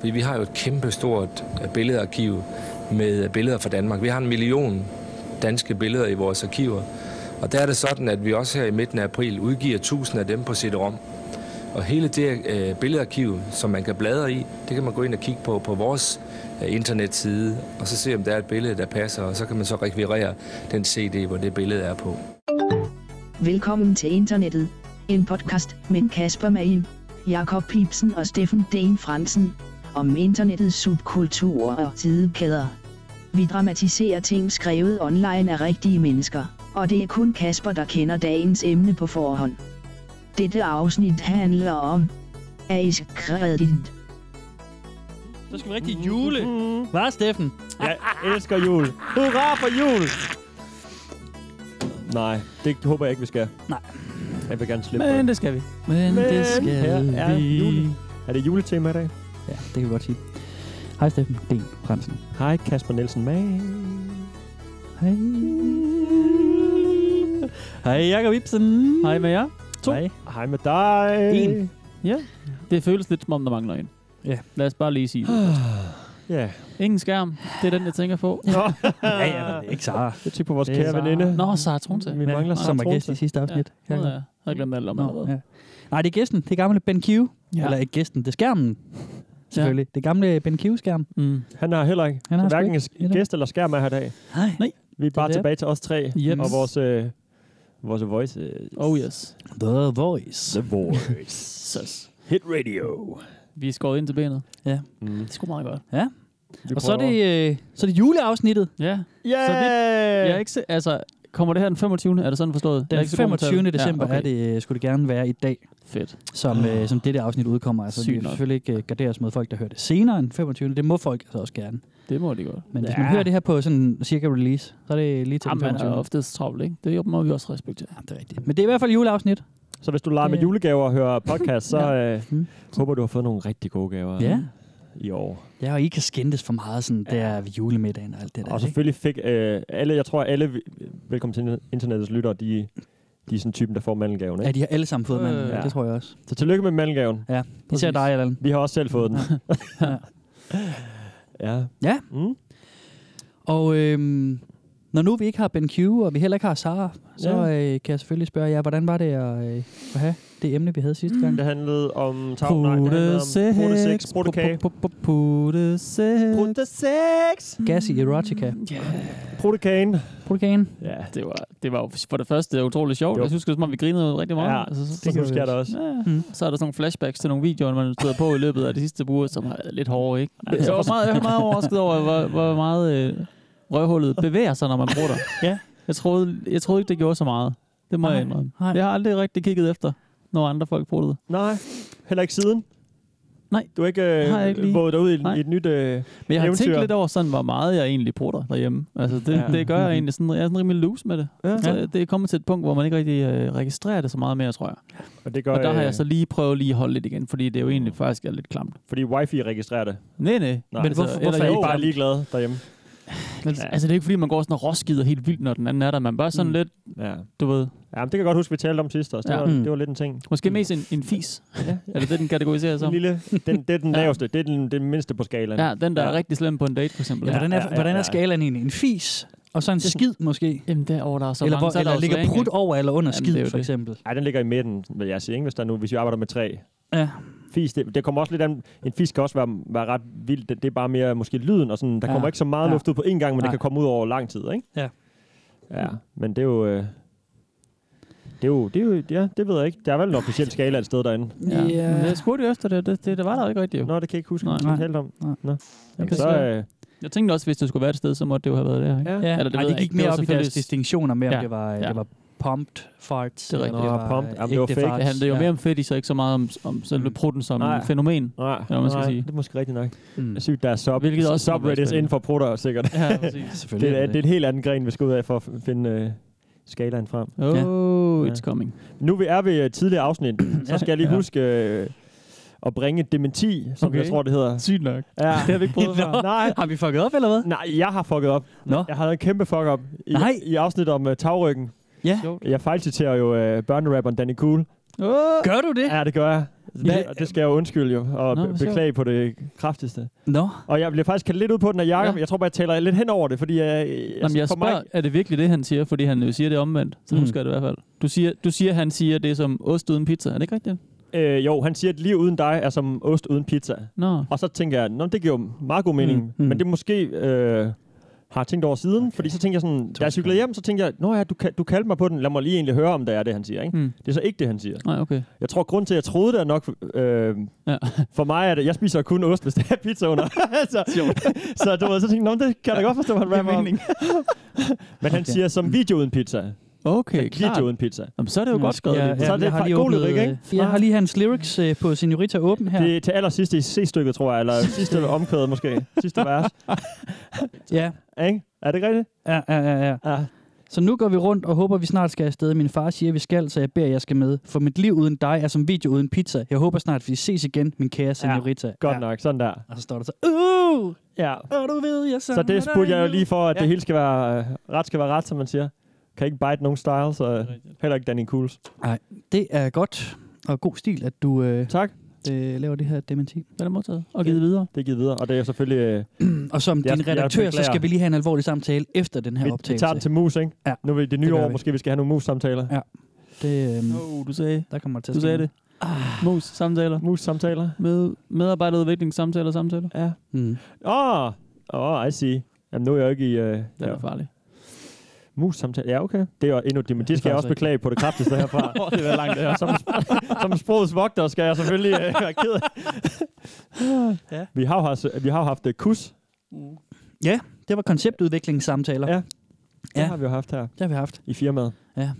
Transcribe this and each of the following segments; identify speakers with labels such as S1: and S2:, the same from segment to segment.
S1: Fordi vi har jo et kæmpe stort billedarkiv med øh, billeder fra Danmark. Vi har en million danske billeder i vores arkiver. Og der er det sådan, at vi også her i midten af april udgiver tusind af dem på CD-ROM. Og hele det øh, billedarkiv, som man kan bladre i, det kan man gå ind og kigge på på vores øh, internetside, og så se, om der er et billede, der passer, og så kan man så rekvirere den CD, hvor det billede er på.
S2: Velkommen til internettet. En podcast med Kasper Magen, Jakob Pipsen og Steffen Den Fransen. Om internettets subkulturer og tidekæder. Vi dramatiserer ting skrevet online af rigtige mennesker, og det er kun Kasper, der kender dagens emne på forhånd. Dette afsnit handler om... Er I skrevet dit?
S3: Så skal vi rigtig jule.
S4: Hvad, Steffen?
S3: Jeg elsker jul. Hurra for jul! Nej, det håber jeg ikke, vi skal.
S4: Nej.
S3: Jeg vil gerne slippe
S4: Men
S3: for
S4: det skal vi. Men,
S3: Men
S4: det skal
S3: her er
S4: vi.
S3: julen. det. Er det juletema i dag?
S4: Ja, det kan vi godt sige. Hej Steffen, D. Fransen.
S3: Hej, Kasper Nielsen Mag.
S4: Hej. Hej Jakob Ibsen. Hej med jer. To.
S3: Hej. Hej med dig.
S4: En. Det føles lidt som om, der mangler en.
S3: Ja. Ah.
S4: Lad os bare lige sige det.
S3: Ja.
S4: Ingen skærm. Det er den, jeg tænker på.
S3: ja,
S5: Sara.
S3: Jeg tænker på vores
S5: Det er
S3: kære
S5: Sara.
S3: veninde.
S4: Nå, Sara Tronte.
S3: Vi mangler
S4: Nå,
S3: Sara
S5: Som var gæst i
S3: Tronte.
S5: sidste afsnit.
S4: Ja, ja. Jeg har glemt alt om
S5: Nå,
S4: allerede.
S5: ja. Nej, det er gæsten. Det er gamle Ben Q. Ja. Eller
S4: Ja.
S5: ikke gæsten, det er skærmen. Selvfølgelig. Det gamle Ben Q-skærm.
S4: Mm.
S3: Han har heller ikke.
S5: Han
S3: Han
S5: har
S3: har
S5: sgu
S3: hverken
S5: ikke-
S3: gæst eller skærm med her i dag.
S5: Nej.
S4: Mm. Nej.
S3: Vi er bare
S4: Det er
S3: tilbage til os tre.
S4: Jeps.
S3: Og vores, øh, vores voice. Øh,
S4: Oh yes.
S5: The Voice.
S3: The voice.
S4: Sus.
S3: Hit radio.
S4: Vi er skåret ind til benet.
S3: Mm.
S4: Det er sgu meget godt.
S3: Vi
S5: Og så er, det,
S3: prøver.
S5: øh, så er det juleafsnittet.
S4: Ja.
S3: Yeah!
S4: Så
S3: det,
S4: Jeg er ikke se, altså, kommer det her den 25. Er det sådan forstået? Jeg er
S5: Den
S4: ikke så god med tal.
S5: 25. december
S4: ja, okay.
S5: er det, øh, skulle det gerne være i dag,
S4: Fedt.
S5: som, øh, som dette afsnit udkommer. Altså,
S4: Sygt
S5: vi vil
S4: nok.
S5: selvfølgelig ikke øh, gardere os mod folk, der hører det senere end 25. Det må folk altså også gerne.
S4: Det må de godt.
S5: Men hvis
S3: Ja.
S5: man hører det her på sådan cirka release, så er det lige til den
S4: Jamen, man
S5: 25.
S4: er oftest travlt, ikke? Det må vi også respektere.
S5: Ja, det er rigtigt. Men det er i hvert fald juleafsnit.
S3: Så hvis du leger med
S5: Det-
S3: julegaver og hører podcast, så øh,
S5: Mm.
S3: håber du har fået nogle rigtig gode gaver øh,
S5: Ja.
S3: i år.
S5: Ja, og I kan skændes for meget sådan der ved julemiddagen og alt det der.
S3: Og
S5: ikke?
S3: selvfølgelig fik øh, alle, jeg tror alle, vi- velkommen til internettets lyttere, de, de er sådan typen, der får mandelgaven.
S5: Ja,
S3: Ikke?
S5: de har alle sammen fået manden.
S4: Øh,
S5: Ja.
S3: ja.
S5: Det tror jeg også.
S3: Så tillykke med mandelgaven.
S5: Især
S4: Præcis.
S5: dig, Allan.
S3: Vi har også selv fået den.
S5: Ja.
S3: ja.
S5: Ja.
S3: Mm.
S5: Og øhm, når nu vi ikke har Ben Q, og vi heller ikke har Sara, så øh, kan jeg selvfølgelig spørge jer, hvordan var det at, øh, at have det emne, vi havde sidste
S4: Mm.
S5: gang?
S3: Det handlede om tag, nej, det handlede om proteseks, protekage.
S4: Putte sex.
S3: Proteseks!
S5: Gas i erotica.
S4: Ja,
S3: Protekagen.
S5: Protekagen.
S3: Ja,
S4: det var, det var jo for det første utroligt sjovt.
S3: Jo.
S4: Jeg synes, det var, som om vi grinede rigtig meget. Altså,
S3: Ja,
S4: så,
S3: det husker jeg da også.
S4: Ja.
S5: Mm.
S4: Så er der sådan nogle flashbacks til nogle videoer, man stod på i løbet af de sidste par uger, som har været lidt hårde, ikke?
S3: Ja.
S4: Jeg var meget, jeg var meget overrasket over, hvor, hvor meget øh, røvhullet bevæger sig, når man bruger det.
S5: Ja.
S4: Jeg troede, jeg troede ikke, det gjorde så meget. Det må
S5: Nej,
S4: jeg indrømme.
S5: nej.
S4: Jeg har aldrig rigtig kigget efter, når andre folk bruger det.
S3: Nej, heller ikke siden.
S4: Nej.
S3: Du har ikke, øh,
S4: Har jeg ikke lige.
S3: våget dig ud i,
S4: Nej.
S3: i et nyt... Øh,
S4: Men jeg har
S3: Eventyr.
S4: tænkt lidt over, sådan, hvor meget jeg egentlig bruger det derhjemme. Altså, det,
S3: Ja.
S4: ja. det gør jeg egentlig. Sådan, jeg er sådan rimelig loose med det.
S3: Mhm. Ja.
S4: Så det er kommet til et punkt, hvor man ikke rigtig øh, registrerer det så meget mere, tror jeg.
S3: og det gør,
S4: Og der har
S3: øh,
S4: jeg så lige prøvet lige at holde lidt igen, fordi det er jo egentlig faktisk er lidt klamt.
S3: Fordi wifi registrerer det.
S4: Nej, nej.
S3: Nej. altså,
S5: Men hvorfor-
S4: eller
S3: Så
S5: hvorfor
S3: er
S4: jo,
S3: I bare ligeglade derhjemme.
S4: Men,
S3: Ja.
S4: Altså, det er ikke fordi, man går sådan og råskider helt vildt, når den anden er der. Man bare sådan
S5: Mm.
S4: mm. lidt,
S3: Ja.
S4: du ved,
S3: Ja, men det kan jeg godt huske, vi talte om sidst også. Det,
S4: Ja.
S3: var,
S5: Mm.
S3: det var lidt en ting.
S4: måske mest en, en fis. Ja. Eller det, den kategoriserer
S3: Den
S4: som.
S3: lille, den, det er den
S4: Ja.
S3: laveste. Det er den, den mindste på skalaen.
S4: Ja, den der ja. er
S3: Ja.
S4: rigtig slem på en date, for eksempel.
S5: Ja, hvordan
S3: ja,
S5: er,
S3: ja,
S5: hvordan er
S3: ja.
S5: skalaen egentlig? En fis, og så en skid måske?
S4: Jamen, derovre, der er så
S5: eller
S4: mange,
S5: hvor,
S4: så er der
S5: eller
S4: jo
S5: ligger
S4: slang,
S5: prut
S4: ikke?
S5: over eller under
S4: Jamen, det er
S5: skid,
S4: jo
S5: for
S4: det.
S5: eksempel?
S3: Ej, den ligger i midten, vil jeg sige, ikke? Hvis, der nu, hvis vi arbejder med tre.
S5: Ja.
S3: Fis, det, det kommer også lidt an. En fis kan også være, være ret vild. Det, det er bare mere måske lyden, og sådan, der
S5: Ja.
S3: ja. kommer ikke så meget
S5: Ja.
S3: ja. luft ud på én gang, men
S5: Nej.
S3: det kan komme ud over lang tid, ikke?
S5: Ja.
S3: Ja, men det er jo... Øh, det er jo, det er jo, ja, det ved jeg ikke. Der er vel en officiel skala et sted derinde.
S4: Ja.
S5: Ja.
S4: Men jeg spurgte jo efter det. Det, det, det var der jo ikke rigtigt. Jo.
S3: Nå, det kan jeg ikke huske,
S4: Nej.
S3: hvad vi talte om.
S5: Nej.
S3: Nå. Jamen,
S4: kan
S3: så,
S4: se.
S3: øh,
S4: Jeg tænkte også, hvis det skulle være et sted, så måtte det jo have været der. Ikke?
S3: ja.
S5: Ja.
S4: Eller det
S5: Ej,
S4: ved
S5: det
S4: jeg
S5: gik
S4: ikke.
S5: mere
S4: Det var
S5: op i deres
S4: selvfølgelig-
S5: distinktioner med, om
S4: Ja.
S5: det var, øh,
S4: Ja.
S5: det var pumped farts.
S4: Det er
S5: eller
S4: rigtigt.
S3: Nå, pumped.
S5: øh,
S3: Jamen, det var
S5: ægte
S3: fake.
S5: farts.
S4: Det handler jo
S5: Ja.
S4: mere om fedt, så ikke så meget om, om selve
S5: Mm.
S4: prutten som
S3: Nej.
S4: fænomen.
S3: Nej,
S4: Eller hvad man skal
S3: nej,
S4: sige.
S3: det er måske rigtigt nok.
S5: Mm.
S3: Det er sygt, der er sub,
S4: Hvilket også må være
S3: subreddits
S4: spændende.
S3: inden for prutter, sikkert.
S4: Ja, præcis.
S5: Selvfølgelig.
S3: Det er, det er en helt anden gren, vi skal ud af for at f- finde øh, skalaen frem.
S4: Oh,
S3: Ja.
S4: it's coming.
S3: Nu vi er ved øh, tidligere afsnit, så skal jeg lige
S4: Ja.
S3: huske øh, at bringe et dementi, som
S4: Okay.
S3: okay. jeg tror, det hedder.
S4: Sygt nok.
S3: Ja.
S4: Det har vi ikke prøvet før.
S3: Nej,
S5: Har vi fucket op, eller hvad?
S3: nej, jeg har fucket op.
S5: Nå.
S3: Jeg har en kæmpe fuck op i,
S5: Nej.
S3: i afsnittet om uh, tagryggen.
S5: Ja.
S3: Jeg fejlciterer jo øh, børnerapperen øh, Danny Cool.
S4: Oh.
S5: Gør du det?
S3: Ja, det gør jeg.
S5: Hvad-
S3: Og det skal jeg jo undskylde jo, og
S4: Nå,
S3: Nå,
S4: hvad siger du?
S3: beklage på det kraftigste.
S5: Nå,
S3: Og jeg bliver faktisk kaldt lidt ud på den af Jacob. Ja.
S4: Ja.
S3: Jeg tror bare, jeg taler lidt hen over det, fordi jeg...
S4: Jamen, jeg
S3: Altså, for mig-
S4: spørger, er det virkelig det, han siger? Fordi han jo siger det omvendt. Så
S3: Mm.
S4: mm. husker jeg det i hvert fald. Du siger, du siger, han siger det som ost uden pizza. Er det ikke rigtigt?
S3: Øh, jo, han siger, at liv uden dig er som ost uden pizza.
S4: Nå.
S3: Og så tænker jeg, Nå, det giver jo meget god mening.
S5: Mm,
S3: Mm,
S5: mm.
S3: mm. Men det måske øh, har jeg tænkt over siden, okay. fordi så tænker jeg sådan, da jeg cyklede hjem, så tænker jeg, Nå ja, du, ka- du kaldte mig på den, lad mig lige egentlig høre, om det er det, han siger. Ikke?
S4: Mm.
S3: Det er så ikke det, han siger.
S4: Nej, okay.
S3: Jeg tror, grund til, at jeg troede det er nok... Øh,
S4: Ja.
S3: ja. For mig er det, jeg spiser kun ost, hvis der er pizza under. så, så, du ved, så tænkte jeg, "Nå, men det kan jeg da godt forstå, han rapper om. Men han
S4: Okay.
S3: siger, som video uden pizza.
S4: Okay, klart.
S3: Video uden pizza. Mm.
S4: Jamen, så er det jo
S5: Nå,
S4: godt skrevet.
S5: ja,
S4: Ja,
S5: ja,
S4: ja.
S3: Så er det
S5: jeg har
S3: fra-
S5: lige
S3: god
S5: åbnet,
S3: lyrik, ikke?
S5: øh, Jeg har lige hans lyrics øh, på Senorita Åben her.
S3: Det er til allersidst i C-stykket, tror jeg, eller sidste omkvæde måske. Sidste vers.
S5: Ja,
S3: Ikke? Er det ikke rigtigt?
S5: ja, ja, ja, ja.
S3: Ja.
S5: Så nu går vi rundt og håber, vi snart skal afsted. Min far siger, vi skal, så jeg beder, jeg skal med. For mit liv uden dig er som video uden pizza. Jeg håber snart, vi ses igen, min kære senorita. Ja,
S3: Godt ja. nok, sådan der.
S5: Og så står der så, uh,
S3: Ah. Ja.
S5: og du ved, jeg
S3: Så det spurgte jeg jo lige for, at
S5: Ja.
S3: ja. det hele skal være, øh, ret skal være ret, som man siger. Kan ikke bite nogen style, så øh, heller ikke Danny Cools.
S5: Det er godt og god stil, at du øh,
S3: Tak,
S5: øh, laver det her dementi.
S4: Den er modtaget og givet videre.
S3: det er givet videre. Og det er selvfølgelig, øh,
S5: Og som
S3: Jeg-
S5: din
S3: jeg
S5: redaktør, så
S3: beklager.
S5: skal vi lige have en alvorlig samtale efter den her
S3: vi, vi
S5: optagelse.
S3: tager den til mus, ikke?
S5: Ja.
S3: Nu er det
S5: Det
S3: nye
S5: gør
S3: år,
S5: vi.
S3: måske vi skal have nogle mus-samtaler.
S5: Ja. det, øh,
S4: Åh, oh, du sagde,
S5: der kommer det til at
S4: du
S5: ske
S4: sagde
S5: noget.
S4: det. Ah. Mus, samtaler.
S3: Mus-samtaler.
S4: Med, medarbejderudvikling, samtaler, samtaler.
S3: Ja.
S5: Mm.
S3: Åh, oh, oh, I see. Jamen, nu er jeg jo ikke i øh,
S4: Den
S3: ja.
S4: er farlig.
S3: mus-samtaler. Ja, okay. Det er jo endnu det, men
S5: Det er
S3: det skal jeg
S5: faktisk
S3: også
S5: rigtigt.
S3: beklage på det kraftigste herfra.
S4: Åh, det var langt det her.
S3: som, som sprogets vogter skal jeg selvfølgelig øh, være ked af.
S5: Ja.
S3: ja. vi, har jo haft, vi har jo haft øh, kus.
S5: Det var konceptudviklingssamtaler.
S3: Ja. Ja.
S5: Ja.
S3: Det har vi jo haft her
S5: Det har vi haft.
S3: i firmaet.
S4: Ja,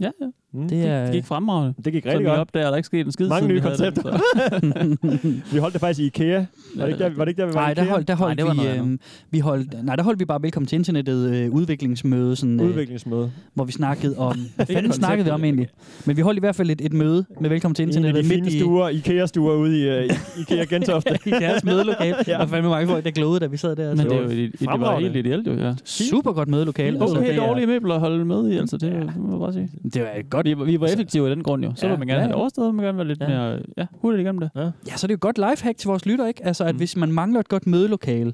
S4: ja.
S3: Mm.
S5: Det
S3: Det,
S5: er,
S4: Det gik fremragende.
S3: det gik
S4: Så
S3: rigtig
S4: vi
S3: godt.
S4: opdager, at der ikke skete en skid.
S3: Mange
S4: siden vi
S3: nye
S4: havde den,
S3: koncepter.
S4: så-
S3: Vi holdt det faktisk i IKEA. Var det ikke der, var det, ikke der vi var
S5: nej,
S3: i
S5: der
S3: IKEA?
S5: holdt, der holdt
S4: Nej, det var
S5: vi,
S4: noget
S5: øh, vi holdt, nej, der holdt vi bare velkommen til internettet øh, udviklingsmøde, sådan, øh,
S3: Udviklingsmøde.
S5: hvor vi snakkede om, hvad fanden snakkede vi om egentlig? Men vi holdt i hvert fald et, et møde med velkommen til
S3: I en af de
S5: internettet
S3: fine
S5: midt i,
S3: stuer, IKEA-stuer ude i øh, i- IKEA Gentofte.
S5: i deres mødelokale. ja. Der var fandme mange folk, der glødede, da vi sad der.
S4: Men
S5: Men
S4: det,
S5: det
S4: er jo, et- et, det var
S3: Fremragende.
S4: helt ideelt jo, ja.
S5: super godt mødelokale.
S4: Okay,
S5: det,
S4: altså,
S5: er-
S4: dårlige møbler at holde med i, altså det, ja. det må jeg bare sige.
S5: det var godt.
S4: Godt, vi, var- vi var effektive af den grund jo. Så
S5: Ja.
S4: ja. vil man gerne
S5: Ja,
S4: have det
S5: ja.
S4: overstået, og man vil gerne være lidt
S5: Ja.
S4: ja. mere ja, hurtigt igennem det.
S5: Ja, så er det jo et godt lifehack til vores lytter, ikke? Altså, at
S4: Mm.
S5: hvis man mangler et godt mødelokale,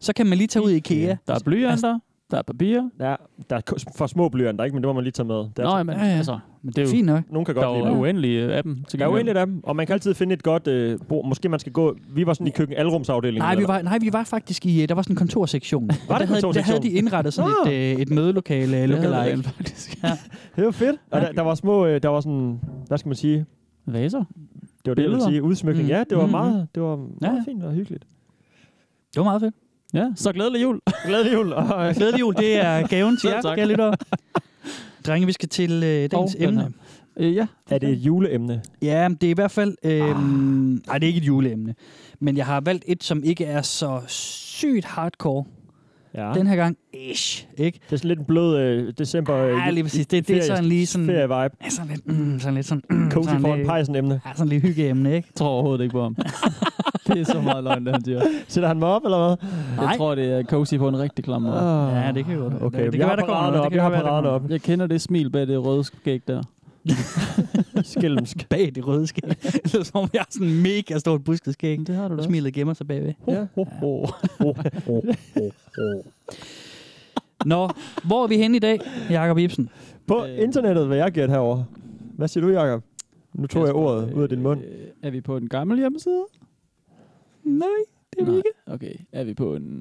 S5: så kan man lige tage ud i IKEA. Altså-
S4: Der er blyanter, der er papir.
S3: Ja, der er ku- for små blyanter, ikke? Men det må man lige tage med. Der,
S4: Nå,
S3: er-
S4: men
S5: Ja, ja.
S4: altså,
S5: Men
S4: det er jo-
S5: fint nok.
S3: nogen kan
S4: der
S3: godt lide
S4: er jo øh,
S3: det.
S4: uendelige af dem.
S3: Der er jo egentlig dem, og man kan altid finde et godt øh, bord. Måske man skal gå... Vi var sådan i køkken alrumsafdelingen.
S5: Nej, vi
S3: eller-
S5: var, nej, vi var faktisk i, øh, der var sådan en kontorsektion. Var der,
S3: en
S5: havde, der havde
S3: kontorsektion?
S5: de indrettet sådan et,
S3: Ah!
S5: øh, et mødelokale,
S4: Det havde
S5: lookalike.
S4: det rent faktisk.
S3: Det var fedt. Og der, der var små... Øh, der var sådan... Hvad skal man sige?
S4: Vaser.
S3: Det var det, jeg ville
S4: Billeder.
S3: sige. Udsmykning.
S5: Mm.
S3: Ja, det var
S5: Mhm.
S3: meget, det var meget
S5: Ja, ja.
S3: fint og hyggeligt.
S5: Det var meget fedt.
S4: Ja, så glædelig jul.
S3: Glædelig jul. Og, øh,
S5: Glædelig jul, det er gaven til
S4: Selv
S5: jer,
S4: tak.
S5: kære lyttere. Drenge, vi skal til øh, dagens
S4: Og den
S5: emne.
S4: her. Øh, ja.
S3: er det et juleemne?
S5: Ja, men det er i hvert fald... Øh,
S4: Ah.
S5: Nej, det er ikke et juleemne. Men jeg har valgt et, som ikke er så sygt hardcore
S3: Ja.
S5: den her gang. Ish, ikke?
S3: Det er sådan lidt en blød øh, december øh,
S5: Ja, lige præcis. Det, det er
S3: ferie-
S5: sådan lige sådan...
S3: ferie-vibe.
S5: Ja, sådan lidt, mm, sådan lidt sådan... Mm,
S3: Cozy
S5: sådan
S3: for en
S5: lidt-
S3: pejsen-emne.
S5: Ja, sådan lidt hyggeemne, ikke?
S4: Jeg tror overhovedet ikke på ham. det er så meget løgn, det han siger.
S3: Sætter han mig op, eller hvad? Ah.
S5: Nej.
S4: Jeg tror, det er cozy på en rigtig klam måde.
S5: Ja, det kan jo godt være.
S3: Okay,
S5: det, det kan
S3: jeg har
S5: være, der kommer
S3: paraderne
S5: noget.
S3: op.
S5: Det kan
S3: Jeg har
S5: være, der
S3: paraderne
S5: kommer
S3: op.
S4: Jeg kender det smil bag det røde skæg der.
S3: Skælmsk.
S5: bag det røde skæg. Det lyder som om, jeg har sådan en mega stort busket skæg.
S4: Det har du da.
S5: Og smilet gemmer sig bagved.
S3: Ja. Ho, ho.
S5: Nå, hvor er vi henne i dag, Jakob Ibsen?
S3: På
S4: Øh.
S3: internettet vil jeg gætte herover. Hvad siger du, Jakob? Nu tog jeg ordet ud af din mund.
S4: Øh, Er vi på en gammel hjemmeside?
S5: Nej, det
S4: Nej. Okay, er vi på en,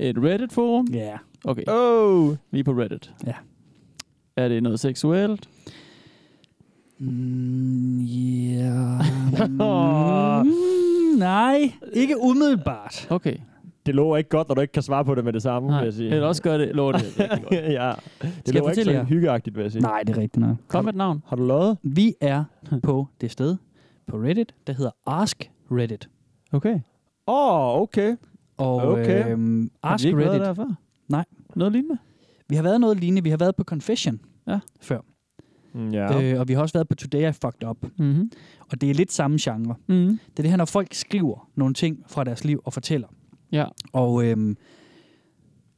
S4: et Reddit-forum?
S5: Ja.
S4: Okay,
S3: Oh.
S4: vi er på Reddit.
S5: Ja.
S4: Er det noget seksuelt?
S5: Mm, yeah. mm, nej, ikke umiddelbart.
S4: Okay.
S3: Det lover ikke godt, når du ikke kan svare på det med det samme, vil
S4: Nej,
S3: jeg sige.
S4: eller også gør det. Lå det. rigtig godt.
S3: ja. Det
S5: jeg
S3: lover ikke
S5: fortælle
S3: så
S5: jer?
S3: hyggeagtigt, vil jeg sige.
S5: Nej, det er rigtigt nok.
S4: Kom med et navn.
S3: Har du lovet?
S5: Vi er på det sted på Reddit, der hedder Ask Reddit.
S4: Okay.
S3: Åh, oh, okay.
S5: Og
S3: Okay.
S5: øhm,
S4: Har
S5: Ask
S4: vi ikke været
S5: Reddit.
S4: der før?
S5: Nej.
S4: Noget lignende?
S5: Vi har været noget lignende. Vi har været på Confession
S4: Ja.
S5: før.
S3: Mm, Ja.
S5: Øh, og vi har også været på Today I Fucked Up.
S4: Mm-hmm.
S5: Og det er lidt samme genre.
S4: Mm-hmm.
S5: Det er det her, når folk skriver nogle ting fra deres liv og fortæller.
S4: Ja.
S5: Og øhm,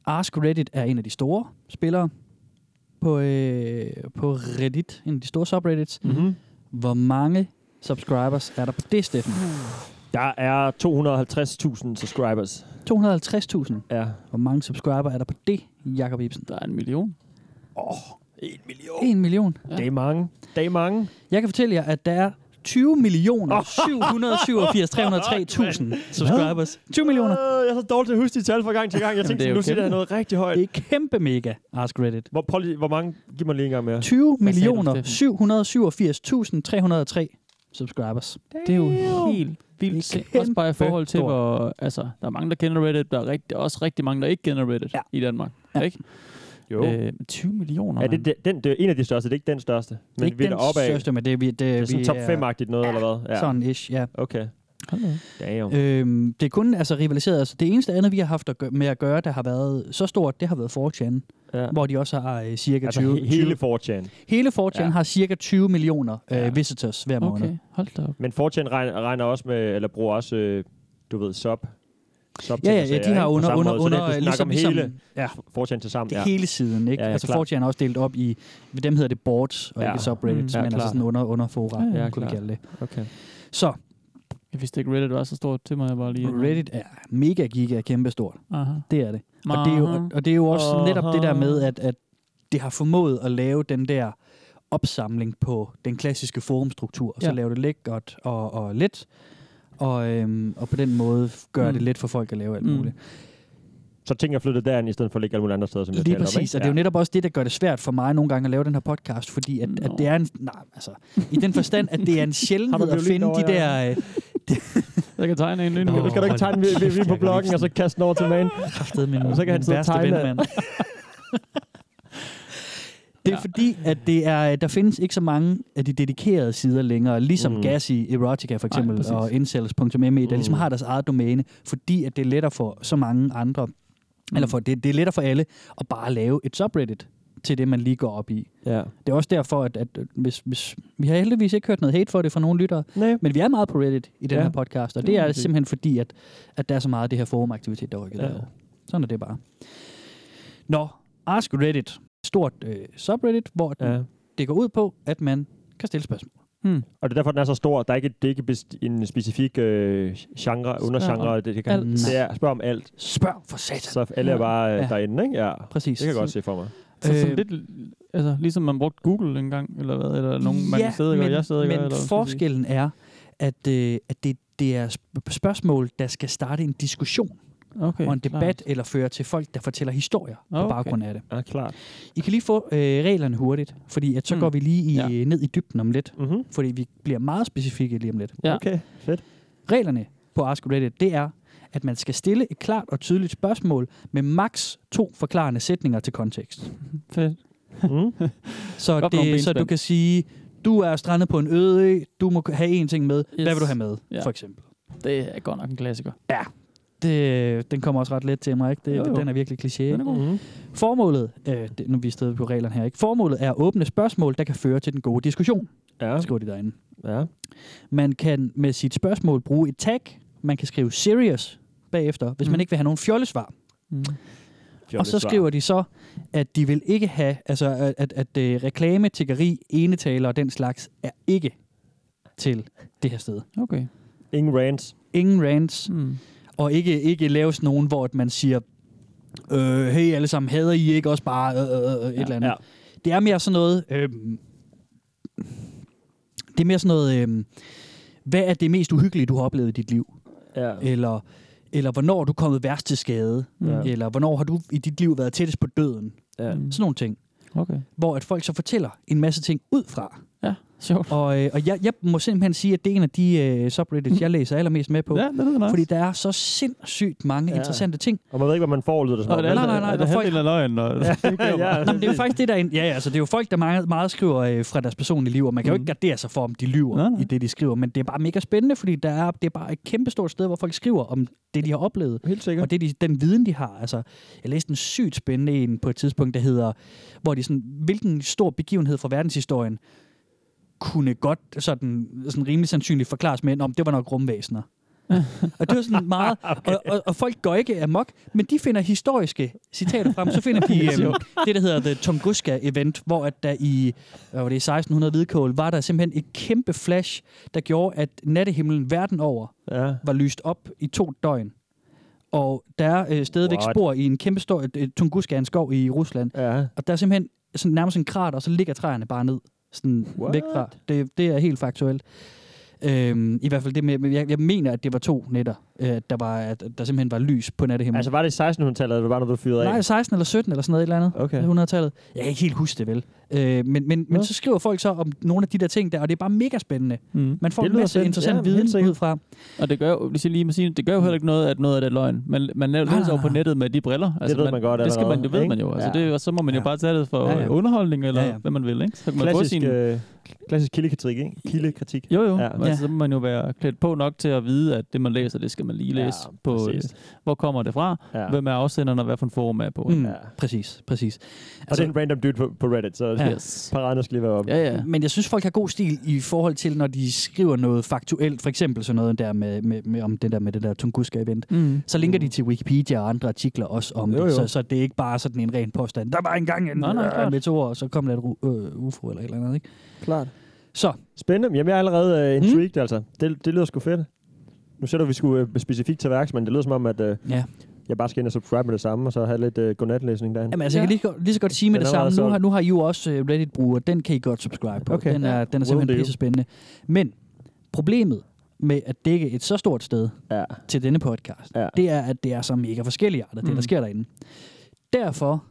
S5: Ask Reddit er en af de store spillere på, øh, på Reddit, en af de store subreddits.
S3: Mm-hmm.
S5: Hvor mange subscribers er der på det, Steffen?
S3: Der er 250.000 subscribers.
S5: 250.000.
S3: Ja.
S5: Hvor mange subscriber er der på det, Jakob Ibsen?
S4: Der er en million.
S3: En million.
S5: En million.
S3: Ja. Det er mange. Det er mange.
S5: Jeg kan fortælle jer, at der er 20 millioner 787 303.000 subscribers. 20 millioner.
S3: Øh, jeg er så dårlig til at huske de tal fra gang til gang. Jeg tænkte,
S4: det
S3: Jamen,
S4: er jo
S3: nu siger
S4: kæmpe.
S3: jeg noget rigtig højt.
S5: Det er kæmpe mega, Ask Reddit.
S3: Hvor, prøv lige, hvor mange? Giv mig lige en gang mere.
S5: 20
S4: Hvad sagde du,
S5: millioner 787.303 subscribers.
S4: Det er jo helt vildt.
S5: Det er
S4: sindssygt. Også bare i
S3: kæmpe
S4: forhold til,
S3: stort.
S4: hvor... Altså, der er mange, der kender Reddit. Der er rigtig, også rigtig mange, der ikke kender Reddit
S5: Ja.
S4: ja. i Danmark.
S5: Ja.
S4: Ja. Ikke?
S3: Jo. Øh,
S4: Øh, 20 millioner,
S3: er det,
S4: mand.
S3: det, den, det er en af de største? Det er ikke den største. Men
S5: Det er ikke
S3: vi er
S5: den
S3: deroppe af.
S5: største, men det, er vi, det,
S3: Det er sådan
S5: vi
S3: top 5-agtigt noget, eller hvad?
S5: Ja. Sådan ish, ja.
S3: Okay.
S4: Hold da op.
S3: Damn.
S5: Øhm, det er kun altså, rivaliseret. Altså, det eneste andet, vi har haft at gøre, med at gøre, der har været så stort, det har været 4chan,
S3: Ja.
S5: hvor de også har øh, cirka
S3: Altså
S5: 20...
S3: he- hele 4chan.
S5: hele 4chan ja.
S3: Ja.
S5: har cirka 20 millioner øh,
S3: Ja.
S5: visitors hver måned.
S4: Okay, hold da op.
S3: Men 4chan regner, regner også med, eller bruger også, øh, du ved, sub. sub
S5: Ja, ja, ja, de har under, under, under
S3: så det, du snakker
S5: ligesom,
S3: om
S5: ligesom,
S3: hele
S5: ja,
S3: 4chan til sammen.
S5: det
S3: Ja.
S5: ja. hele siden, ikke? Ja,
S3: Ja,
S5: ja,
S3: ja,
S5: altså
S3: klar.
S5: 4chan er også delt op i, ved dem hedder det boards, og ja.
S3: Ja.
S5: ikke subreddits, ja,
S4: Mm. Ja,
S5: men altså
S3: klar.
S5: sådan under, under fora,
S4: Ja,
S5: ja,
S4: ja,
S5: ja, kunne vi
S4: klar.
S5: kalde det.
S3: Okay.
S5: Så,
S4: Jeg vidste ikke, Reddit var så stort. Det må jeg bare lige...
S5: Reddit er mega giga kæmpestort.
S4: Aha.
S5: Det er det. Og det, er jo, og det er jo også
S3: Aha.
S5: netop det der med, at, at det har formået at lave den der opsamling på den klassiske forumstruktur, og så
S4: Ja.
S5: lave det lækkert og, og let, og, øhm, og på den måde gøre mm.
S4: Mm.
S5: det let for folk at lave alt
S4: Mm.
S5: muligt.
S3: Så ting er flyttet derind, i stedet for at ligge alle mulige andre steder, som jeg
S5: Lige
S3: talte om,
S5: præcis,
S3: ikke?
S5: og det er jo netop også det, der gør det svært for mig nogle gange at lave den her podcast, fordi at, at
S4: Nå.
S5: det er en, nej, altså, i den forstand, at det er en sjældenhed at
S3: violin
S5: finde de
S3: derovre,
S5: der... Øh,
S4: Jeg kan tegne en
S5: Nå.
S4: endnu.
S3: Du skal du ikke tegne vi- vi- vi på bloggen, og så kaste den over til magen.
S5: kraftede min,
S3: Og så kan han
S5: min
S3: sidde og
S5: værste
S3: tegne.
S5: ven, mand. Det er ja. fordi, at det er, der findes ikke så mange af de dedikerede sider længere, ligesom mm.
S3: Mm.
S5: Gassi, Erotica for
S4: Nej,
S5: eksempel,
S4: præcis.
S5: Ej, og incels.me, der ligesom
S3: Mm.
S5: har deres eget domæne, fordi at det er lettere for så mange andre, mm. eller for, det, det er lettere for alle, at bare lave et subreddit til det, man lige går op i.
S3: Ja.
S5: Det er også derfor, at, at hvis, hvis, vi har heldigvis ikke hørt noget hate for det fra nogle lyttere,
S3: Nej.
S5: men vi er meget på Reddit i den ja.
S3: Ja.
S5: her podcast, og
S4: Det
S5: det
S4: må
S5: er
S4: man sige.
S5: simpelthen fordi, at, at der er så meget af det her forumaktivitet, der rykker ja.
S3: Ja.
S5: derovre. Sådan er det bare. Nå, Ask Reddit. Stort øh, subreddit, hvor ja.
S3: Ja.
S5: det går ud på, at man kan stille spørgsmål.
S4: Hmm.
S3: Og det er derfor, den er så stor. Der er ikke, det er ikke best- en specifik øh, genre, undergenre. Det, det, kan,
S4: alt.
S3: det er, spørg om alt.
S5: Spørg for satan.
S3: Så alle er bare øh,
S5: Ja.
S3: derinde, ikke? Ja.
S5: Præcis.
S3: Det kan jeg godt se for mig.
S4: Så sådan
S5: Øh,
S4: lidt, altså, ligesom man brugte Google engang, eller hvad, eller nogen, man
S5: ja,
S4: sidder ikke,
S5: men,
S4: og jeg sidder ikke.
S5: men forskellen er, at, øh, at det, det er sp- spørgsmål, der skal starte en diskussion
S4: okay,
S5: og en debat,
S4: klart.
S5: eller føre til folk, der fortæller historier okay. på
S4: Okay.
S5: baggrund af det.
S3: Ja, klart.
S5: I kan lige få øh, reglerne hurtigt, fordi at så mm.
S4: Mm.
S5: går vi lige i, ja.
S4: Ja. Mhm.
S5: ned i dybden om lidt,
S3: Mm-hmm.
S5: fordi vi bliver meget specifikke lige om lidt.
S4: Ja.
S3: Okay, fedt.
S5: Reglerne på Ask Reddit, det er, at man skal stille et klart og tydeligt spørgsmål med maks to forklarende sætninger til kontekst.
S4: Fedt.
S3: Mm.
S5: Så,
S4: Godt nok
S5: det, så
S4: benspænd.
S5: du kan sige, du er strandet på en øde ø, du må have én ting med. Yes. Hvad
S4: Yes.
S5: vil du have med, ja.
S4: Ja.
S5: for eksempel?
S4: Det er godt nok en klassiker.
S5: Det, den kommer også ret let til mig, ikke? Det,
S4: Jo,
S5: jo,
S4: jo.
S5: jo. Den er virkelig kliché.
S4: Den
S5: ikke?
S4: er god.
S3: Mm.
S5: Formålet, øh, det, nu er vi stadig på reglerne her, ikke? Formålet er åbne spørgsmål, der kan føre til den gode diskussion.
S3: Ja.
S5: Skriver de derinde.
S3: ja.
S5: Man kan med sit spørgsmål bruge et tag. Man kan skrive serious bagefter, hvis mm.
S4: Mm.
S5: man ikke vil have nogen fjollesvar.
S4: Mm.
S5: Og så skriver de så, at de vil ikke have, altså at, at, at øh, reklame, tiggeri, enetaler og den slags er ikke til det her sted.
S4: Okay.
S3: Ingen rants.
S5: Ingen rants,
S4: Mm.
S5: og ikke, ikke laves nogen, hvor at man siger, øh, hey alle sammen, hader I ikke også bare øh, øh, øh, et ja, eller andet. Ja.
S3: ja.
S5: Det er mere sådan noget, øh, det er mere sådan noget, øh, hvad er det mest uhyggelige, du har oplevet i dit liv?
S3: Ja.
S5: eller, eller hvornår er du kommet værst til skade,
S4: Ja.
S5: ja. eller hvornår har du i dit liv været tættest på døden.
S3: ja.
S4: Mm.
S5: Sådan nogle ting,
S4: Okay.
S5: hvor at folk så fortæller en masse ting ud fra.
S4: Ja, sjovt.
S5: Og, øh, og jeg, jeg må simpelthen sige, at det er en af de øh, subreddits, jeg læser allermest med på,
S4: Ja,
S5: ja.
S4: det lyder nice.
S5: fordi der er så sindssygt mange ja.
S3: Ja.
S5: interessante ting.
S3: Og man ved ikke, hvad man får, lyder det som.
S4: og
S3: om.
S4: det er,
S5: Nej, nej, nej,
S4: er
S5: der
S4: det
S5: er folk-
S4: halvdelen af løgn. Og,
S5: Nå,
S3: ja.
S5: men altså, det er jo faktisk det, der er en, ja, ja, altså, det er jo folk, der meget, meget skriver øh, fra deres personlige liv, og man kan jo
S4: Mhm.
S5: ikke gardere sig for, om de lyver
S4: Nej, nej.
S5: i det, de skriver, men det er bare mega spændende, fordi der er, det er bare et kæmpestort sted, hvor folk skriver om det, de har oplevet.
S3: Helt sikkert.
S5: Og det er de, den viden, de har. Altså, jeg læste en sygt spændende en på et tidspunkt, der hedder, hvor de sådan, hvilken stor begivenhed fra verdenshistorien kunne godt sådan, sådan rimelig sandsynligt forklares med, om det var nok rumvæsener. Og det var sådan meget... okay. og, og, og folk går ikke amok, men de finder historiske citater frem. Så finder de øhm, det, der hedder The Tunguska-event, hvor at der i hvad var det, 1600 hvidkål var der simpelthen et kæmpe flash, der gjorde, at nattehimlen verden over
S3: Ja.
S5: var lyst op i to døgn. Og der er øh, stadigvæk
S3: What?
S5: spor i en kæmpe stor... Øh, Tunguska er en skov i Rusland.
S3: Ja.
S5: Og der er simpelthen sådan, nærmest en krater, og så ligger træerne bare ned. Sådan
S3: What?
S5: væk fra. Det, det er helt faktuelt. Øhm, I hvert fald det med, men jeg, jeg mener, at det var to nætter, øh, der, var, at der simpelthen var lys på nattehimlen.
S3: Altså, var det i 1600-tallet, eller var det noget, du fyrede af?
S5: Nej, 16 eller 17 eller sådan noget et eller andet.
S3: Okay.
S5: 100-tallet. Jeg kan ikke helt huske det vel. Øh, men, men, men
S3: Nå.
S5: så skriver folk så om nogle af de der ting der, og det er bare mega spændende.
S4: Mm.
S5: Man får
S3: Det
S5: en
S3: lyder
S5: masse
S3: fedt.
S5: interessant
S3: Ja, helt
S5: viden
S3: sikkert.
S5: ud fra.
S4: Og det gør jo, hvis jeg lige må sige, det gør jo heller ikke noget, at noget af det er løgn. Man, man laver
S5: Nej,
S4: læser jo
S5: nej,
S4: på
S5: nej.
S4: nettet med de briller. Altså,
S3: Ah. ved man godt
S4: Det skal man,
S3: allerede,
S4: det ved
S3: ikke?
S4: man jo. Altså,
S3: Ja.
S4: det, er jo- og så må man jo
S5: Ja.
S4: bare tage det for
S5: Ja, ja.
S4: øh, underholdning, eller
S5: Ja, ja.
S4: hvad man vil, ikke? Så kan man få
S3: Klassisk,
S4: sin...
S3: øh, klassisk kildekritik, ikke? Kildekritik.
S4: Jo, jo.
S3: Ja.
S4: Ja. Altså, så må man jo være klædt på nok til at vide, at det, man læser, det skal man lige læse ja, på. Øh,
S3: præcis.
S4: hvor kommer det fra?
S3: Ja.
S4: Hvem er afsenderen, og hvad for en forum er på?
S5: Mm,
S3: Ja.
S5: Præcis, præcis. Altså,
S3: Og det er en random dude på, på Reddit, så
S5: Ja.
S3: ja.
S4: Yes.
S3: paraderne skal lige være op.
S4: Ja, ja.
S5: Men jeg synes, folk har god stil i forhold til, når de skriver noget faktuelt. For eksempel sådan noget der med, med, med om det der med det der Tunguska-event.
S4: Mm.
S5: Så linker de til Wikipedia og andre artikler også om
S3: Jo,
S5: jo, jo. det.
S3: jo.
S5: Så, så det er ikke bare sådan en ren påstand. Der var engang en
S4: Nej, nej,
S5: øh,
S4: klart.
S5: meteor, og så kom der et ru- øh, UFO eller et eller andet. Ikke?
S3: klart.
S5: Så, Hmm?
S3: Spændende. Jamen, jeg er allerede øh, intrigued, mm. altså. Det, det lyder sgu fedt. Nu sætter vi sgu øh, specifikt til værks, men det lyder som om, at øh,
S5: ja.
S3: jeg bare skal ind og subscribe med det samme, og så have lidt øh, godnatlæsning derhen.
S5: Jamen, altså, ja. jeg
S4: Ja.
S5: kan lige, godt- lige så godt sige med
S3: Den
S5: det
S3: er meget
S5: samme. Nu
S3: solgt.
S5: har, nu har I jo også øh, Reddit-bruger. Den kan I godt subscribe på.
S3: Okay.
S5: Den er, den er
S3: Will
S5: simpelthen
S3: do.
S5: pisse spændende. Men problemet med at dække et så stort sted,
S3: Ja.
S5: til denne podcast,
S3: Ja.
S5: ja. det er, at det er så mega forskellige arter, det mm. der
S4: Mm.
S5: sker derinde. Derfor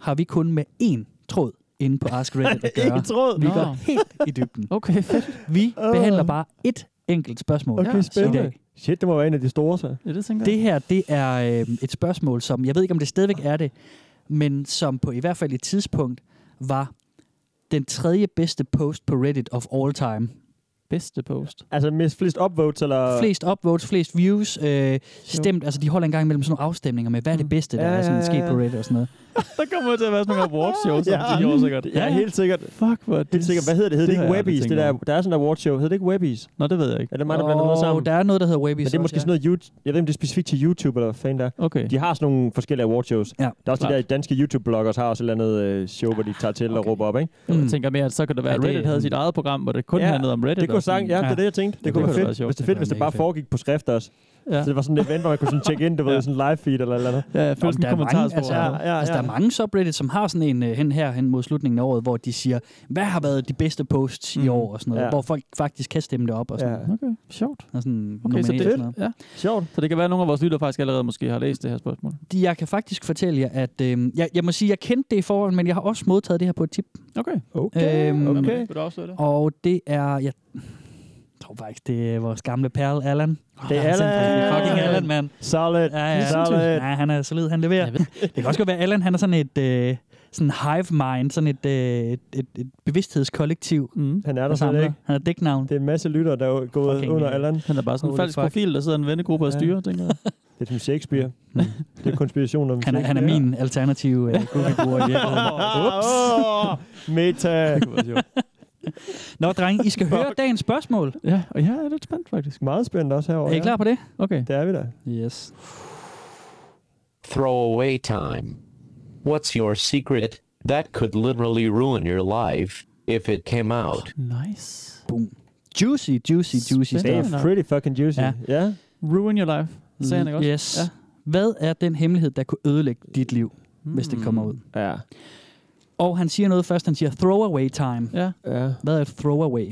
S5: har vi kun med én tråd inde på Ask Reddit at gøre.
S3: tråd.
S5: Vi
S4: Nå.
S5: går helt i dybden.
S4: Okay, fedt.
S5: Vi
S3: Åh.
S5: behandler bare et enkelt spørgsmål
S3: Okay,
S5: i
S3: spændende.
S5: dag.
S3: Shit, det må være en af de store, så.
S4: Ja, det tænker jeg.
S5: Det her, det er øh, et spørgsmål, som jeg ved ikke, om det stadigvæk er det, men som på i hvert fald et tidspunkt var den tredje bedste post på Reddit of all time.
S4: bedste post.
S3: Altså, mest flest upvotes, eller...
S5: Flest upvotes, flest views, øh, stemt, altså de holder en gang imellem sådan nogle afstemninger med, hvad er det
S4: Mm.
S5: bedste, der
S3: Ja,
S5: er sådan
S3: ja, ja,
S5: sket
S3: ja.
S5: på Reddit og sådan noget.
S4: Der kommer til at være sådan nogle award shows
S3: Ja.
S4: ja. om 10 år sikkert.
S3: Ja, helt sikkert.
S4: Fuck, hvor er det
S3: Helt sikkert. Hvad hedder det? Hedder det,
S4: har
S3: ikke
S4: jeg aldrig
S3: Webbies? Det
S4: tænkt
S3: der,
S4: over.
S3: der er sådan en awardshow. Hedder det ikke Webbies?
S4: Nå, det ved jeg ikke.
S3: Er det mig, der blander noget
S5: Åh,
S3: sammen?
S5: der er noget, der hedder Webby.
S3: Men det er måske sådan noget, YouTube, jeg ved ikke, om det er specifikt til YouTube, eller hvad fanden der.
S4: Okay.
S3: De har sådan nogle forskellige awardshows.
S5: Ja,
S3: der er også de der
S4: klart.
S3: danske YouTube-bloggers, har også et eller andet øh, show, hvor de tager til og råber op, ikke?
S4: Mm.
S5: Mm.
S4: Jeg tænker mere, at så kunne det være,
S5: Ja,
S4: at
S5: det-
S4: Reddit havde sit eget program, hvor det kun
S3: Ja,
S4: handlede om Reddit.
S3: Det kunne
S4: og sådan-
S3: sang, ja, det er det, jeg tænkte. Det,
S4: det
S3: kunne
S4: kunne
S3: være
S4: være
S3: fedt,
S4: sjovt.
S3: hvis det,
S5: Det
S3: fedt,
S5: kunne
S3: hvis det
S5: være
S3: bare
S5: mega
S3: foregik på skrift også.
S4: Ja.
S3: Så det var sådan et event, hvor man kunne sådan tjekke ind, det var
S4: Ja.
S3: sådan en live feed eller et eller andet.
S4: Ja, jeg følte
S5: Nå, men
S4: sådan
S5: der
S4: en
S5: er mange, altså,
S4: kommentarspor. Ja.
S5: ja, altså, der er mange subreddit, som har sådan en øh, hen her hen mod slutningen af året, hvor de siger, hvad har været de bedste posts mm. i
S4: Mm.
S5: år, og sådan noget,
S3: Ja.
S5: ja. hvor folk faktisk kan stemme det op, og sådan,
S3: Ja.
S5: ja.
S4: Okay, sjovt.
S5: og sådan
S4: Okay, så
S5: nominere og sådan noget.
S4: det, ja.
S3: Sjovt.
S4: så det kan være, at nogle af vores lytter faktisk allerede måske har læst det her spørgsmål.
S5: De- Jeg kan faktisk fortælle jer, at øh, jeg, jeg må sige, jeg kendte det i forhånd, men jeg har også modtaget det her på et tip,
S4: Okay.
S5: Okay, Øhm, okay.
S4: Vil du afsløre det?
S5: og det er, jeg tror faktisk, det er vores gamle perle, Allan.
S3: Det er
S5: Han simpelthen
S3: Allan!
S5: Fucking Allan, mand.
S3: Solid.
S5: Ja, ja.
S3: Solid.
S5: Nej, han er solid, han leverer.
S4: Jeg
S5: Det kan også godt være, at Allan han er sådan et øh, sådan hive mind, sådan et, øh, et, et, et bevidsthedskollektiv.
S4: Mm.
S3: Han er
S5: Der
S3: der slet
S5: samler.
S3: ikke.
S5: Han er dæknavn.
S3: Det er en masse lytter, der er gået
S5: Fucking
S3: under
S5: hell.
S3: Allan.
S4: Han er bare sådan en
S5: Holy
S4: falsk
S5: fuck.
S4: profil, der sidder en vennegruppe og
S3: Ja.
S4: styrer, tænker jeg.
S3: Det er som Shakespeare. det er konspirationer om
S5: Han er, han er min alternative øh, Google-bruger i virkeligheden.
S3: Ups. Meta.
S5: Nå, dreng, I skal høre dagens spørgsmål.
S4: Ja, og jeg er lidt spændt faktisk.
S3: Meget spændende også herovre.
S5: Er I klar på det?
S4: Okay.
S3: Det er vi da.
S5: Yes.
S6: Throwaway time. What's your secret that could literally ruin your life if it came out?
S4: Nice.
S5: Boom. Juicy, juicy, juicy
S3: Det
S5: stuff.
S3: er pretty fucking juicy.
S5: Ja.
S3: Ja.
S4: Ruin your life, sagde han ikke også?
S5: Yes.
S4: Ja.
S5: Hvad er den hemmelighed, der kunne ødelægge dit liv,
S4: Mm.
S5: hvis det kommer ud?
S3: Ja.
S5: Og han siger noget først. Han siger throwaway time.
S4: Ja.
S3: Ja.
S5: Hvad er et throwaway?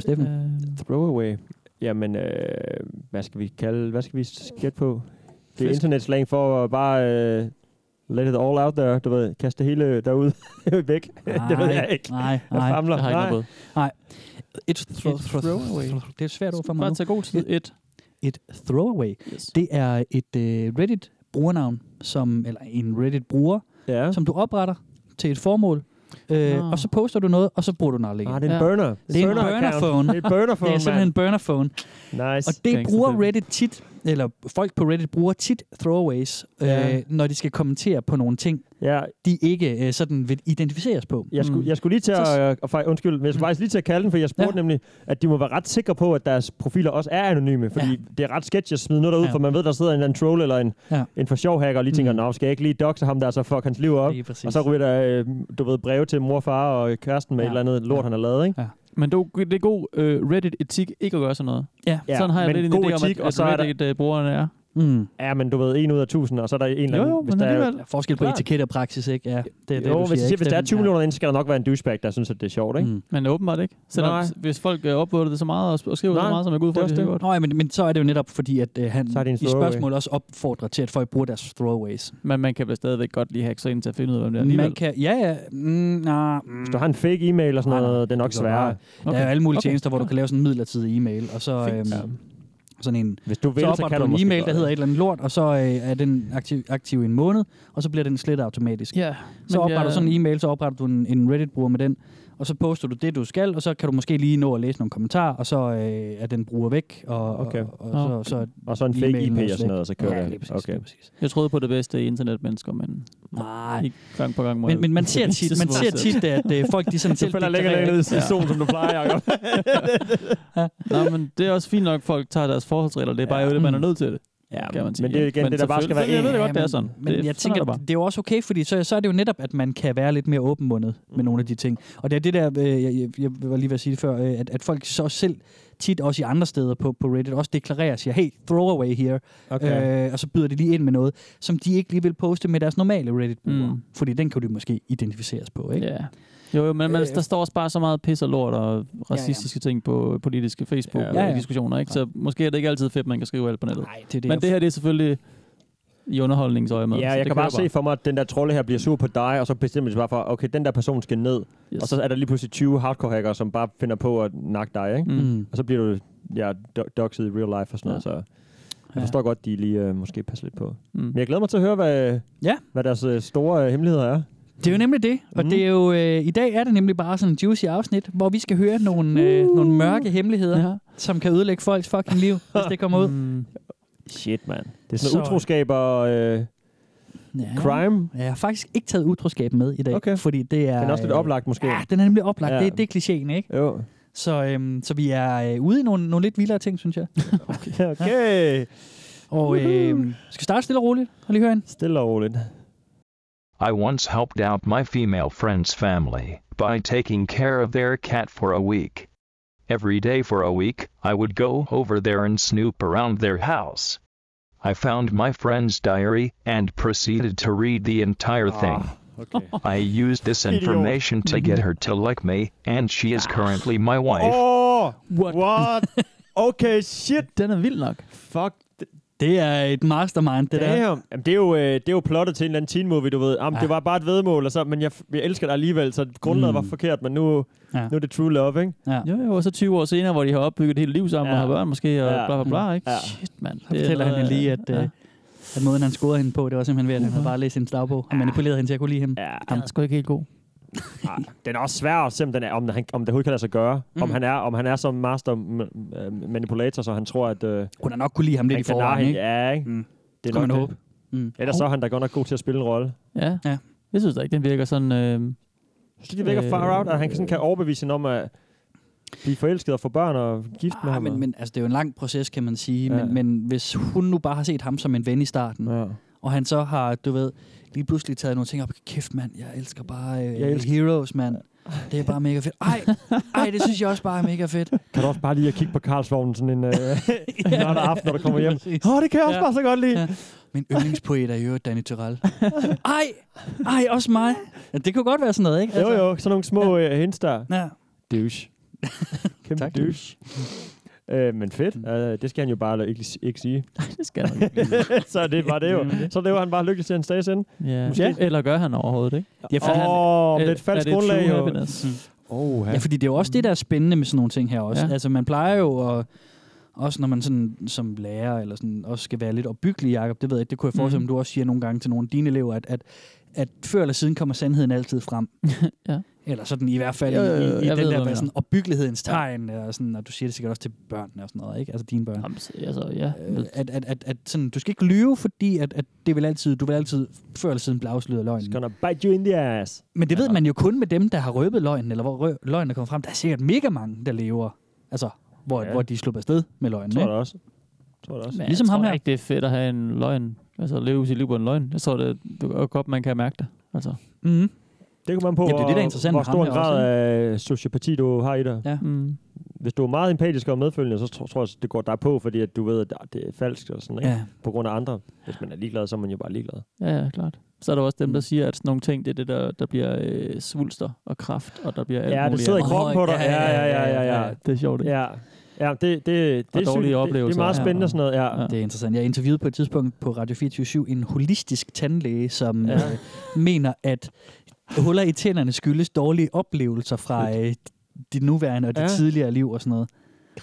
S5: Steffen?
S4: Øh,
S3: Throwaway. Jamen, øh, hvad skal vi kalde, hvad skal vi skætte på? Det er
S4: Fisk.
S3: internetslang for at bare øh, let it all out there, du ved, kaste det hele derude væk. det ved jeg ikke.
S5: Nej,
S3: Jeg
S5: nej.
S3: famler.
S4: jeg har ikke
S3: Nej.
S4: noget bud.
S5: Et, thro-
S4: Et throwaway.
S5: thro- Det er et svært ord for mig
S4: Bare
S5: nu.
S4: tage god tid. Et.
S5: Et throwaway.
S4: Yes.
S5: Det er et øh, Reddit brugernavn, som, eller en Reddit bruger,
S3: Ja.
S5: som du opretter til et formål. Øh,
S4: Nå.
S5: og så poster du noget, og så bruger du den aldrig.
S3: Ah,
S5: igen.
S3: det er en
S4: Ja.
S3: burner.
S5: Det er en burnerphone.
S3: burner-account. Det er en burner
S5: Det er simpelthen en burnerphone.
S3: Nice.
S5: Og det
S4: Gangster
S5: bruger
S4: Steffen.
S5: Reddit tit eller folk på Reddit bruger tit throwaways,
S3: Ja.
S5: øh, når de skal kommentere på nogle ting,
S3: Ja,
S5: de ikke øh, sådan vil identificeres på.
S3: jeg skulle, jeg skulle lige til
S5: Så- Mm.
S3: at... Øh, fej- undskyld, men jeg skulle faktisk lige til at kalde den, for jeg spurgte
S5: Ja.
S3: ja. nemlig, at de må være ret sikre på, at deres profiler også er anonyme, fordi
S5: Ja.
S3: ja. det er ret sketchy at smide noget derud,
S5: Ja.
S3: ja. for man ved, der sidder en eller anden troll eller en,
S5: Ja. Mm.
S3: ja. en for sjov hacker, og lige tænker, nå, skal jeg ikke lige doxe ham der, så fuck hans liv op?
S5: Lige præcis.
S3: Og så ryger der, øh, du ved, breve til mor, far og kæresten med
S5: Ja.
S3: ja. et eller andet lort,
S5: Ja.
S3: han har lavet, ikke?
S4: Men dog, det er god øh, Reddit-etik ikke at gøre sådan noget.
S5: Ja.
S4: Ja, sådan har jeg
S3: men
S4: lidt en
S3: god
S4: idé om, at,
S3: etik, og
S4: at
S3: så er der-
S4: Reddit-brugerne er.
S5: Mm.
S3: Ja, men du ved, en ud af tusind, og så er der en eller
S4: Jo,
S3: anden...
S4: jo,
S3: hvis
S4: men
S3: der er-
S4: alligevel.
S5: Der er forskel på
S3: Klart.
S5: etiket og praksis, ikke? Ja, det er det,
S3: jo,
S5: du
S3: hvis,
S5: siger,
S3: siger,
S5: ikke?
S3: hvis der er
S5: Steffen?
S3: 20 millioner inde, skal der nok være en douchebag, der synes, at det er sjovt,
S5: Ja.
S3: ikke?
S5: Mm.
S4: Men åbenbart ikke. Selvom,
S3: Nej.
S4: hvis folk øh, upvoter det så meget og, og skriver så
S3: Nej,
S4: meget, som jeg går ud for,
S3: det er
S4: det, det er
S3: også
S4: godt.
S5: Nå, ja, men, men så er det jo netop fordi, at øh, han
S3: Så er det en
S5: i
S3: throwaway.
S5: spørgsmålet også opfordrer til, at folk bruger deres throwaways.
S4: Men man kan vel stadigvæk godt lige hacke sig ind til at finde ud af, hvem det er
S5: Man
S4: alligevel.
S5: kan, ja, ja, mm, nah, mm,
S3: Hvis du har en fake e-mail og sådan
S5: Nej, nej,
S3: noget, det er nok
S5: det kan
S3: sværere.
S5: godt okay. der er jo alle mulige
S4: Okay.
S5: tjenester, hvor du kan lave sådan en midlertidig e-mail, og så øhm,
S3: Ja.
S5: sådan en
S3: Hvis du vil,
S5: så
S3: så,
S5: opretter
S3: kan
S5: du
S3: du
S5: en
S3: måske
S5: e-mail,
S3: godt,
S5: der hedder
S3: ja.
S5: et eller andet lort, og så øh, er den aktiv, aktiv i en måned, og så bliver den slettet automatisk.
S4: Ja,
S5: Så
S4: men
S5: opretter
S4: jeg-
S5: du sådan en e-mail, så opretter du en, en Reddit-bruger med den, og så poster du det, du skal, og så kan du måske lige nå at læse nogle kommentarer, og så øh, er den bruger væk, og,
S3: Okay.
S5: og, og, og så, så
S3: Og så en fake
S5: e-mailen
S3: IP
S5: også
S3: og sådan noget, og så kører
S5: ja,
S3: det.
S5: lige præcis,
S3: okay.
S5: lige præcis.
S4: Jeg troede på det bedste i internetmennesker, men
S5: Nej,
S4: ikke gang på gang må
S5: men,
S4: jeg-
S5: men man ser tit, man ser
S4: modsat.
S5: tit at øh, folk de sådan selv deklarerer-
S3: situationen, som du plejer, Jacob.
S4: Nå, men det er også fint nok, at folk tager deres forholdsregler. Det er bare
S5: Ja.
S4: jo det, man er
S5: Mm.
S4: nødt til det.
S3: Ja,
S4: kan man sige,
S3: men det er
S4: ikke?
S3: igen det, der bare skal være
S4: selvfølgelig- Jeg ved
S3: en-
S4: det godt, det er
S5: men-
S4: sådan.
S5: Men
S4: det,
S5: jeg
S4: sådan er
S5: tænker,
S4: det bare.
S5: det er jo også okay, fordi så, så er det jo netop, at man kan være lidt mere åbenmundet
S4: Mm.
S5: med nogle af de ting. Og det er det der, øh, jeg, jeg, jeg var lige ved at sige det før, øh, at, at folk så selv tit også i andre steder på, på Reddit også deklarerer og siger, hey, throwaway here,
S3: Okay.
S5: øh, og så byder de lige ind med noget, som de ikke lige vil poste med deres normale Reddit-bruger, mm.
S4: Mm.
S5: fordi den kan de måske identificeres på, ikke?
S4: Ja. Jo, jo,
S5: Øh,
S4: men man, der står også bare så meget pis og lort og racistiske ting på politiske
S5: Ja, ja.
S4: Facebook-diskussioner, ikke? Så måske er det ikke altid fedt, man kan skrive alt på nettet.
S5: Nej, det er det.
S4: Men det her, det er selvfølgelig i underholdningsøje med.
S3: Ja, jeg kan bare se for mig, at den der trolde her bliver sur på dig, og så bestemmer de sig bare for, okay, den der person skal ned.
S4: Yes.
S3: Og så er der lige pludselig 20 hardcore hackere, som bare finder på at nakke dig, ikke?
S4: Mm.
S5: Mm.
S3: Og så bliver du ja, do- doxet i real life og sådan noget, så jeg forstår godt, de lige øh, måske passer lidt på.
S4: Mm.
S3: Men jeg glæder mig til at høre, hvad,
S5: Ja.
S3: hvad deres øh, store øh, hemmeligheder er.
S5: Det er jo nemlig det, og mm.
S3: Mhm.
S5: det er jo, øh, i dag er det nemlig bare sådan en juicy afsnit, hvor vi skal høre nogle, øh,
S3: Uh.
S5: nogle mørke hemmeligheder, ja.
S4: Ja.
S5: som kan ødelægge folks fucking liv, hvis det kommer ud.
S4: Mm.
S3: Shit, mand. Det er sådan noget
S5: Så-
S3: utroskab og øh,
S5: Ja.
S3: crime.
S5: Jeg har faktisk ikke taget utroskab med i dag,
S3: Okay.
S5: fordi det er...
S3: Den er også lidt
S5: øh,
S3: oplagt, måske.
S5: Ja, den er nemlig oplagt. Ja.
S3: Ja.
S5: Det, det er klichéen, ikke?
S3: Jo.
S5: Så, øhm, så vi er øh, ude i nogle, nogle lidt vildere ting, synes jeg.
S3: Okay.
S5: Og øhm, skal vi starte stille og roligt og lige høre en?
S3: Stille og roligt.
S7: I once helped out my female friend's family by taking care of their cat for a week. Every day for a week, I would go over there and snoop around their house. I found my friend's diary and proceeded to read the entire thing.
S3: Ah, Okay.
S7: I used this
S3: Idiot.
S7: information to get her to like me, and she is currently my wife.
S3: Oh,
S5: What?
S3: what? Okay, shit.
S4: Den er vild nok.
S3: Fuck.
S5: Det er et mastermind, det der.
S3: Damn. Jamen, det, er jo, øh, det er jo plottet til en eller anden teen movie, du ved. Jamen,
S5: Ja.
S3: Det var bare et vedmål, og så, men jeg, jeg elsker dig alligevel, så grundlaget
S5: Mm.
S3: mm. var forkert, men nu,
S5: Ja.
S3: ja. nu er det true love, ikke?
S5: Ja.
S4: Jo, jo, og så 20 år senere, hvor de har opbygget et helt liv sammen ja. og
S3: Ja.
S4: har børn måske, og
S3: Ja.
S4: bla bla bla, ikke?
S3: Ja.
S4: Shit, mand.
S5: Så fortæller han hende lige, at,
S4: ja.
S5: øh, at måden, han scorede hende på, det var simpelthen ved, at han havde bare læst hendes dagbog og manipuleret hende til at kunne lide ham.
S3: Uh-huh. Ja.
S4: Han er sgu ikke helt god.
S3: Ah, den er også svær at se, om, den er, om, han, om det overhovedet kan lade sig gøre. Mm. Om,
S5: Mm.
S3: han er, om han er som master m- øh, manipulator, så han tror, at øh,
S5: Hun har nok kunne lide ham lidt
S3: han
S5: i
S3: kan narre
S5: forvejen,
S3: hende.
S5: ikke?
S3: Ja, ikke?
S5: Mm.
S3: Det
S5: Kan man
S3: det.
S5: håbe. Mm.
S3: Ellers så er han da godt nok god til at spille en rolle.
S4: Ja.
S5: Ja.
S4: ja. Jeg synes da ikke, den virker sådan... Øh,
S3: Så det virker
S4: Øh,
S3: far out, at han kan, sådan kan overbevise hende om at blive forelsket og få børn og gift med
S5: Ah,
S3: ham.
S5: men, men altså, det er jo en lang proces, kan man sige. Ja.
S3: Ja.
S5: Men, men hvis hun nu bare har set ham som en ven i starten, ja.
S3: ja.
S5: og han så har, du ved, lige pludselig taget nogle ting op. Kæft, mand, jeg elsker bare øh, jeg
S3: Jeg
S5: elsker.
S3: elsker-
S5: Heroes, mand. Det er bare mega fedt. Ej, ej, det synes jeg også bare er mega fedt.
S3: Kan du også bare lige at kigge på Karlsvognen sådan en øh, lørdag aften, når du kommer hjem? Åh, oh, det kan jeg også
S5: Ja.
S3: bare så godt lide.
S5: Ja. Min yndlingspoet er i øvrigt Danny Tyrell. Ej, ej, også mig. Ja, det kunne godt være sådan noget, ikke? Altså.
S3: Jo, jo, sådan nogle små øh, hints der.
S5: Ja.
S3: Douche. Kæmpe
S5: Tak. Mm.
S3: douche. Øh, men fedt. Øh, det skal han jo bare ikke, ikke sige.
S4: det skal han ikke.
S3: så det var det jo. Så lever han bare lykkelig til hans dages ende.
S4: øh, ja.
S3: Måske.
S4: Eller gør han overhovedet, ikke?
S5: Ja, for, oh.
S3: Åh, oh, det er et
S4: Øh,
S3: falsk
S4: det true
S3: grundlag jo.
S4: happiness?
S3: Oh,
S5: ja, fordi det er jo også det, der er spændende med sådan nogle ting her også. Ja.
S4: Ja.
S5: Altså, man plejer jo at... Også når man sådan, som lærer eller sådan, også skal være lidt opbyggelig, Jacob, det ved jeg ikke, det kunne jeg forestille mig,
S4: Mhm.
S5: du også siger nogle gange til nogle af dine elever, at, at, at før eller siden kommer sandheden altid frem.
S4: Ja.
S5: Eller sådan i hvert fald
S4: Jo,
S5: jo,
S4: jo,
S5: jo,
S4: jo,
S5: i, i
S4: jeg
S5: den der
S4: ved, hvad du
S5: med sådan
S4: mener.
S5: opbyggelighedens tegn, og, sådan, og du siger det sikkert også til børnene og sådan noget, ikke? Altså dine børn.
S4: Jamen, s- altså, ja.
S5: Øh, At, at, at, at sådan, du skal ikke lyve, fordi at, at det vil altid, du vil altid før eller siden blive afsløret af løgnen.
S3: It's gonna bite you in the ass. Altså.
S5: Men det ved man jo kun med dem, der har røbet løgnen, eller hvor rø- løgnen er kommet frem. Der er sikkert mega mange, der lever, altså, hvor,
S3: Ja.
S5: ja. hvor de er sluppet afsted med løgnen.
S3: Tror
S5: Ikke?
S3: du også? Tror du også?
S4: Men
S5: Ligesom
S4: jeg
S5: ham
S4: tror
S5: her.
S4: da ikke, det er fedt at have en løgn. Altså, leve sit liv på en løgn. Jeg tror, det, det er godt, man kan mærke det. Altså,
S5: Mm-hmm.
S3: Det kommer man på,
S5: Jamen, det er det, der er
S3: hvor-
S5: interessant
S3: hvor
S5: med ham
S3: stor en
S5: her
S3: grad
S5: også,
S3: af sociopati du har i dig.
S5: Ja.
S4: mm.
S3: Hvis du er meget empatisk og medfølgende, så tr- tror jeg, det går dig på, fordi at du ved, at ah, det er falsk og sådan, ikke?
S5: Ja.
S3: på grund af andre. Hvis man er ligeglad, så er man jo bare ligeglad.
S4: Ja, ja, klart. Så er der også dem, der
S5: Mm.
S4: siger, at sådan nogle ting, det er det, der, der bliver øh, svulster og kraft, og der bliver alt
S3: Ja, det
S4: muligt
S3: sidder i
S4: andet.
S3: kroppen på dig. Ja, ja, ja, ja, ja.
S4: Ja, det er sjovt, ikke?
S3: Ja, ja det, det, det,
S4: Og
S3: er sygt.
S4: dårlige
S3: Det- Det,
S4: oplevelser.
S3: er meget
S4: Ja,
S3: spændende
S4: og-
S3: sådan noget, ja.
S4: Ja.
S5: Det er interessant. Jeg interviewede på et tidspunkt på Radio 24 en holistisk tandlæge, som
S3: Ja.
S5: ja. øh, mener, at huller i tænderne skyldes dårlige oplevelser fra øh, dit nuværende og dit
S3: Ja.
S5: ja. tidligere liv og sådan noget.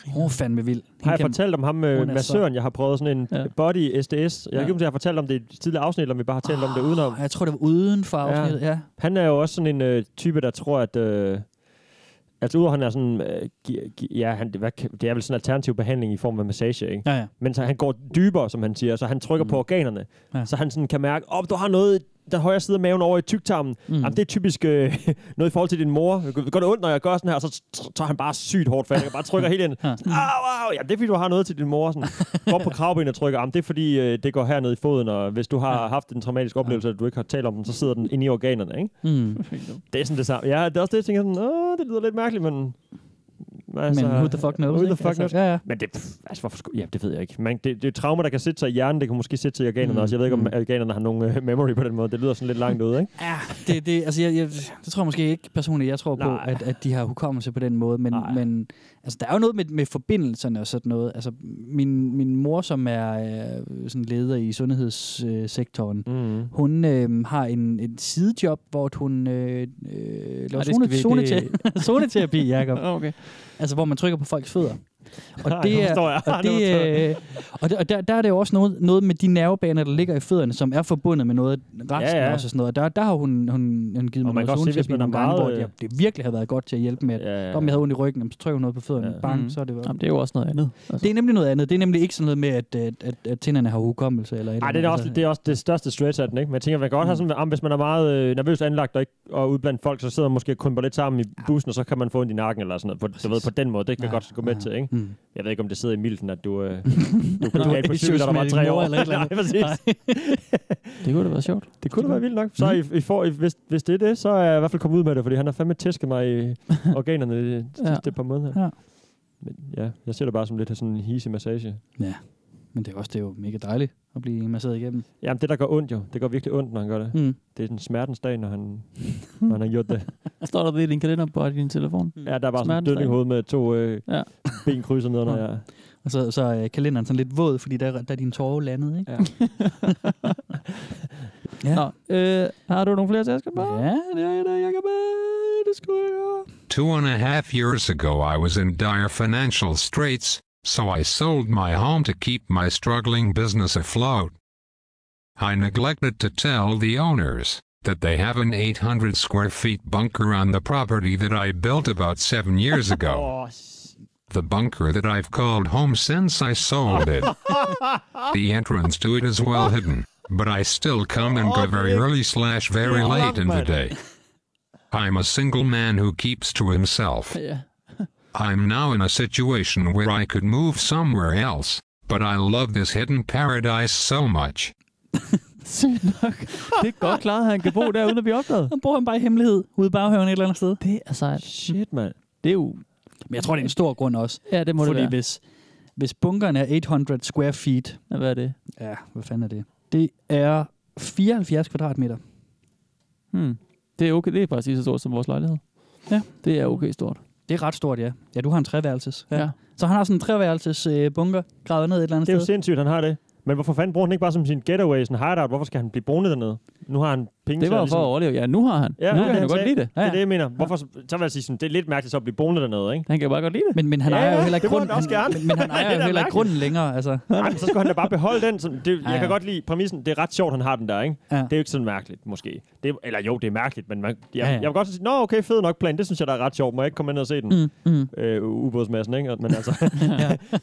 S5: Åh, oh, fandme vild.
S3: Har jeg
S5: Hende kan-
S3: fortalt om ham med
S5: Hun er
S3: massøren, jeg har prøvet sådan en
S4: Ja.
S3: body SDS? Jeg
S4: Ja. Ah,
S3: kan ikke huske, om jeg har fortalt om det i et tidligere afsnit, eller om vi bare har talt om det udenom.
S5: Jeg tror, det var uden for
S3: Ja.
S5: afsnittet. Ja.
S3: Han er jo også sådan en øh, type, der tror, at... Øh, altså, udover han er sådan... Øh, gi- gi- ja, han, det, hvad, kan- det er vel sådan en alternativ behandling i form af massage, ikke?
S5: Ja, ja.
S3: Men så han går dybere, som han siger, så han trykker mm. på organerne. Ja.
S5: Ja.
S3: Så han sådan kan mærke, op, oh, du har noget i den højre side af maven over i tyktarmen. Mm. Jamen, det er typisk øh, noget i forhold til din mor. Det Gør det ondt, når jeg gør sådan her? Og så tr- tager han bare sygt hårdt fat. Jeg bare trykker helt ind. Sådan, Au, au, ja, det er fordi, du har noget til din mor. Sådan, går op på kravben og trykker. Jamen, det er fordi, øh, det går hernede i foden. Og hvis du har haft en traumatisk oplevelse, at du ikke har talt om den, så sidder den inde i organerne. Ikke?
S4: Hmm.
S5: Mm.
S3: Det er sådan det samme. Ja, det er også det, jeg tænker sådan, Åh, det lyder lidt mærkeligt, men... altså,
S5: Men who the fuck knows?
S3: Who
S5: ikke?
S3: the
S5: Altså,
S3: fuck knows?
S5: ja, ja.
S3: Men det, pff, altså, hvorfor skulle, ja, det ved jeg ikke. Man, det, det er traumer, der kan sætte sig i hjernen, det kan måske sætte sig i organerne mm.
S5: Mm.
S3: også. Jeg ved ikke, om
S5: Mm.
S3: organerne har nogen øh, memory på den måde. Det lyder sådan lidt langt ud, ikke?
S5: Ja, det, det, altså jeg, jeg, det tror jeg måske ikke personligt. Jeg tror
S3: Nej.
S5: på, at, at de har hukommelse på den måde. Men,
S3: Nej.
S5: men altså, der er jo noget med, med forbindelserne og sådan noget. Altså, min, min mor, som er øh, sådan leder i sundhedssektoren,
S3: Mm.
S5: hun øh, har en, en sidejob, hvor hun øh, øh, laver
S4: det skal
S5: zone,
S4: vi-
S5: zone,
S4: det-
S5: zoneterapi, Jacob.
S4: Ah, okay.
S5: Altså, hvor man trykker på folks fødder. Og
S3: Ej, nu
S5: det er,
S3: forstår jeg.
S5: og,
S3: Nu forstår
S5: det, øh, og, der, og der, der er det jo også noget, noget med de nervebaner, der ligger i fødderne, som er forbundet med noget af resten
S3: Ja,
S5: ja,
S3: ja.
S5: ja. også. Og sådan noget. Og Der, der har hun, hun, hun givet
S3: Og
S5: mig
S3: man
S5: noget
S3: kan også se, hvis
S5: zoneterapi
S3: man er
S5: nogle gange,
S3: meget, øh,
S5: hvor det, det virkelig har været godt til at hjælpe med, at
S3: Ja,
S5: ja. om jeg havde ondt i ryggen, jamen, så trykker hun noget på fødderne,
S3: Ja. Mm.
S5: ja. bang,
S4: Mhm.
S5: så er det jo...
S4: Jamen, det er jo også noget andet. Altså.
S5: Det er nemlig noget andet. Det er nemlig ikke sådan noget med, at, at, at, at tænderne har hukommelse. Eller et
S3: Ej,
S5: eller
S3: det
S5: andet.
S3: er,
S5: altså. Mm.
S3: også, det er også det største stretch af den, ikke? Men jeg tænker, man kan godt have sådan, om hvis man er meget øh, nervøst anlagt og, ikke, og ude blandt folk, så sidder man måske og krymper lidt sammen i bussen, og så kan man få ondt i nakken eller sådan noget. På, du ved, på den måde, det kan
S5: Ja,
S3: godt gå med
S5: ja.
S3: til, ikke?
S5: Mm.
S3: Jeg ved ikke, om det sidder i milten, at du, øh, du kunne skade på
S5: issues
S3: cykel, da der
S5: med
S3: var
S5: din
S3: tre
S5: mor
S3: år.
S5: eller et eller andet.
S3: Nej, præcis.
S4: Det kunne da være sjovt.
S3: Det kunne da være vildt nok. Så I,
S5: Mm.
S3: I får, I, hvis, hvis det er det, så er jeg i hvert fald kommet ud med det, fordi han har fandme tæsket mig i organerne de
S4: Ja.
S3: sidste par måneder.
S5: Ja.
S3: Men ja, jeg ser det bare som lidt af sådan en hisig massage.
S5: Men det er også det er jo mega dejligt at blive masseret igennem.
S3: Jamen det, der går ondt jo, det går virkelig ondt, når han gør det.
S5: Mm.
S3: Det er den smertens dag, når han, når han har gjort det.
S4: Står der det i din kalender på din telefon?
S3: Hmm. Ja, der er bare sådan en
S4: Smertens
S3: dødning i
S4: dag.
S3: hovedet med to øh, ja.
S4: Ja.
S3: ben krydset ned, når jeg...
S5: Og så, så er kalenderen sådan lidt våd, fordi der, der er dine tårer landet, ikke?
S3: Ja.
S5: Ja.
S4: Nå, øh, har du nogle flere tasker på?
S5: Ja, det er det, Jacob. Det skulle jeg gøre.
S8: Two and a half years ago, I was in dire financial straits, so I sold my home to keep my struggling business afloat. I neglected to tell the owners that they have an 800 square feet bunker on the property that I built about seven years ago.
S3: Åh,
S8: The bunker that I've called home since I sold it. the entrance to it is well hidden, but I still come and go very early slash very
S3: Yeah,
S8: late in the
S3: man.
S8: day. I'm a single man who keeps to himself.
S4: Ja.
S8: I'm now in a situation where I could move somewhere else, but I love this hidden paradise so much.
S4: Sygt nok. Det er godt klaret, at han kan bo der, uden at blive opdaget.
S5: Han bor han bare i hemmelighed ude i baghaven et eller andet sted.
S4: Det er sejt.
S3: shit, mand.
S4: Det er jo...
S5: Men jeg tror, det er en stor grund også.
S4: Ja, det må
S5: Fordi
S4: det være.
S5: hvis, hvis bunkeren er 800 square feet,
S4: Ja, Hvad er det?
S5: ja, hvad fanden er det? Det er 74 kvadratmeter.
S4: Hmm. Det er okay. Det er faktisk lige så stort som vores lejlighed.
S5: Ja.
S4: Det
S3: Hmm.
S4: er okay stort.
S5: Det er ret stort, ja. Ja, du har en treværelses.
S4: Ja.
S5: Så han har sådan en treværelses øh, bunker, gravet ned et eller andet
S3: Det er jo
S5: sted.
S3: sindssygt, han har det. Men hvorfor fanden bruger han ikke bare som sin getaway, sådan hideout? Hvorfor skal han blive boende dernede? Nu har han penge
S4: Det
S3: til at ligesom
S4: var for at overleve. Ja, nu har han.
S3: Ja,
S4: nu
S3: det,
S4: kan
S3: han
S4: han godt
S3: sagde.
S4: lide det. Ja,
S3: Det er det,
S4: ja.
S3: jeg mener. Hvorfor, så vil jeg sige, sådan, det er lidt mærkeligt så at blive boende dernede, ikke?
S4: Han kan bare godt lide det.
S5: Men, men han
S3: Ja,
S5: ejer jo
S3: ja,
S5: heller ikke
S3: det må
S5: grunden.
S3: han også
S5: Han, men,
S3: gerne.
S5: men han
S3: Det er
S5: ejer jo
S3: da
S5: heller ikke
S3: mærkeligt.
S5: grunden længere. Altså.
S3: Nej, men så skulle han da bare beholde den. Sådan, det,
S5: ja.
S3: jeg kan godt lide præmissen. Det er ret sjovt, han har den der, ikke?
S5: Ja.
S3: Det er jo ikke sådan mærkeligt, måske. Det, er- eller jo, det er mærkeligt, men man, jeg,
S5: ja.
S3: jeg vil godt sige, nå okay, fed nok plan. Det synes jeg, der er ret sjovt. Må jeg ikke komme ind og se den? Mm.
S5: Mm.
S3: Øh, ubådsmassen, ikke? Men altså,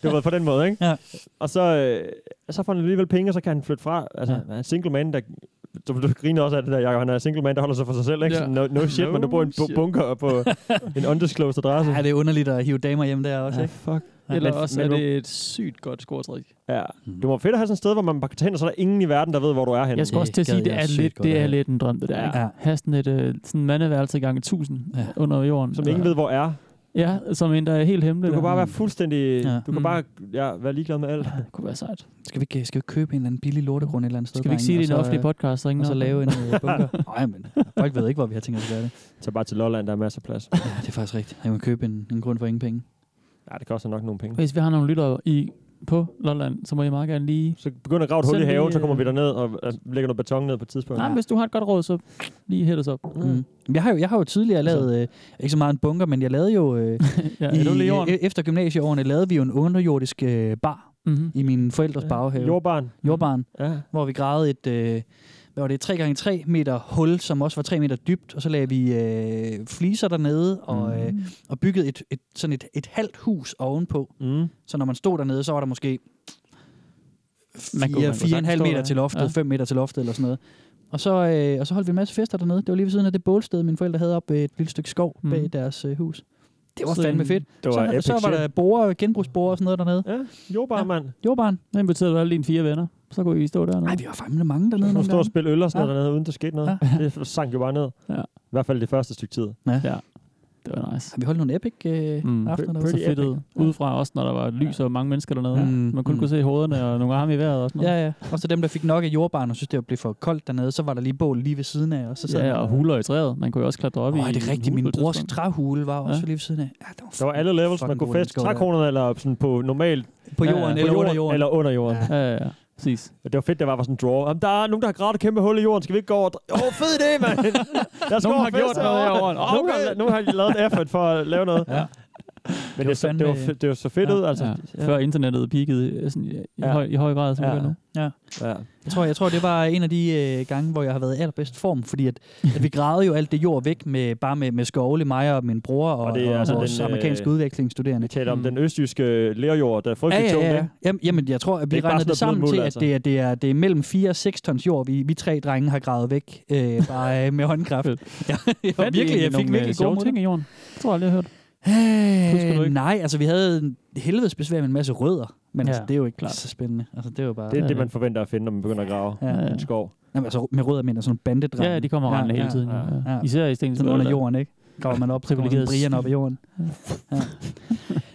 S3: det var på den måde, ikke?
S5: Ja.
S3: Og så, øh, så får han alligevel penge, og så kan han flytte fra. Altså, ja. han er single man, der... Du, du griner også af det der, Jacob. Han er single man, der holder sig for sig selv, ikke?
S4: Ja.
S3: Ja. No, no shit,
S4: No
S3: no men du bor i en bu-
S4: shit.
S3: bunker på en undisclosed adresse.
S5: Ja, det er underligt at hive damer hjem der også,
S3: Ja,
S5: ikke?
S3: fuck.
S4: Eller
S3: Men-
S4: også
S3: men
S4: er
S3: nu-
S4: det et sygt godt scoretrik.
S3: Ja. Det må være fedt at have sådan et sted, hvor man bare kan tage hen, og så er der ingen i verden, der ved, hvor du er henne.
S4: Jeg skal også til at
S5: gad
S4: sige, det
S5: jeg
S4: er,
S5: sygt
S4: lidt,
S5: godt at
S4: det er
S5: have.
S4: lidt en drøm, det der.
S3: Ja.
S4: ikke? Have sådan et øh, sådan mandeværelse gange 1000
S5: Ja.
S4: under jorden.
S3: Som ingen ved, hvor er.
S4: Ja, som en, der er helt hemmelig.
S3: Du kan
S4: der.
S3: bare være fuldstændig...
S5: Ja.
S3: Ja. Du
S4: Mm.
S3: kan bare ja, være ligeglad med alt.
S4: Det kunne være sejt.
S5: Skal vi ikke, øh, skal vi ikke købe en eller anden billig lortegrund et eller andet sted?
S4: Skal vi ikke sige, det er en offentlig podcast?
S5: øh, Og så lave en øh, bunker. Nej, men folk ved ikke, hvor vi har tænkt os at gøre det.
S3: Tag bare til Lolland, der er masser af plads.
S5: Ja, det er faktisk rigtigt. Jeg kan købe en, en grund for ingen penge.
S3: Ja, det koster nok nogle penge.
S4: Hvis vi har nogle lyttere i, på Lolland, så må I meget gerne lige...
S3: Så begynder at grave et hul
S4: Send
S3: i
S4: lige,
S3: haven, så kommer
S4: øh,
S3: vi derned og øh, lægger noget beton ned på et tidspunkt.
S4: Nej, men hvis du har et godt råd, så lige hæld os op. Altså.
S5: Mm. Mm. Jeg, har jo, jeg har jo tidligere lavet, øh, ikke så meget en bunker, men jeg lavede jo, øh,
S4: Ja,
S5: i,
S4: er du lige i jorden?
S5: øh, efter gymnasieårene, lavede vi jo en underjordisk øh, bar
S4: Mhm.
S5: i mine forældres baghave, Jord.
S3: Jordbarn.
S5: jordbaren,
S3: Ja.
S5: hvor vi gravede et, øh, hvad var det, 3x3 meter hul, som også var 3 meter dybt, og så lagde vi øh, fliser dernede og,
S4: Mm.
S5: øh, og byggede et, et, sådan et, et halvt hus ovenpå.
S3: Mm.
S5: Så når man stod dernede, så var der måske
S4: Man kunne- man kunne sagtens
S5: 4,5
S4: stå
S5: meter
S4: der.
S5: til loftet,
S4: Ja.
S5: 5 meter til loftet eller sådan noget. Og så, øh, og så holdt vi en masse fester dernede. Det var lige ved siden af det bålsted, mine forældre havde op ved et lille stykke skov
S4: Mm.
S5: mm. bag deres øh, hus. Det var
S4: Sådan-
S5: fandme fedt.
S3: Det var
S5: så,
S3: epic
S5: så var
S3: shit.
S5: der borer, genbrugsborer og sådan noget dernede.
S3: Ja, jordbarn, mand.
S5: Jordbarn.
S4: Så inviterede du alle dine fire venner. Så kunne I stå dernede.
S5: Nej, vi var fandme mange dernede
S3: Nu
S5: nogle
S3: stod og
S5: gange.
S3: spille øl og sådan
S5: Ja.
S3: noget dernede, uden der skete noget. Det sank jo bare ned.
S4: Ja.
S3: I hvert fald det første stykke tid.
S4: Det var nice.
S5: Har vi holdt nogle epic øh,
S4: Mm.
S5: mm. aftener
S4: Så
S5: derude?
S4: fedt ud. Udefra også, når der var lys og mange mennesker
S5: Mm.
S4: dernede. Man kun
S5: Mm.
S4: kunne se hovederne og nogle arme i vejret og sådan noget.
S5: Ja, ja. Og så dem, der fik nok af jordbarn og synes, det blev for koldt dernede, så var der lige bål lige ved siden af. Og så sad
S4: Ja,
S5: man-
S4: og huler i træet. Man kunne jo også klatre op i
S5: Åh, er det
S4: en
S5: rigtigt?
S4: hule på
S5: Min
S4: et
S5: brors
S4: tidspunkt.
S5: træhule var også
S4: Ja.
S5: lige ved siden af. Ja, det var
S3: Der var alle levels, man
S5: fucking
S3: kunne
S5: god, den
S3: feste
S5: skov der.
S3: trækronerne, eller sådan på normalt
S5: På
S4: Ja, ja.
S5: jorden
S4: På
S5: eller under jorden.
S3: Eller under jorden.
S5: Ja.
S3: Ja.
S4: Ja, ja, ja. Præcis.
S3: Det var fedt, der var sådan en draw. Jamen, der er nogen, der har gravet et kæmpe hul i jorden. Skal vi ikke gå over? og dr- Åh, oh, fed idé, mand! Der skal
S4: Nogen
S3: over
S4: har
S3: og feste
S4: gjort noget
S3: herovre.
S4: herovre. Åh,
S3: Nogen har,
S4: okay.
S3: nogen har lavet en effort for at lave noget.
S5: Ja.
S3: Men det, var, så-
S5: fandme-
S3: det, var, fe- det var så fedt
S5: Ja.
S3: ud, altså.
S4: ja. Før internettet peakede øh, sådan, i, ja.
S3: Ja.
S4: høj, i høj grad, som ja.
S3: Ja.
S4: det gør nu.
S3: Ja.
S5: Jeg tror, jeg tror, det var en af de øh, gange, hvor jeg har været i allerbedst form, fordi at, at vi gravede jo alt det jord væk med bare med, med skovle, mig og min bror og, og, det er, altså vores den,
S3: øh,
S5: amerikanske
S3: Vi
S5: udvekslingsstuderende.
S3: taler om
S4: Mm.
S3: den østjyske lærjord, der er frygtelig tung, ikke?
S5: Jamen, jamen, jeg tror, at vi
S3: ikke
S5: regner
S3: bare sådan
S5: det
S3: noget
S5: sammen
S3: blødt
S5: til,
S3: muld,
S5: at
S3: altså.
S5: det er, det er, det er mellem 4 og 6 tons jord, vi, vi tre drenge har gravet væk øh, bare øh, med håndkraft. ja, jeg, var
S4: Fandt I
S5: virkelig,
S4: egentlig
S5: jeg fik
S4: nogle, øh,
S5: virkelig
S4: sjove
S5: gode
S4: ting
S5: ting.
S4: i jorden. Det tror jeg aldrig, jeg har hørt. Husker du
S5: Øh,
S4: ikke?
S5: nej, altså vi havde en helvedes besvær med en masse rødder, men ja, altså,
S4: Ja,
S5: det er jo ikke
S4: klart.
S5: klart. så spændende. Altså, det er jo bare...
S3: Det er
S4: Ja,
S3: det,
S4: ja.
S3: man forventer at finde, når man begynder at grave
S5: Ja.
S4: Ja,
S3: en skov.
S5: Jamen, altså, med rødder mener jeg sådan bandedrag.
S4: ja. ja, de kommer ja, rendende hele tiden. Ja, ja.
S5: ja.
S4: Især i Stengelsbøl.
S5: Sådan under jorden, ikke? Graver man op, så kommer sådan
S4: Privilegeret
S5: Brian op i jorden. Ja.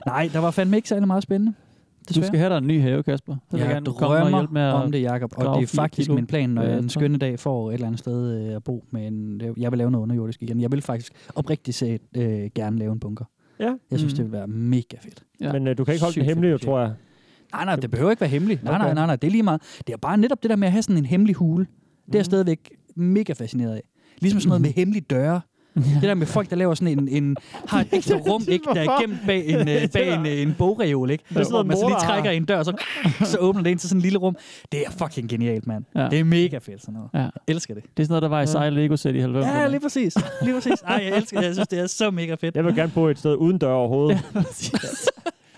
S5: Nej, der var fandme ikke særlig meget spændende.
S4: Du
S5: Desværre.
S4: skal have dig en ny have, Kasper. Så vil jeg
S5: jeg
S4: gerne komme og
S5: drømmer
S4: hjælpe med at...
S5: om det, Jakob. Og
S4: grave
S5: det er
S4: fire
S5: faktisk
S4: kilo.
S5: min plan, når
S4: Ja,
S5: jeg
S4: jeg
S5: en
S4: tror.
S5: skønne dag får et eller andet sted øh, at bo. Men jeg vil lave noget underjordisk igen. Jeg vil faktisk oprigtigt set øh, gerne lave en bunker.
S3: Ja.
S5: Jeg synes,
S4: Mm.
S5: det vil være mega fedt.
S4: Ja.
S3: Men øh, du kan ikke holde
S4: Sygt
S3: den hemmelig, jo,
S4: fedt.
S3: tror jeg.
S5: Nej, nej, det behøver ikke være hemmeligt. Nej,
S3: Okay.
S5: nej, nej, nej, det er lige meget. Det er bare netop det der med at have sådan en hemmelig hule. Det
S3: Mm.
S5: er jeg stadigvæk mega fascineret af. Ligesom sådan noget
S3: Mm-hmm.
S5: med hemmelige døre. Det der med folk, der laver sådan en, en har et ekstra rum, ikke, der er gemt bag en, øh, bag en, øh, en bogreol, ikke?
S3: sådan
S5: Hvor
S3: noget
S5: man så
S3: mor,
S5: lige
S3: der har.
S5: trækker i en dør, så, så åbner det ind til sådan en lille rum. Det er fucking genialt, mand.
S4: Ja.
S5: Ja. Det er mega fedt, sådan noget.
S4: Ja.
S5: Ja. Jeg elsker det.
S4: Det er sådan noget, der var i sej Lego-sæt i 90'erne.
S5: Ja, lige præcis. Lige præcis. Ej, jeg elsker det. Jeg synes, det er så mega fedt.
S3: Jeg vil gerne bo et sted uden dør overhovedet.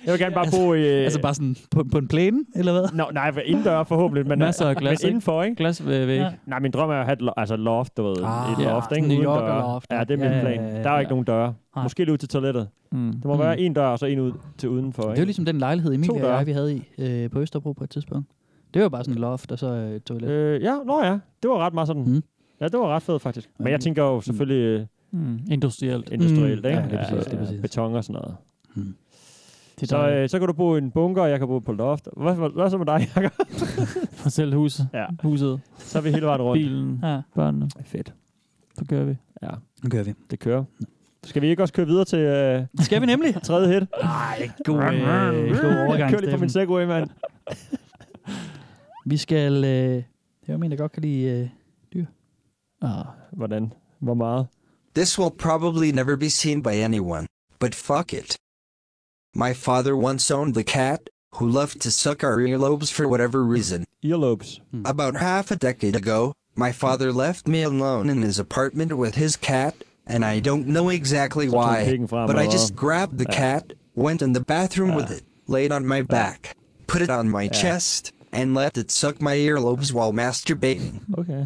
S3: Jeg vil gerne bare bo i... øh,
S5: Altså bare sådan på, på en plæne, eller hvad?
S3: Nå, nej, for indendør forhåbentlig, men, øh,
S4: Masser af glas,
S3: men
S4: ikke?
S3: indenfor, ikke?
S4: Glas ved væg.
S5: Ja.
S3: Nej, min drøm er at have et, lo- altså et loft, du ved.
S5: Ah,
S3: et
S5: ja,
S3: loft,
S5: sådan
S3: ikke?
S5: New
S3: Uden
S5: Yorker
S3: døre.
S5: loft,
S3: Ja,
S5: ja.
S3: det er min
S5: Ja, ja,
S3: plan.
S5: ja, ja,
S3: Der er jo ikke
S4: ja.
S3: nogen døre.
S5: Nej.
S3: Måske lige ud til toilettet.
S4: Mm.
S3: Der må
S5: Mm.
S3: være en dør, og så en ud til udenfor,
S5: Det
S3: ikke?
S5: er jo ligesom den lejlighed, Emilie og
S3: døre.
S5: jeg, vi havde i øh, på Østerbro på et tidspunkt. Det var bare sådan et loft, og så øh, et toilet.
S3: Øh, ja, nå ja. Det var ret meget sådan.
S5: Mm.
S3: Ja, det var ret fedt, faktisk. Men jeg
S5: Mm.
S3: tænker jo selvfølgelig øh,
S4: Mm. Industrielt.
S3: industrielt,
S5: Mm.
S3: ikke?
S5: Ja, det er præcis, det er præcis. Mm.
S3: Beton og sådan noget.
S4: Det er
S3: Så,
S4: dejligt.
S3: øh, så kan du bo i en bunker, og jeg kan bo på loft. Hvad, hvad, hvad så med dig, Jacob?
S4: For selv huset.
S3: Ja.
S4: Huset.
S3: Så er vi hele vejen rundt.
S4: Bilen.
S5: Ja.
S4: Børnene.
S3: Fedt.
S4: Så gør vi.
S3: Ja,
S5: Nu kører vi.
S3: det kører. Skal vi ikke også køre videre til øh,
S5: Det skal vi nemlig.
S3: tredje hit?
S5: Nej, god, øh, god
S3: Jeg
S5: overgang,
S3: kører lige på
S5: Steffen.
S3: min segway, mand.
S5: Vi skal... Øh, det er jo en, der godt kan lide øh, dyr.
S4: Ah.
S3: Hvordan? Hvor meget?
S9: This will probably never be seen by anyone, but fuck it. My father once owned a cat, who loved to suck our earlobes for whatever reason.
S3: Earlobes.
S9: About half a decade ago, my father left me alone in his apartment with his cat, and I don't know exactly
S3: Så tog
S9: why,
S3: pikken frem,
S9: but I
S3: eller
S9: just
S3: hvad?
S9: grabbed the
S3: Ja.
S9: cat, went in the bathroom with it, laid on my back, put it on my chest, and let it suck my earlobes while masturbating.
S4: Okay.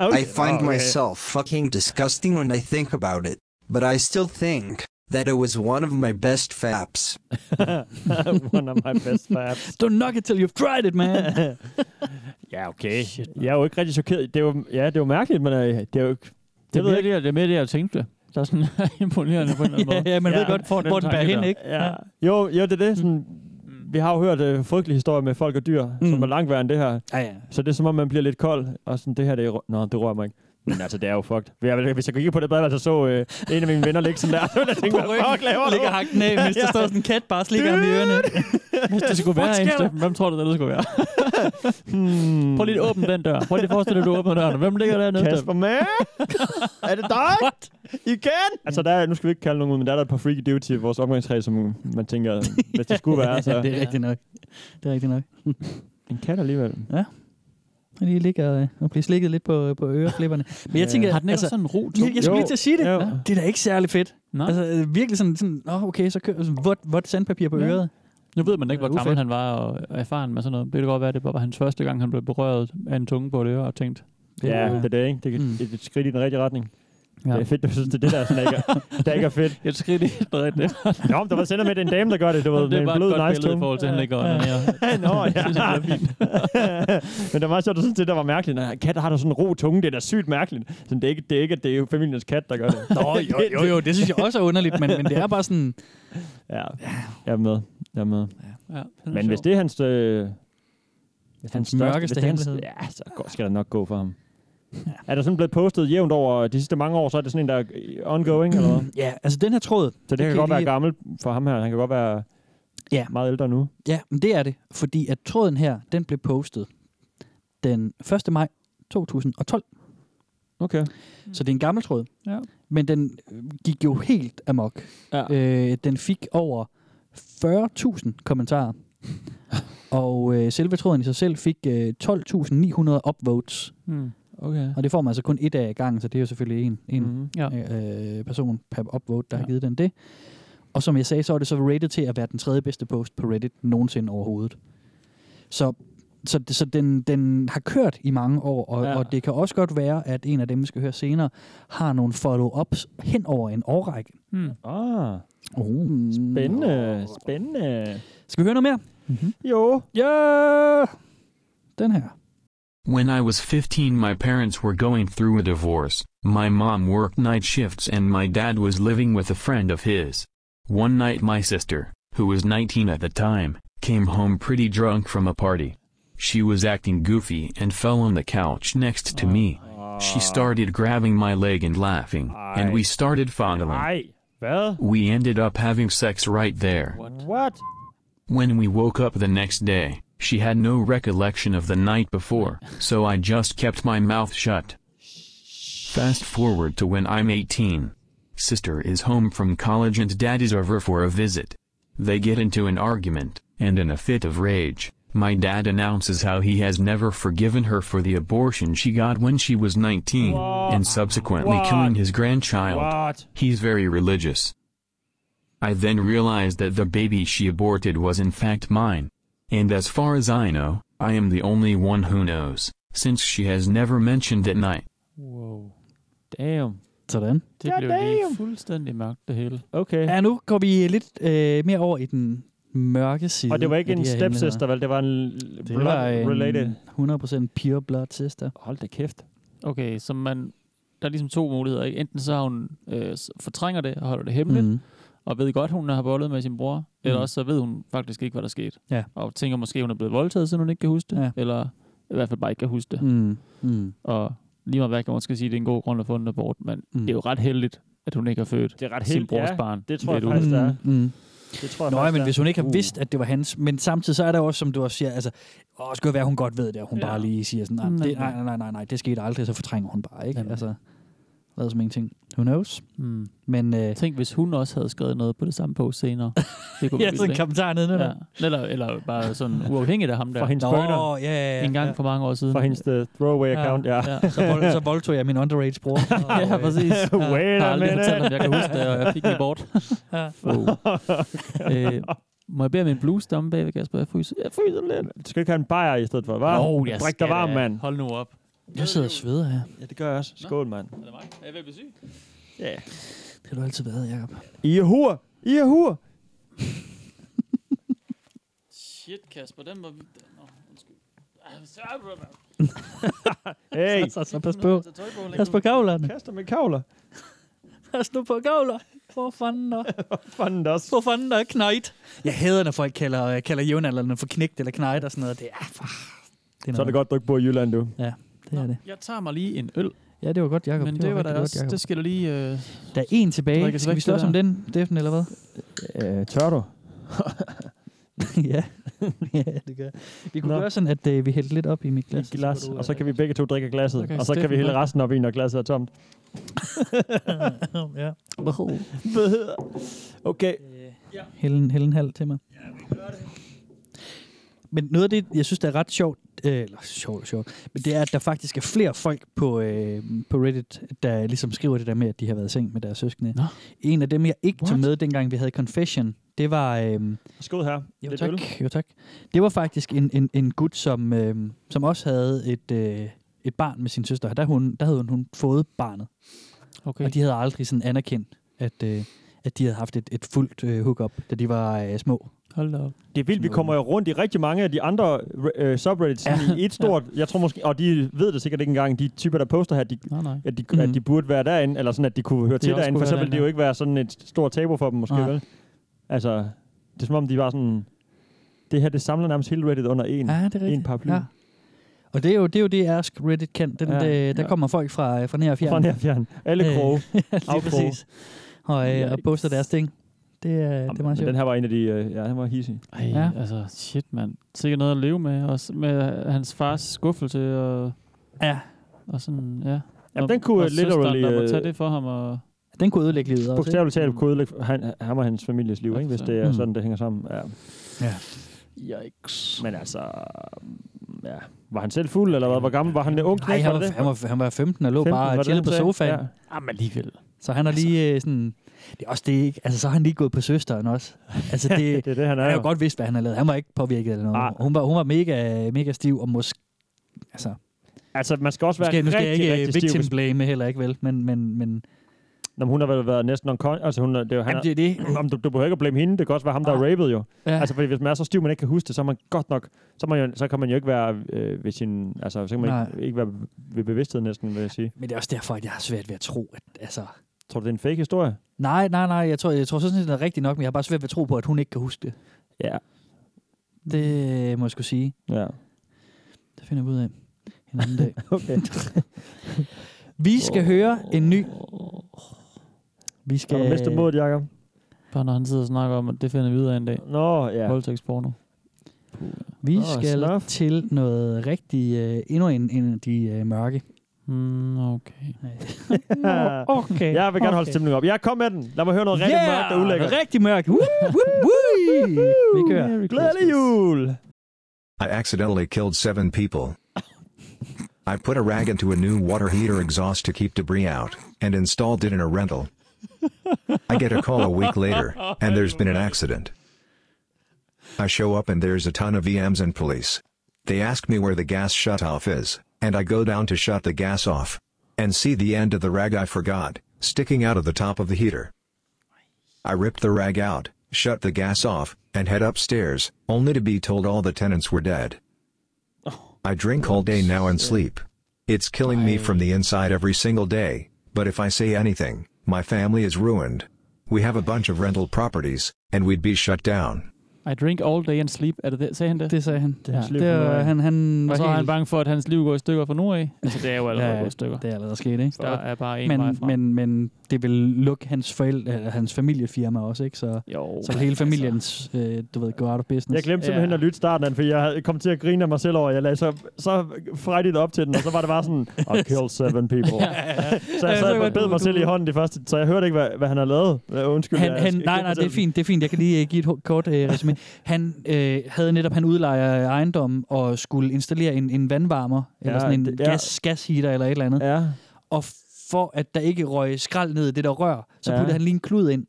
S9: I
S3: Oh,
S9: find myself fucking disgusting when I think about it, but I still think that it was one of my best faps.
S3: One of my best faps.
S5: Don't knock it till you've tried it, man.
S3: Ja, okay. Shit, jeg er jo ikke rigtig chokeret. Det var, ja, det var mærkeligt, men øh, det er jo ikke...
S4: Det,
S3: Det ved
S4: er mere
S3: jeg
S4: det, jeg- det er mere det, jeg tænkte. Der er sådan imponerende på en eller anden
S5: ja,
S4: måde.
S5: ja, man
S3: Ja,
S5: ved godt,
S4: får den
S5: hvor den bærer
S4: tanke
S5: hen,
S4: der.
S5: ikke?
S3: Ja. Jo, jo, det er det. Sådan,
S4: Mm.
S3: Vi har jo hørt øh, frygtelige historier med folk og dyr, mm. som er langt værre end det her.
S5: Ja, ja.
S3: Så det er som om, man bliver lidt kold, og sådan, det her, det er... rø- Nå, det rører mig ikke. Men altså, det er jo fucked. Jeg- Hvis jeg kunne kigge på det badeværelse, så øh, en af mine venner ligge sådan der, så ville jeg tænke,
S5: På
S3: hvad fuck laver
S5: ryggen
S3: du?
S5: ligger hakken af, mens der står sådan en kat bare og slikker ham i ørerne.
S4: Hvis det skulle være en,
S5: sker der?
S4: Steffen, hvem tror du, det skulle være? Prøv lige at åbne den dør. Prøv lige at forestille dig, at du åbner døren. Hvem ligger dernede?
S3: Hmm. Kasper, man! er det dig? What? Igen? Altså, der er, nu skal vi ikke kalde nogen ud, men der er der et par freaky dudes i vores omgangskreds, som man tænker, hvis det skulle være,
S5: Ja, det
S3: så...
S5: er rigtigt nok. Det er rigtigt nok.
S3: En kat alligevel.
S5: Han lige ligger øh, og bliver slikket lidt på, på øreflipperne. Men jeg tænker,
S4: Har den ikke
S5: altså,
S4: også sådan en ro
S5: jeg, jeg skulle
S3: Jo,
S5: lige til at sige det.
S3: jo.
S5: Det er da ikke særlig fedt.
S4: Nej.
S5: Altså øh, virkelig sådan, sådan Nå, okay, så kører sådan vådt, vådt sandpapir på
S4: Ja.
S5: øret.
S4: Nu ved man ikke, hvor
S5: Ufedt.
S4: gammel han var og og erfaren med sådan noget. Det kan godt være, at det bare var hans første gang, han blev berørt af en tunge på det øre og tænkt.
S3: Ja, det er det, ikke? Det er
S4: Mm.
S3: et, et skridt i den rigtige retning.
S4: Ja.
S3: Ja. Det er fedt, du synes, det er det, der, sådan, der, ikke er, der ikke er fedt.
S4: Jeg skridt i den rigtige.
S3: Nå, men der var sender med det er en dame, der gør det. Det var
S4: Det
S3: med
S4: er
S3: en
S4: bare
S3: blød,
S4: et godt
S3: nice
S4: billede i
S3: tunge.
S4: forhold til, at han ligger og onanerer.
S3: Nå, ja. men det var meget sjovt, du synes, det der var mærkeligt. Nej, katter har da sådan en ro tunge. Det er da sygt mærkeligt. Sådan, det, er ikke, det er ikke, at det er jo familiens kat, der gør det. Nå,
S5: jo, jo, jo, det synes jeg også er underligt, men, men det er bare sådan...
S3: Ja, jeg er med. Jeg er med.
S4: Ja, sådan
S3: Men
S4: sjov.
S3: hvis det er hans... Øh, hvis
S5: Hans
S3: største-
S5: mørkeste
S3: hvis det er hans-
S5: hemmelighed.
S3: Ja, så går- skal der nok gå for ham. Er der sådan blevet postet jævnt over de sidste mange år, så er det sådan en, der er ongoing, eller hvad?
S5: Ja, altså den her tråd,
S3: Så det, det kan
S5: kan
S3: godt
S5: jeg
S3: være
S5: lige-
S3: gammel for ham her. Han kan godt være
S5: Ja.
S3: ja. meget ældre nu.
S5: ja, men det er det, fordi at tråden her, den blev postet den 1. maj 2012.
S3: Okay.
S5: Så det er en gammel tråd.
S4: Ja.
S5: Men den øh, gik jo helt amok.
S3: Ja.
S5: Øh, den fik over 40.000 kommentarer. og øh, selve tråden i sig selv fik øh, 12.900 upvotes.
S4: Mm. Okay.
S5: Og det får man altså kun et af gangen, så det er jo selvfølgelig en, en
S3: Mm-hmm.
S4: Ja.
S5: øh, person per upvote, der ja. har
S4: Ja.
S5: givet den det. Og som jeg sagde, så er det så rated til at være den tredje bedste post på Reddit nogensinde overhovedet. Så, så, så den, den har kørt i mange år, og, ja.
S3: Ja.
S5: og det kan også godt være, at en af dem, vi skal høre senere, har nogle follow-ups hen over en årrække.
S4: Mm.
S3: Ah,
S5: Oh.
S3: spændende, spændende.
S5: Skal vi høre noget mere?
S3: Jo. Ja!
S5: Den her.
S10: When I was 15, my parents were going through a divorce. My mom worked night shifts and my dad was living with a friend of his. One night, my sister, who was 19 at the time, came home pretty drunk from a party. She was acting goofy and fell on the couch next to me. She started grabbing my leg and laughing, and we started fondling.
S3: Nej. Hvad?
S10: We ended up having sex right there.
S3: What?
S10: When we woke up the next day, she had no recollection of the night before, so I just kept my mouth shut. Fast forward to when I'm 18. Sister is home from college and dad is over for a visit. They get into an argument, and in a fit of rage, my dad announces how he has never forgiven her for the abortion she got when she was 19, and subsequently
S3: What?
S10: killing his grandchild.
S3: What?
S10: He's very religious. I then realized that the baby she aborted was in fact mine. And as far as I know, I am the only one who knows, since she has never mentioned that night.
S4: Wow.
S3: Damn.
S5: Sådan.
S4: Det
S3: Ja,
S4: blev lige
S3: damn.
S4: fuldstændig mørkt, det hele.
S3: Okay.
S5: Ja, nu går vi lidt øh, mere over i den mørke side.
S3: Og det var ikke
S5: af de
S3: en
S5: her hemmeligheder.
S3: stepsister, vel? Det var en
S5: Det var en
S3: related.
S5: 100% pure blood sister.
S3: Hold da kæft.
S4: Okay, så man... Der er ligesom to muligheder. Ikke? Enten så har hun øh, s- fortrænger det og holder det hemmeligt,
S5: Mhm.
S4: mm. og ved godt, hun har bollet med sin bror, eller
S5: Mm.
S4: også så ved hun faktisk ikke, hvad der skete.
S5: Ja.
S4: Og tænker måske, hun er blevet voldtaget, så hun ikke kan huske det,
S5: Ja.
S4: eller i hvert fald bare ikke kan huske det.
S5: Mm. Mm.
S4: Og lige meget hvad kan man skal sige, det er en god grund at få en abort, men
S5: Mm.
S4: det er jo ret heldigt, at hun ikke har født
S3: Det er ret
S4: sin
S3: helt,
S4: brors
S3: ja.
S4: barn.
S3: det tror jeg
S4: ved du.
S3: faktisk. Altså, der er-
S5: Mm. Mm.
S3: Det tror jeg
S5: Nå, ja,
S3: faktisk,
S5: men
S3: det er.
S5: hvis hun ikke har
S3: Uh.
S5: vidst, at det var hans, men samtidig så er der også, som du også siger, altså, åh, det skulle være, at hun godt ved det, og hun ja. bare lige siger sådan, nej,
S3: Mm,
S4: Nej,
S5: det, nej, nej, nej, nej, nej, det skete aldrig, så fortrænger hun bare, ikke? Altså, lader som ingenting. Who knows?
S4: Mm.
S5: Men, øh,
S4: Tænk, hvis hun også havde skrevet noget på det samme post senere. Det
S5: Ja,
S4: være vildt,
S5: sådan en
S4: ikke?
S5: kommentar nedenunder.
S4: Eller, eller bare sådan uafhængigt af ham der.
S5: Fra hendes Nå, burner. ja, ja, ja.
S4: En gang for mange år siden.
S5: Fra hendes,
S3: uh, throwaway account, ja.
S5: Så, vold, så voldtog jeg min underage bror. Og,
S4: Ja,
S5: øh,
S4: præcis. Jeg har aldrig fortalt ham, jeg kan huske det, og jeg fik mig bort.
S5: Ja.
S4: oh. øh, må jeg bede om en blues domme bagved, Kasper? Jeg fryser, jeg fryser lidt.
S3: Du skal ikke have en bajer i stedet for, hva'?
S4: Nå, jeg
S3: Drik
S4: skal
S3: dig varm,
S4: da.
S3: mand.
S4: Hold nu op.
S5: Jeg sidder og sveder her.
S3: Ja, det gør jeg også. Skål, mand.
S4: Er det mig? Er jeg ved at blive syg?
S3: Ja.
S5: Det har du altid været, Jacob.
S3: I er hur! I er hur!
S4: Shit, Kasper, den var... Nå, undskyld.
S3: Hey!
S5: Så, så, så pas på. Pas på kavlerne.
S3: Kaster med kavler.
S5: Pas nu på kavler. For fanden da.
S3: For fanden da.
S5: For fanden da, knejt. Jeg hader, når folk kalder, øh, kalder jævnaldrende for knægt eller knejt og sådan noget. Det er, for...
S3: Det er så er
S5: noget.
S3: det godt, du ikke bor i Jylland, du.
S5: Ja, det er det.
S4: Jeg tager mig lige en øl.
S5: Ja, det var godt, Jacob.
S4: Men
S5: Det
S4: det,
S5: var rigtig
S4: det var da
S5: godt,
S4: også...
S5: Jacob.
S4: Det skal der lige... Øh,
S5: Der er en tilbage.
S4: Drikkes
S5: Skal vi
S4: væk,
S5: slås
S4: det
S5: om
S4: der.
S5: den, Steffen, eller hvad?
S3: Øh, tør du?
S5: ja. ja, det gør Vi kunne
S3: Nå.
S5: gøre sådan, at øh, vi hældte lidt op i mit glas.
S3: I glas, og så kan vi begge to drikke af glasset,
S5: Okay,
S3: okay, og så kan
S5: Steffen
S3: vi hælde
S5: drikker.
S3: resten op i, når glasset er tomt.
S5: ja.
S3: okay.
S5: Hælde en, hælde en halv til mig. Ja, vi gør det. Men noget af det, jeg synes, der er ret sjovt, øh, eller sjovt og sjovt, men det er, at der faktisk er flere folk på, øh, på Reddit, der ligesom skriver det der med, at de har været i seng med deres søskende.
S4: Nå.
S5: En af dem, jeg ikke What? tog med, dengang vi havde Confession, det var... Øh,
S3: Skål her.
S5: Jo
S3: Lidt
S5: tak,
S3: øl.
S5: jo tak. Det var faktisk en, en, en gut, som, øh, som også havde et, øh, et barn med sin søster. Der, hun, der havde hun, hun fået barnet.
S4: Okay.
S5: Og de havde aldrig sådan anerkendt, at, øh, at de havde haft et, et fuldt øh, hookup, da de var øh, små.
S4: Hold da op.
S3: Det er vildt, vi kommer jo rundt i rigtig mange af de andre øh, subreddits ja. i et stort, jeg tror måske, og de ved det sikkert ikke engang, de typer, der poster her, de,
S4: Nej, nej.
S3: at, de, mm. at
S5: Mhm.
S3: de burde være derinde, eller sådan, at de kunne høre
S4: De
S3: til
S4: også
S3: derinde, for
S4: kunne
S3: så
S4: være
S3: ville det
S4: derinde,
S3: jo ikke være sådan et stort tabu for dem, måske
S5: Nej.
S3: vel? Altså, det er som om, de var sådan, det her, det samler nærmest hele Reddit under en,
S5: Ja, det er
S3: en
S5: rigtigt.
S3: paraply.
S5: Ja. Og det er jo det, er jo det Ask Reddit kan. Den,
S3: Ja,
S5: ja, øh, der
S3: ja.
S5: kommer folk fra, øh, fra nær og fjern.
S3: Fra nær fjern. Alle
S5: Øh,
S3: kroge.
S5: Lige
S3: afkroge.
S5: præcis. Og, øh, og
S4: Yikes.
S5: poster deres ting. Det, øh, det er meget
S3: Men
S5: sjovt.
S3: den her var en af de, øh, ja, han var hissig.
S4: Ej,
S5: Ja.
S4: ja. altså shit, mand. Sikkert noget at leve med, også med hans fars skuffelse og,
S5: Ja,
S4: og sådan, ja.
S3: Jamen,
S4: og,
S3: den kunne
S4: og
S3: literally,
S4: Søsteren, der må
S3: øh,
S4: tage det for ham, og
S5: den kunne ødelægge livet også. ikke?
S3: Bogstaveligt talt kunne ødelægge han, ham og hans families liv, ikke? hvis det er
S5: Mm.
S3: sådan, det hænger sammen. Ja.
S4: Yikes.
S3: Men altså, ja. var han selv fuld, eller hvad? Hvor gammel var han? Ung
S5: Nej,
S3: knægt,
S5: han
S3: var det
S5: var,
S3: det?
S5: han, var, han var 15 og lå
S3: 15, var
S5: bare og
S3: det
S5: chillede på
S3: det, han sagde?
S5: sofaen.
S3: Ja.
S4: Jamen alligevel.
S5: Så han har
S3: Altså-
S5: lige øh, sådan... Det er også det ikke... Altså, så har han lige gået på søsteren også. Altså, det,
S3: Det er det, han er
S5: han har
S3: jo.
S5: jo godt vidst, hvad han har lavet. Han var ikke påvirket eller noget.
S3: Ah.
S5: Hun var, hun var mega, mega stiv og måske... Altså,
S3: Altså, man skal også
S5: nu
S3: være
S5: skal, nu skal jeg
S3: rigtig,
S5: ikke øh,
S3: rigtig stiv.
S5: victim
S3: Hvis,
S5: blame heller ikke, vel? Men, men, men
S3: Nå, men hun har vel været næsten unconscious. Altså, hun, er- det er jo, han
S5: jamen, det er det.
S3: er, om du, du behøver ikke at blame hende. Det kan også være ham, der er
S5: Nej.
S3: rapet jo.
S5: Ja.
S3: Altså, fordi hvis man er så stiv, man ikke kan huske det, så er man godt nok... Så, er man jo, så kan man jo ikke være øh, ved sin... Altså, så kan man ikke, ikke, være ved bevidsthed næsten, vil jeg sige.
S5: Men det er også derfor, at jeg har svært ved at tro, at... Altså,
S3: Tror du, det er en fake historie?
S5: nej, nej, nej. Jeg tror, jeg tror sådan set, det er rigtigt nok, men jeg har bare svært ved at tro på, at hun ikke kan huske det.
S3: Ja.
S5: Det øh, må jeg skulle sige.
S3: Ja.
S5: Det finder vi ud af en anden dag.
S3: Okay.
S5: Vi skal høre en ny... Vi
S3: Skal du miste modet, Jacob?
S4: Bare når han sidder og snakker om, at det finder vi ud af en dag.
S3: Nå, ja.
S4: Ja. Voldtægtsporno.
S5: Vi
S3: Åh,
S5: skal
S3: snuff.
S5: til noget rigtig, øh, endnu en, en af de øh, mørke.
S4: Mm, okay.
S5: Okay.
S3: Ah. Jeg vil gerne holde stemningen op. Ja, kom med den. Lad mig høre noget rigtig yeah! mørkt og ulækkert.
S5: Rigtig mørkt. Woo, woo, woo. Vi kører.
S3: Glædelig jul!
S11: I accidentally killed seven people. I put a rag into a new water heater exhaust to keep debris out, and installed it in a rental. I get a call a week later, and there's been an accident. I show up and there's a ton of EMs and police. They ask me where the gas shutoff is, and I go down to shut the gas off. And see the end of the rag I forgot, sticking out of the top of the heater. I ripped the rag out, shut the gas off, and head upstairs, only to be told all the tenants were dead. I drink all day now and sleep. It's killing me from the inside every single day, but if I say anything, my family is ruined. We have a bunch of rental properties, and we'd be shut down.
S4: I drink all day and sleep. Er det det? Sagde han det?
S5: Det sagde han.
S4: Det,
S5: er hans liv Det fra nu var- af. han- han
S4: og
S5: var
S4: så er
S5: helt-
S4: han bange for, at hans liv går i stykker fra nu af. Altså, det er jo allerede
S5: Ja,
S4: gået i stykker.
S5: Det er allerede sket, ikke?
S4: Der er bare en
S5: men,
S4: vej fra.
S5: Men, men det vil lukke hans forældre, eller hans familiefirma også, ikke? Så,
S4: jo,
S5: så vil hele familien, altså. øh, du ved, go out of business.
S3: Jeg glemte simpelthen at lytte starten af den, for jeg havde- kom til at grine af mig selv over, at jeg lagde så, så frejdigt op til den, og så var det bare sådan, I killed seven people. så jeg
S5: Ja, så godt,
S3: sad og bed
S5: Altså, du-
S3: mig
S5: du-
S3: selv i hånden de første, så jeg hørte ikke, hvad, hvad han har lavet. Øh, Undskyld.
S5: Han,
S3: jeg
S5: han,
S3: skal ikke
S5: nej, nej, det er
S3: fortælle.
S5: fint, det er fint. Jeg kan lige øh, give et hu- kort øh, resume. Han øh, havde netop, han udlejer ejendommen og skulle installere en, en vandvarmer, eller
S3: Ja,
S5: sådan en
S3: det- ja.
S5: gas, gasheater eller et eller andet.
S3: Ja.
S5: Og for at der ikke røg skrald ned i det der rør, så
S3: Ja.
S5: puttede han lige en klud ind,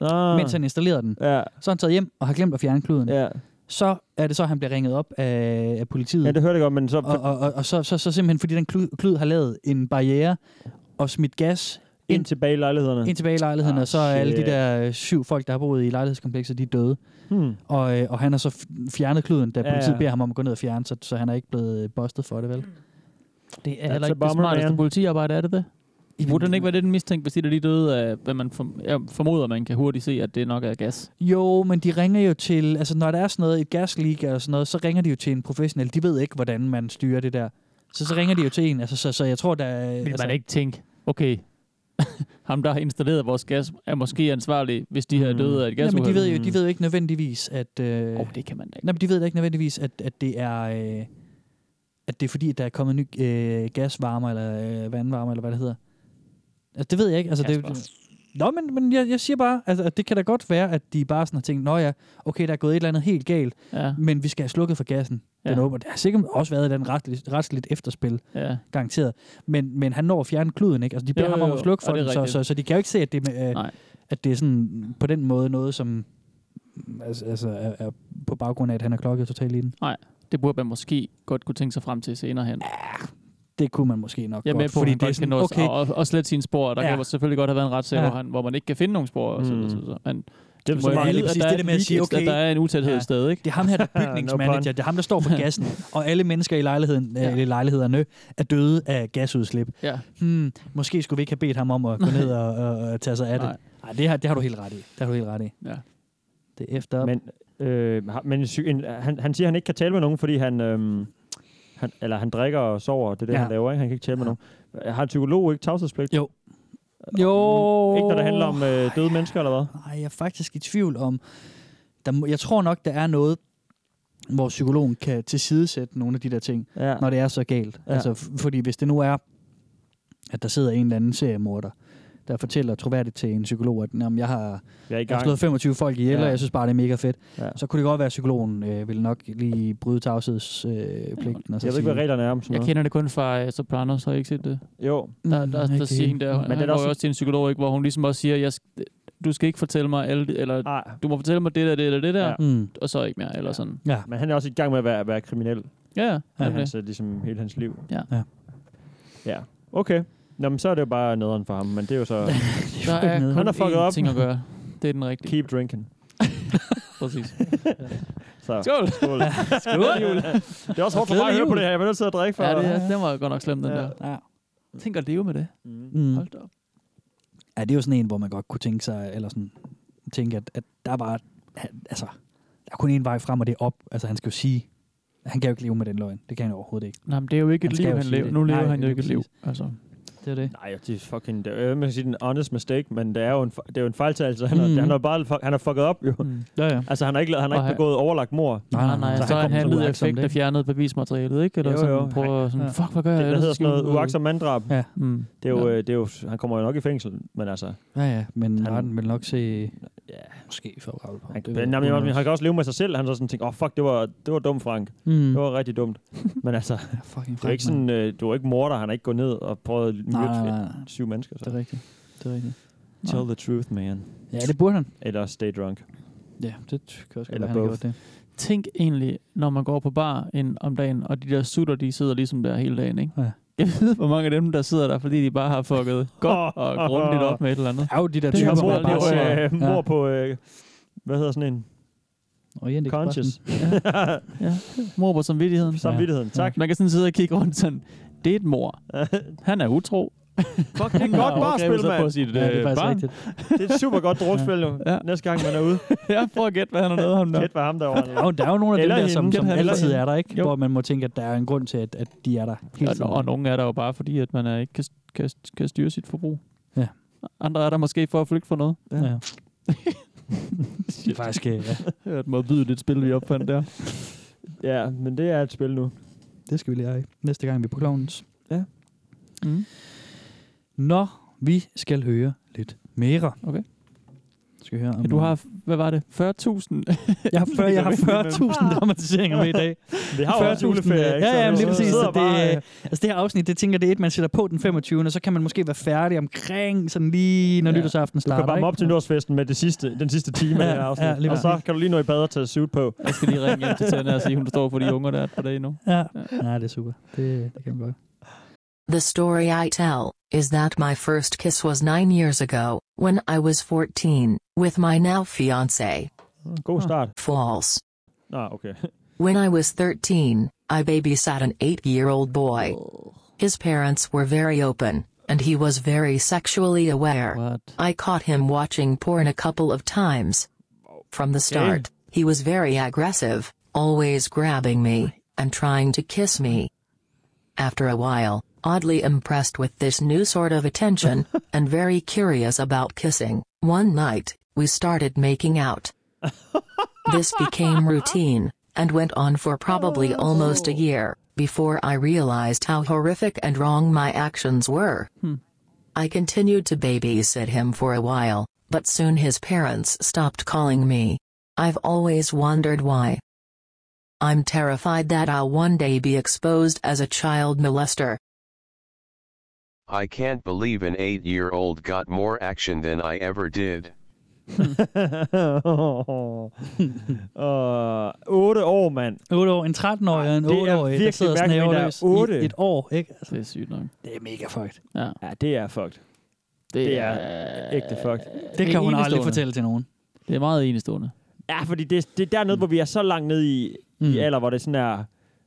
S3: Ah.
S5: mens han installerede den.
S3: Ja.
S5: Så har han taget hjem og har glemt at fjerne kluden.
S3: Ja.
S5: Så er det så, han bliver ringet op af, af politiet.
S3: Ja, det hørte jeg godt, men så...
S5: Og, og, og, og så, så, så simpelthen, fordi den klud, klud har lavet en barriere og smidt gas
S3: ind, ind tilbage i lejlighederne.
S5: Ind tilbage i lejligheden, ah, og så er alle de
S3: shit.
S5: der øh, syv folk, der har boet i lejlighedskomplekset, de er døde.
S3: Hmm.
S5: Og, øh, og han har så f- fjernet kluden, da
S3: Ja,
S5: politiet
S3: ja.
S5: beder ham om at gå ned og fjerne, så, så han er ikke blevet øh, bustet for det, vel?
S4: Hmm. Det
S5: That's
S4: er heller
S5: a
S4: ikke det
S5: bummer,
S4: smarteste
S5: man.
S4: politiarbejde, er det det? Burde den ikke være det, den mistænkte, hvis de der lige døde af, hvad man form- jeg formoder, man kan hurtigt se, at det nok er gas?
S5: Jo, men de ringer jo til, altså når der er sådan noget, et gasleak eller sådan noget, så ringer de jo til en professionel. De ved ikke, hvordan man styrer det der. Så så ringer de jo til en, altså så, så jeg tror, der er...
S4: Vil
S5: altså,
S4: man ikke tænke, okay, ham der har installeret vores gas, er måske ansvarlig, hvis de her døde af et
S5: Ja,
S4: gasuheld.
S5: men Mm. de ved jo de ved jo ikke nødvendigvis, at... Øh, oh,
S4: det kan man da ikke.
S5: Nej, men de ved da ikke nødvendigvis, at, at det er... Øh, at det er fordi, at der er kommet ny øh, gasvarmer, eller øh, vandvarmer, eller hvad det hedder. Altså, det ved jeg ikke. Altså, det,
S4: Kasper.
S5: Nå, men, men jeg, jeg siger bare, altså, at det kan da godt være, at de bare sådan har tænkt, nå ja, okay, der er gået et eller andet helt galt,
S4: Ja.
S5: men vi skal have slukket for gassen. Den
S4: Ja.
S5: åbner. Der har sikkert også været et eller andet retsligt, retsligt efterspil,
S4: Ja.
S5: garanteret. Men, men han når at fjerne kluden, ikke? Altså, de beder
S4: Jo,
S5: ham
S4: jo,
S5: om at
S4: jo.
S5: slukke
S4: Og
S5: for
S4: det er
S5: den, så,
S4: rigtigt.
S5: så, så de kan jo ikke se, at det, er med, øh,
S4: Nej.
S5: at det er sådan på den måde noget, som altså, altså, er, er på baggrund af, at han er klokket totalt i den.
S4: Nej, det burde man måske godt kunne tænke sig frem til senere hen.
S5: Det kunne man måske nok
S4: Jeg er
S5: godt,
S4: med på,
S5: fordi
S4: fordi at
S5: det er
S4: det kan
S5: sådan,
S4: nås,
S5: okay.
S4: okay. og, og slet sine spor. Der
S5: Ja.
S4: ja. kan jo selvfølgelig godt have været en retssag,
S5: Ja.
S4: ja. hvor, han, hvor man ikke kan finde nogen spor. Og sådan, mm. så, så. Men
S5: Det er
S4: de
S5: så
S4: må jo
S5: meget
S4: vide,
S5: lige
S4: at
S5: præcis
S4: der er
S5: det der med at
S4: et
S5: sige,
S4: leaks,
S5: okay,
S4: at der er en utæthed
S5: ja,
S4: et sted, ikke?
S5: Det er ham her, der er bygningsmanager, det er ham, der står for gassen, og alle mennesker i lejligheden, ja. eller lejlighederne er døde af gasudslip.
S4: Ja.
S5: Hmm, måske skulle vi ikke have bedt ham om at gå ned og, og, og tage sig af det.
S3: Nej.
S5: Nej, det har, det har du helt ret i. Det har du helt ret i.
S4: Ja.
S5: Det er efter.
S3: Men, øh, har- men sy- en, han, han siger, at han ikke kan tale med nogen, fordi han... Øh, han, eller han drikker og sover, det er det,
S5: Ja.
S3: ja. han laver, ikke? Han kan ikke tale med nogen. Har en psykolog ikke tavshedspligt?
S5: Jo. Jo.
S3: Ikke når det handler om øh, døde mennesker, eller hvad?
S5: Nej, jeg er faktisk i tvivl om... Der, må- jeg tror nok, der er noget, hvor psykologen kan tilsidesætte nogle af de der ting,
S3: ja.
S5: når det er så galt. Ja.
S3: Ja.
S5: Altså, f- fordi hvis det nu er, at der sidder en eller anden seriemorder, der fortæller troværdigt til en psykolog, at "Nå, men jeg har
S3: Jeg er i
S5: jeg har
S3: gang."
S5: slået 25 folk ihjel, ja.
S3: Ja.
S5: og jeg synes bare, det er mega fedt.
S3: Ja.
S5: Så kunne det godt være, at psykologen øh, ville nok lige bryde tavshedspligten. Øh, pligten og så
S3: Jeg ved ikke,
S5: sige-
S3: hvad reglerne er om sådan
S4: Jeg
S3: noget.
S4: kender det kun fra uh, Sopranos, har I ikke set det?
S3: Jo.
S4: Der,
S5: Mm,
S4: der,
S5: ikke
S4: der
S5: det
S4: siger
S5: hele.
S4: hende der,
S5: Men
S4: men
S5: det er
S4: han
S5: da
S4: går
S5: også-
S4: jo også til en psykolog, ikke, hvor hun ligesom også siger, jeg, sk- du skal ikke fortælle mig alle, det- eller du må fortælle mig det der, det eller det der,
S3: Ja.
S5: Mm.
S4: og så ikke mere, eller sådan.
S5: Ja.
S3: Men han er også i gang med at være, være kriminel.
S4: Ja, ja.
S3: Det er
S4: Okay.
S3: hans, øh, ligesom hele hans liv.
S4: Ja.
S5: Ja.
S3: Ja. Okay. Nå, men så er det jo bare nederen for ham, men det er jo så...
S4: Der er
S3: han
S4: kun
S3: har fucket
S4: én
S3: op.
S4: ting at gøre. Det er den rigtige.
S3: Keep drinking.
S4: Præcis.
S3: så,
S4: Skål!
S3: Skål!
S4: Skål!
S3: jul. Det er også hårdt for mig
S4: Glædelig
S3: at høre på
S4: jul.
S3: det her. Jeg bliver nødt til at drikke for...
S4: Ja, det er, den var godt nok slem, den
S3: Ja.
S4: der.
S5: Ja.
S4: Tænk at leve med det.
S5: Mm.
S4: Hold da op.
S5: Ja, det er jo sådan en, hvor man godt kunne tænke sig, eller sådan, tænke, at, at der var, han- altså, der er kun en vej frem, og det er op. Altså, han skal jo sige, han kan jo ikke leve med den løgn. Det kan han overhovedet ikke.
S4: Nej, men det er jo ikke et
S5: skal
S4: liv,
S5: jo
S4: han
S5: sige
S4: lever.
S5: det.
S4: Nu lever
S5: Nej,
S4: han jo
S5: lige
S4: ikke et liv.
S5: præcis.
S4: Altså.
S5: Det er det.
S3: Nej, det er fucking... Det er, jo- man kan sige, det er en honest mistake, men det er jo en, fe- det er jo en fejltagelse. Han,
S4: Mm.
S3: mm. han, har bare, fuck- han har fucket op, jo.
S4: Mm. Ja, ja.
S3: Altså, han har ikke, la- han har
S4: Og
S3: ikke
S4: han-
S3: begået overlagt mor.
S4: Nej, nej, nej. Så, så han
S3: kommer
S4: handlede
S3: uagtsomt,
S4: effekt
S3: ikke?
S4: og fjernede bevismaterialet, ikke? Eller
S3: Jo,
S4: sådan,
S3: jo.
S4: prøver sådan,
S5: Ja.
S4: fuck, hvad gør jeg?
S3: Det, der
S4: ellers?
S3: hedder
S4: Så skal
S3: sådan noget
S4: vi ud-
S3: uagtsom manddrab.
S5: Ja.
S4: Mm.
S3: Det er jo, øh,
S4: Ja.
S3: det er jo, han kommer jo nok i fængsel, men altså...
S5: Ja, ja, men han,
S3: Han-
S5: retten vil nok se,
S3: ja.
S5: måske favorabelt på.
S3: Han,
S5: Det
S3: det
S5: ved
S3: jamen,
S5: jeg
S3: jamen,
S5: ikke.
S3: han kan også leve med sig selv. Han så sådan tænker, åh oh, fuck, det var, det var dumt, Frank.
S5: Mm.
S3: Det var rigtig dumt. Men altså,
S5: fucking
S3: det er jo ikke sådan, øh, du er ikke morder, han har ikke gået ned og prøvet at myrde
S5: Nej, nej, nej, nej.
S3: syv mennesker. Så.
S5: Det er rigtigt. Det er rigtigt.
S3: Tell the truth, man.
S5: Ja, det burde han.
S3: Eller stay drunk.
S5: Ja, det kan også godt
S3: Eller
S5: være, han har
S3: both.
S5: gjort det.
S4: Tænk egentlig, når man går på bar en, om dagen, og de der sutter, de sidder ligesom der hele dagen, ikke?
S5: Ja.
S4: Jeg ved, hvor mange af dem, der sidder der, fordi de bare har fucket godt og grundigt op med et eller andet.
S5: Der er jo de der
S4: Det
S5: typer,
S4: er
S5: hvor
S4: mor
S5: man bare
S4: på,
S5: siger...
S3: Øh, mor på, øh, hvad hedder sådan en?
S5: Orient
S3: Conscious.
S4: Ja. Mor på samvittigheden.
S3: Samvittigheden, tak.
S4: Man kan sådan sidde og kigge rundt sådan, det er et mor. Han er utro.
S3: Fuck, det er et godt
S4: Overgrebet
S3: barspil,
S4: sig
S3: mand.
S4: på sit, Ja, det er øh, faktisk barn. rigtigt.
S3: Det er et super godt drukspil, jo. Næste gang, man er ude.
S4: ja, prøv at gætte, hvad han har lavet ham
S3: der. Gæt, hvad ham derovre
S5: Der er jo, der er jo nogle af dem
S3: Eller
S5: der,
S3: hende.
S5: som,
S3: Gæt,
S5: som
S3: hvad han
S5: altid
S3: lavet.
S5: er der, ikke? Hvor man må tænke, at der er en grund til, at, at de er der hele tiden.
S4: Og, og nogle er der jo bare fordi, at man er ikke kan, kan, kan styre sit forbrug.
S5: Ja.
S4: Andre er der måske for at flygte fra noget.
S5: Ja. ja. det er faktisk,
S4: øh,
S5: ja.
S4: Det er et modbydeligt spil, vi opfandt der.
S3: Ja, men det er et spil nu.
S5: Det skal vi lære af næste gang, vi er på Klovnens.
S3: Ja.
S4: Mm.
S5: Nå, vi skal høre lidt mere.
S4: Okay.
S5: Skal vi høre om
S4: Ja, du har, hvad var det, 40.000?
S5: Jeg har, 40, jeg har 40.000 dramatiseringer med i dag.
S4: Vi har jo også
S5: 40.000,
S4: juleferie,
S5: øh,
S4: ikke?
S5: Ja,
S4: Så
S5: ja, men lige
S4: vi
S5: præcis.
S4: sidder
S5: Så
S4: bare,
S5: det,
S4: øh,
S5: øh, altså det her afsnit, det tænker jeg, det er et, man sætter på den 25. Og så kan man måske være færdig omkring, sådan lige når ja. nytårsaften
S3: Du
S5: starter.
S3: kan bare
S5: ikke?
S3: op til nytårsfesten med det sidste, den sidste time
S5: Ja,
S3: af afsnit.
S5: ja, lige
S3: og så
S5: præcis.
S3: kan du lige nå i bad og tage suit på.
S4: Jeg skal lige ringe hjem til Tanne og sige, hun står for de unger, der er på dag nu.
S5: Ja. Nej, det er super. Det, det kan man godt.
S12: The story I tell is that my first kiss was nine years ago, when I was 14, with my now fiance.
S3: God start.
S12: False.
S3: Nå, okay.
S12: When I was 13, I babysat an eight year old boy. His parents were very open, and he was very sexually aware. I caught him watching porn a couple of times. From the start, he was very aggressive, always grabbing me and trying to kiss me. After a while, oddly impressed with this new sort of attention, and very curious about kissing, one night, we started making out. This became routine, and went on for probably almost a year, before I realized how horrific and wrong my actions were. I continued to babysit him for a while, but soon his parents stopped calling me. I've always wondered why. I'm terrified that I'll one day be exposed as a child molester.
S13: I can't believe an eight year old got more action than I ever did.
S3: uh, 8 år, mand.
S5: 8 år. En 13-årig og en
S3: Ej, det
S5: 8-årig,
S3: er
S5: der
S3: virkelig
S5: sidder
S3: mærkeligt, at der er
S5: snæverløs i
S3: otte.
S5: et år. Ikke? Altså,
S4: det er sygt nok.
S5: Det er mega fucked.
S4: Ja. øh,
S3: ja, det er fucked. Det, det er, er ægte fucked.
S5: Det kan hun aldrig fortælle til nogen.
S4: Det er meget enestående.
S3: Ja, fordi det, det er
S5: Mm.
S3: dernede, hvor vi er så langt ned i, mm. i alder, hvor det sådan er...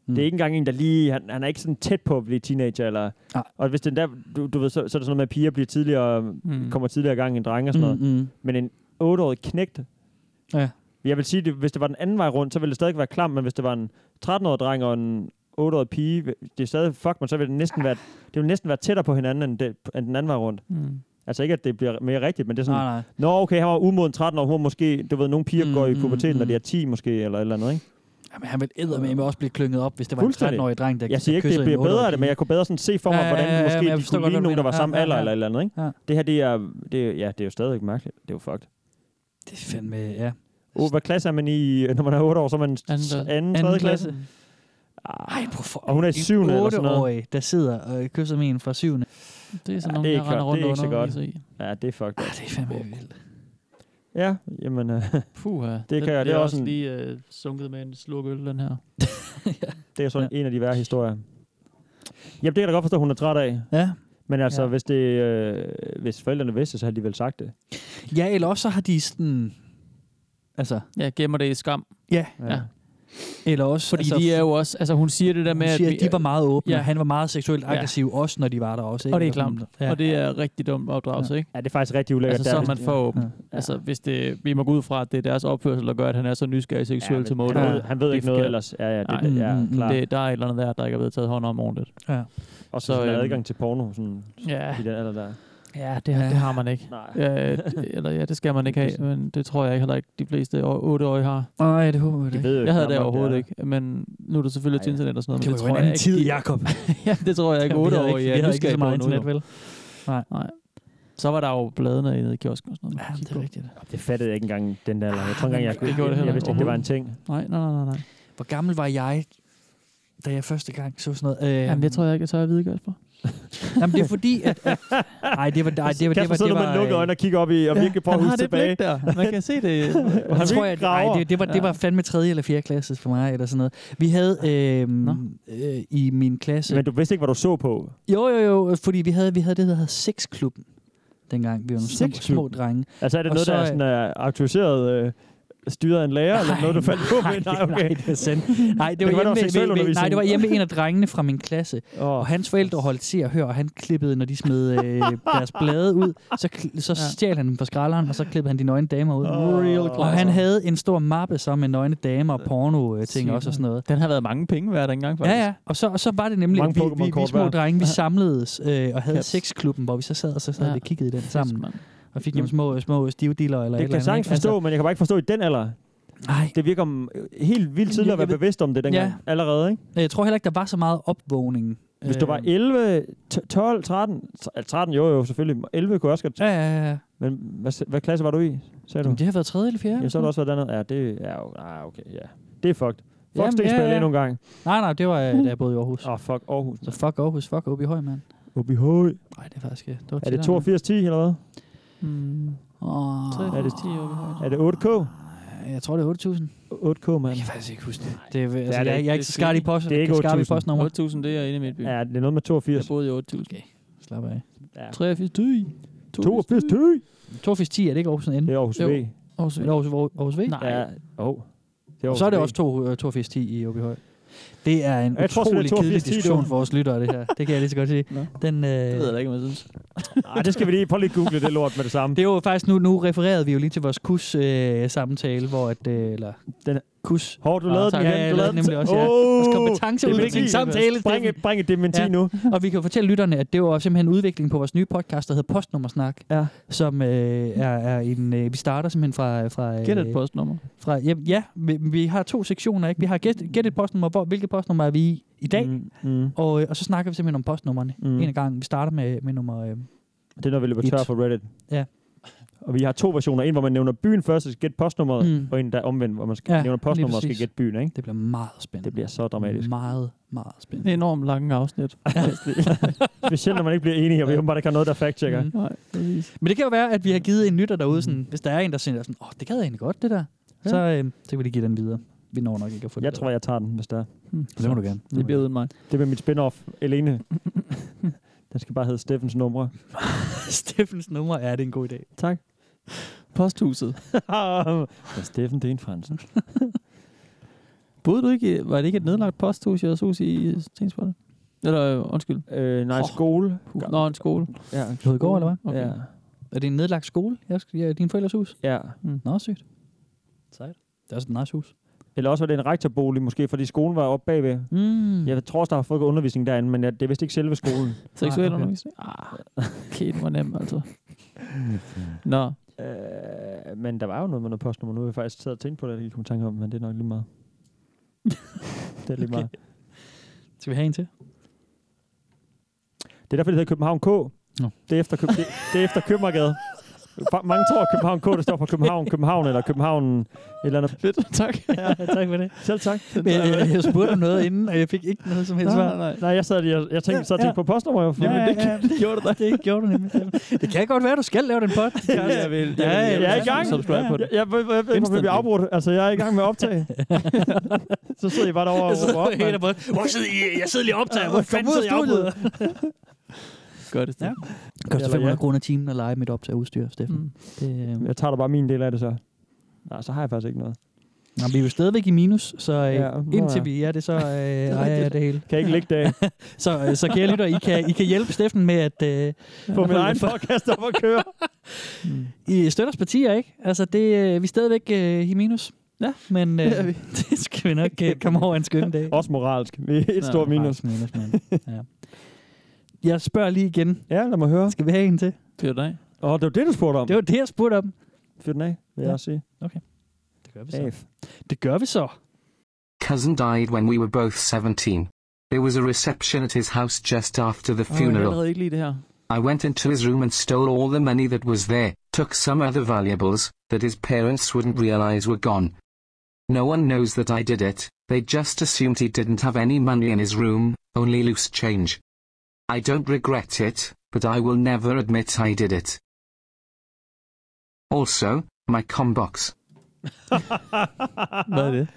S5: Mm.
S3: Det er ikke engang en, der lige... Han, han er ikke sådan tæt på at blive teenager, eller...
S5: Ah.
S3: Og hvis den der... Du, du ved, så, så er det sådan noget med, at piger bliver tidligere... Mm. Kommer tidligere i gang end drenge og sådan noget.
S5: Mm, mm.
S3: Men en 8-årig knægt...
S5: Ja.
S3: Jeg vil sige, det, hvis det var den anden vej rundt, så ville det stadig være klam, men hvis det var en 13-årig dreng og en 8-årig pige, det er stadig fuck, men så ville det næsten være, det ville næsten være tættere på hinanden, end, det, end den anden vej rundt.
S4: Mm.
S3: Altså ikke, at det bliver mere rigtigt, men det er sådan,
S5: Nej, nej.
S3: Nå, okay, han var umoden 13 år, hun var måske, du ved, nogle piger mm, går i puberteten, mm, når de er 10 måske, eller et eller andet, ikke?
S5: Jamen, han ville eddermame også blive klynget op, hvis det var en
S3: Øh, Fuldstændig.
S5: 13-årig dreng, der
S3: jeg siger ikke,
S5: kysser
S3: det
S5: en
S3: bliver bedre af det, men
S5: 8-årig
S3: jeg kunne bedre sådan se for mig,
S5: Ja, ja,
S3: hvordan
S5: ja, ja, men
S3: måske
S5: jeg
S3: de
S5: forstår
S3: kunne
S5: godt,
S3: ligne
S5: hvad du
S3: nogen, der var
S5: mener.
S3: samme
S5: Ja, ja,
S3: alder
S5: ja.
S3: eller et eller andet. Ikke?
S5: Ja.
S3: Det her, det er, det, er- ja, det er jo stadigvæk mærkeligt. Det er jo fucked.
S5: Det er fandme, ja.
S3: Oh, hvad klasse er man i, når man er 8 år, så er man anden, anden tredje klasse?
S5: Ej, prøv for,
S3: Og hun er i
S5: en
S3: syvende eller sådan noget.
S5: 8-årig, der sidder og kysser med en fra syvende.
S4: Det er sådan
S3: Ja,
S4: nogen,
S3: det er
S4: der
S3: ikke
S4: render
S3: godt.
S4: rundt
S3: Det er ikke så
S4: og
S3: godt.
S4: underviser i.
S3: Ja, det er
S5: Ja,
S3: fucked.
S5: det er fandme vildt.
S3: Ja, jamen... Uh,
S4: Puh, det,
S3: det, kan, det, det er også en,
S4: lige øh, sunket med en slukøl, den her.
S3: det er sådan ja. en af de værre historier. Jamen, det kan jeg da godt forstå, hun er træt af.
S5: Ja.
S3: Men altså, ja. hvis, det, øh, hvis forældrene vidste, så havde de vel sagt det.
S5: Ja, eller også så har de sådan... Altså...
S4: Ja, gemmer det i skam.
S5: Ja.
S4: ja.
S5: Eller også...
S4: Fordi altså, de er jo også... Altså, hun siger det der med,
S5: hun siger,
S4: vi-
S5: at de var meget åbne,
S4: Ja.
S5: ja. og han var meget seksuelt
S4: Ja.
S5: aggressiv, ja. også når de var der også. Ikke?
S4: Og det er
S5: Eller
S4: klamt.
S5: sådan-
S4: Ja. Og det er rigtig dumt opdragelse,
S5: Ja.
S4: ikke?
S3: Ja, det er faktisk rigtig ulækkert.
S4: Altså,
S3: Der
S4: så
S3: er
S4: er man
S3: vist-
S4: for åben. Altså, hvis det, vi må gå ud fra, at det er deres opførsel, der gør, at han er så nysgerrig seksuelt
S3: men
S4: som
S3: han
S4: otte
S3: ved- han ved ikke noget ellers. Ja, ja, det- det-
S4: Mm,
S3: ja, klart.
S4: det, der er et eller andet der, der ikke er blevet taget hånd om ordentligt.
S5: Ja.
S3: Og så, sådan,
S4: øhm,
S3: adgang til porno, sådan,
S4: ja.
S3: i den alder der.
S4: Ja, det, ja. det har man ikke.
S3: Nej.
S4: Ja, d- eller ja, det skal man ikke have, men det tror jeg ikke heller ikke, de fleste 8-årige har.
S5: Nej, det håber jeg da De ikke. ved jo ikke
S4: jeg havde det
S5: nok om
S4: overhovedet
S5: det
S4: ikke, men nu er det selvfølgelig til internet og sådan noget.
S5: Det
S4: men
S5: var jo en
S4: tror
S5: anden
S4: jeg
S5: tid,
S4: ikke, de-
S5: Jacob.
S4: ja, det tror jeg ikke,
S5: Ja, vi havde
S4: 8-årige
S5: ikke- vi
S4: er
S5: havde ikke så
S4: nysgerrige på
S5: meget
S4: noget nu.
S5: internet, vel? Nej.
S4: Nej. Så var der jo bladene nede i kiosken og sådan noget. Ja, det er rigtigt.
S3: Det fattede jeg ikke engang, den der alder. Jeg tror
S4: Ah,
S3: ikke engang, jeg,
S4: det gjorde det
S3: jeg,
S4: heller
S3: jeg vidste ikke, det var en
S4: ikke.
S3: ting.
S4: Nej, nej, nej, nej.
S5: Hvor gammel var jeg, da jeg første gang så sådan noget? Øh,
S4: Jamen, det tror jeg ikke, jeg tør at vide, Kasper.
S5: Jamen, det er fordi, at... at nej, det var... Nej, det var... Det var,
S3: Kasper
S5: det
S3: sidder
S5: var,
S3: med lukkede øjne og kigger op i, og virkelig prøver at
S4: han
S3: huske
S4: har det
S3: tilbage.
S4: blik der. Man kan se det.
S5: Jeg tror, jeg, nej, det, det, var, det var fandme 3. eller 4. klasse for mig, eller sådan noget. Vi havde øhm, øh, i min klasse...
S3: Men du vidste ikke, hvad du så på.
S5: Jo, jo, jo, fordi vi havde, vi havde det, der hedder sexklubben, dengang vi var nogle små, små
S3: Sexklubben?
S5: drenge.
S3: Altså er det
S5: Og
S3: noget,
S5: så,
S3: der er sådan, uh, autoriseret øh, styret af en lærer, eller noget, du fandt på?
S5: nej,
S3: Nej, okay.
S5: nej, det er sandt. Nej, det var, hjemme,
S3: være,
S5: ved, ved, ved, nej, det var hjemme ved en af
S3: drengene.
S5: drengene fra min klasse, oh. og hans forældre holdt se og hør, og han klippede, når de smed øh, deres blade ud, så, kl- så stjal han dem fra skralderen, og så klippede han de nøgne damer ud.
S4: Oh. Real
S5: og han havde en stor mappe så med nøgne damer og porno-ting
S4: Sygt.
S5: også og sådan noget.
S4: Den har været mange penge værd dengang, faktisk.
S5: Ja, ja. Og så, og så var det nemlig,
S4: Mange
S5: at vi, vi, vi
S4: Pokémon-kort
S5: små
S4: hver.
S5: drenge, vi samledes øh, og havde
S4: Kaps.
S5: sexklubben, hvor vi så sad og så sad ja.
S4: Ja.
S5: og kiggede i den sammen. Og fik nogle små, små stivdiller eller et
S3: Mm. Det kan
S5: eller
S3: jeg
S5: andet.
S3: sagtens
S5: ikke? Altså,
S3: forstå, men jeg kan bare ikke forstå i den alder.
S5: Nej.
S3: Det virker mm, helt vildt tidligt at være
S5: Jeg ved-
S3: bevidst om det dengang.
S5: Ja. Øh,
S3: Allerede, ikke?
S5: Jeg tror heller ikke, der var så meget opvågning.
S3: Hvis du var
S5: Øh,
S3: 11, t- 12, 13... t- 13, altså, jo jo, selvfølgelig. 11 kunne jeg også godt...
S5: Ja, ja, ja.
S3: Men hvad, hvad klasse var du i, sagde du?
S5: Jamen, det har været 3. eller 4.
S3: Ja, så har du også været dernede. Ja, det er jo... Ah, okay, ja. Det er fucked. Fuck Stensballe ja, ja. endnu en gang.
S5: Nej, nej, det var, øh, da jeg boede i Aarhus.
S3: Åh, oh, fuck Aarhus.
S5: Så fuck Aarhus, fuck OB Høj, mand.
S3: OB Høj.
S5: Nej, det er faktisk... øh, Det var
S3: Er
S5: tættere,
S3: det
S5: mand.
S3: 82-10 eller hvad?
S5: Mm. Oh.
S3: Er det, er det 8K?
S5: Jeg tror, det er 8.000.
S3: 8K, mand. Jeg
S5: kan faktisk ikke huske det. Det er, altså,
S3: det
S5: jeg, jeg, er ikke
S3: Det
S5: skarp i post,
S3: Det er ikke
S5: skarp i
S3: 8.000.
S5: postnummer.
S4: 8.000, det er inde i mit by.
S3: Ja, det er noget med 82.
S4: Jeg boede i 8.000. Okay.
S5: Slap af.
S3: Ja.
S4: 83 ty.
S3: 82 ty.
S5: 82 10, er det ikke Aarhus N?
S3: Det er Aarhus V.
S5: Jo. Aarhus V. Er det Aarhus, Aarhus V?
S4: Nej.
S3: Ja. Oh. Det
S5: Og så er det også to- øh, 82 10 i OB Høj. Det er en
S3: Jeg tror, det er
S5: utrolig
S3: 82
S5: kedelig
S3: 10, det
S5: diskussion
S3: var.
S5: for vores lyttere, det her. Det kan jeg lige så godt sige. Den, øh, det
S4: ved jeg da ikke, om jeg synes.
S3: Nej, det skal vi lige... Prøv lige at google det lort med det samme.
S5: Det er jo faktisk, nu, nu refererede vi jo lige til vores kus-samtale, hvor at, øh, eller
S3: den
S5: kus.
S3: Hvor du
S5: Nå,
S3: lavede
S5: tak.
S3: den
S5: Ja,
S3: igen.
S5: jeg
S3: Du
S5: lavede
S3: lavede
S5: den nemlig
S3: den til-
S5: også, ja.
S3: Åh,
S5: Vores
S3: dementi.
S5: kompetenceudvikling samtale.
S3: Bring et- bring et dementi nu.
S5: Og vi kan fortælle lytterne, at det var simpelthen udviklingen på vores nye podcast, der hedder Postnummersnak,
S3: ja.
S5: som øh, er, er en, øh, vi starter simpelthen fra... fra øh,
S4: Gæt et postnummer.
S5: Fra, ja, ja vi, vi, har to sektioner, ikke? Vi har gæt, gæt et postnummer, hvor, hvilket postnummer er vi i i dag,
S3: mm, mm.
S5: Og, øh, og så snakker vi simpelthen om postnummerne
S3: Mm.
S5: mm. en gang. Vi starter med, med nummer... Øh,
S3: Det er, når vi løber tør
S5: Et.
S3: for Reddit.
S5: Ja.
S3: Og vi har to versioner. En, hvor man nævner byen først, og skal gætte postnummeret,
S5: Mm.
S3: mm. og en, der er omvendt, hvor man skal
S5: Ja,
S3: ja, nævner postnummeret og skal
S5: lige præcis.
S3: gætte byen. Ikke?
S5: Det bliver meget spændende.
S3: Det bliver så dramatisk.
S5: Meget, meget spændende.
S4: Enormt lange afsnit.
S3: Specielt, når man ikke bliver enige, og vi åbenbart ikke har noget, der fact-checker.
S5: Mm. Men det kan jo være, at vi har givet en lytter derude, sådan, hvis der er en, der sender sådan, åh, oh, det gad jeg egentlig godt, det der.
S3: Ja.
S5: Så, øh, så kan vi lige give den videre. Vi når nok ikke at få
S3: Jeg
S5: det
S3: tror, jeg tager den, hvis der er.
S5: Mm. Det må du gerne.
S4: Det bliver uden mig.
S3: Det bliver mit spin-off, alene. den skal bare hedde Steffens numre.
S5: Steffens numre er det en god idé.
S3: Tak.
S4: Posthuset.
S3: ja, Steffen, det er en fransen.
S4: Boede du ikke, i- var det ikke et nedlagt posthus i jeres hus i Stensbolle? Eller, øh, undskyld.
S3: Øh, nej, skole.
S4: Nå, en skole.
S3: Ja, en
S5: Hovedgård, eller hvad?
S4: Okay.
S3: Ja.
S5: Er det en nedlagt skole? Jeg skal, ja, din forældres hus?
S3: Ja.
S5: Mm. Nå, sygt. Sejt. Det er også et nice hus.
S3: Eller også var det en rektorbolig, måske, fordi skolen var oppe bagved.
S5: Mm.
S3: Jeg tror også, der har fået undervisning derinde, men jeg, det er vist ikke selve skolen.
S4: Seksuel undervisning? Ah, okay, det var nemt, altså. Nå.
S3: Øh, men der var jo noget med noget postnummer. Nu har jeg faktisk siddet og tænkt på det, jeg lige kom i tanke om, men det er nok lige meget. det er lige meget. Okay.
S5: Skal vi have en til?
S3: Det er derfor, det hedder København K.
S5: Nå.
S3: Det er efter, Køb- det, det er efter Købmagergade. Fa- Mange tror, at København K, det står for København, København eller København et eller andet.
S4: Fedt, tak.
S5: ja, tak for det.
S3: Selv tak.
S5: Men, jeg, jeg spurgte om noget inden, og jeg fik ikke noget som helst
S3: Nej,
S5: svar.
S3: nej, nej. Nej, jeg sad lige og- jeg tænkte- sad og tænkte på postnummer, jo, for-
S5: Ja, ja,
S3: Jamen, det-
S5: ja, det gjorde du da. det gjorde du nemlig. Det kan godt være, du skal lave den pot.
S3: Ja, jeg
S4: vil.
S3: Jeg, jeg, jeg er i gang.
S4: Subscribe på den.
S3: Jeg, jeg, jeg, jeg, jeg, jeg
S4: Instantly.
S3: bliver afbrudt. Altså, jeg er i gang med at optage. så sidder I bare derovre og
S5: Jeg sidder
S3: råber op.
S5: helt
S3: mand.
S5: og bare, "Hvor sidder I? Jeg sidder lige og optager. Hvor
S3: Kom
S5: fanden
S3: ud af
S5: sidder I og
S3: studiet?"
S4: Gør det, ja.
S5: Det koster 500 kroner timen at lege mit optag udstyr, Steffen. Mm. Det,
S3: Øhm, Jeg tager da bare min del af det så. Nej, så har jeg faktisk ikke noget.
S5: Nå, vi er jo stadigvæk i minus, så øh,
S3: Ja,
S5: ja,
S3: nå ja.
S5: indtil vi er det, så øh, ejer jeg
S3: rigtigt.
S5: det hele.
S3: Kan jeg ikke lægge det af?
S5: så, øh, så kære lytter, I kan, I kan hjælpe Steffen med at... Øh,
S3: Få min egen podcast op at køre.
S5: I støtters partier, ikke? Altså, det, øh, vi er stadigvæk øh, i minus.
S4: Ja,
S5: men øh,
S3: det er vi.
S5: det skal vi nok øh, komme over en skøn dag.
S3: Også moralsk. Vi er et
S5: Nå,
S3: stort minus.
S5: moralsk minus, mand. Ja. Jeg spørger lige igen.
S3: Ja, lad mig høre.
S5: Skal vi have en til?
S4: Det er dig.
S3: Åh, oh, det var det, du spurgte om.
S5: Det var det, jeg spurgte om.
S3: Fyr den af, vil
S5: Ja.
S3: jeg også sige.
S5: Okay. Det gør vi så.
S3: Af.
S5: Det gør vi så.
S14: Cousin died when we were both 17. There was a reception at his house just after the
S4: Åh, jeg kan
S14: funeral.
S4: allerede ikke lide det her.
S14: I went into his room and stole all the money that was there, took some other valuables that his parents wouldn't realize were gone. No one knows that I did it, they just assumed he didn't have any money in his room, only loose change. I don't regret it, but I will never admit I did it. Also, my combox.
S4: Hvad er det?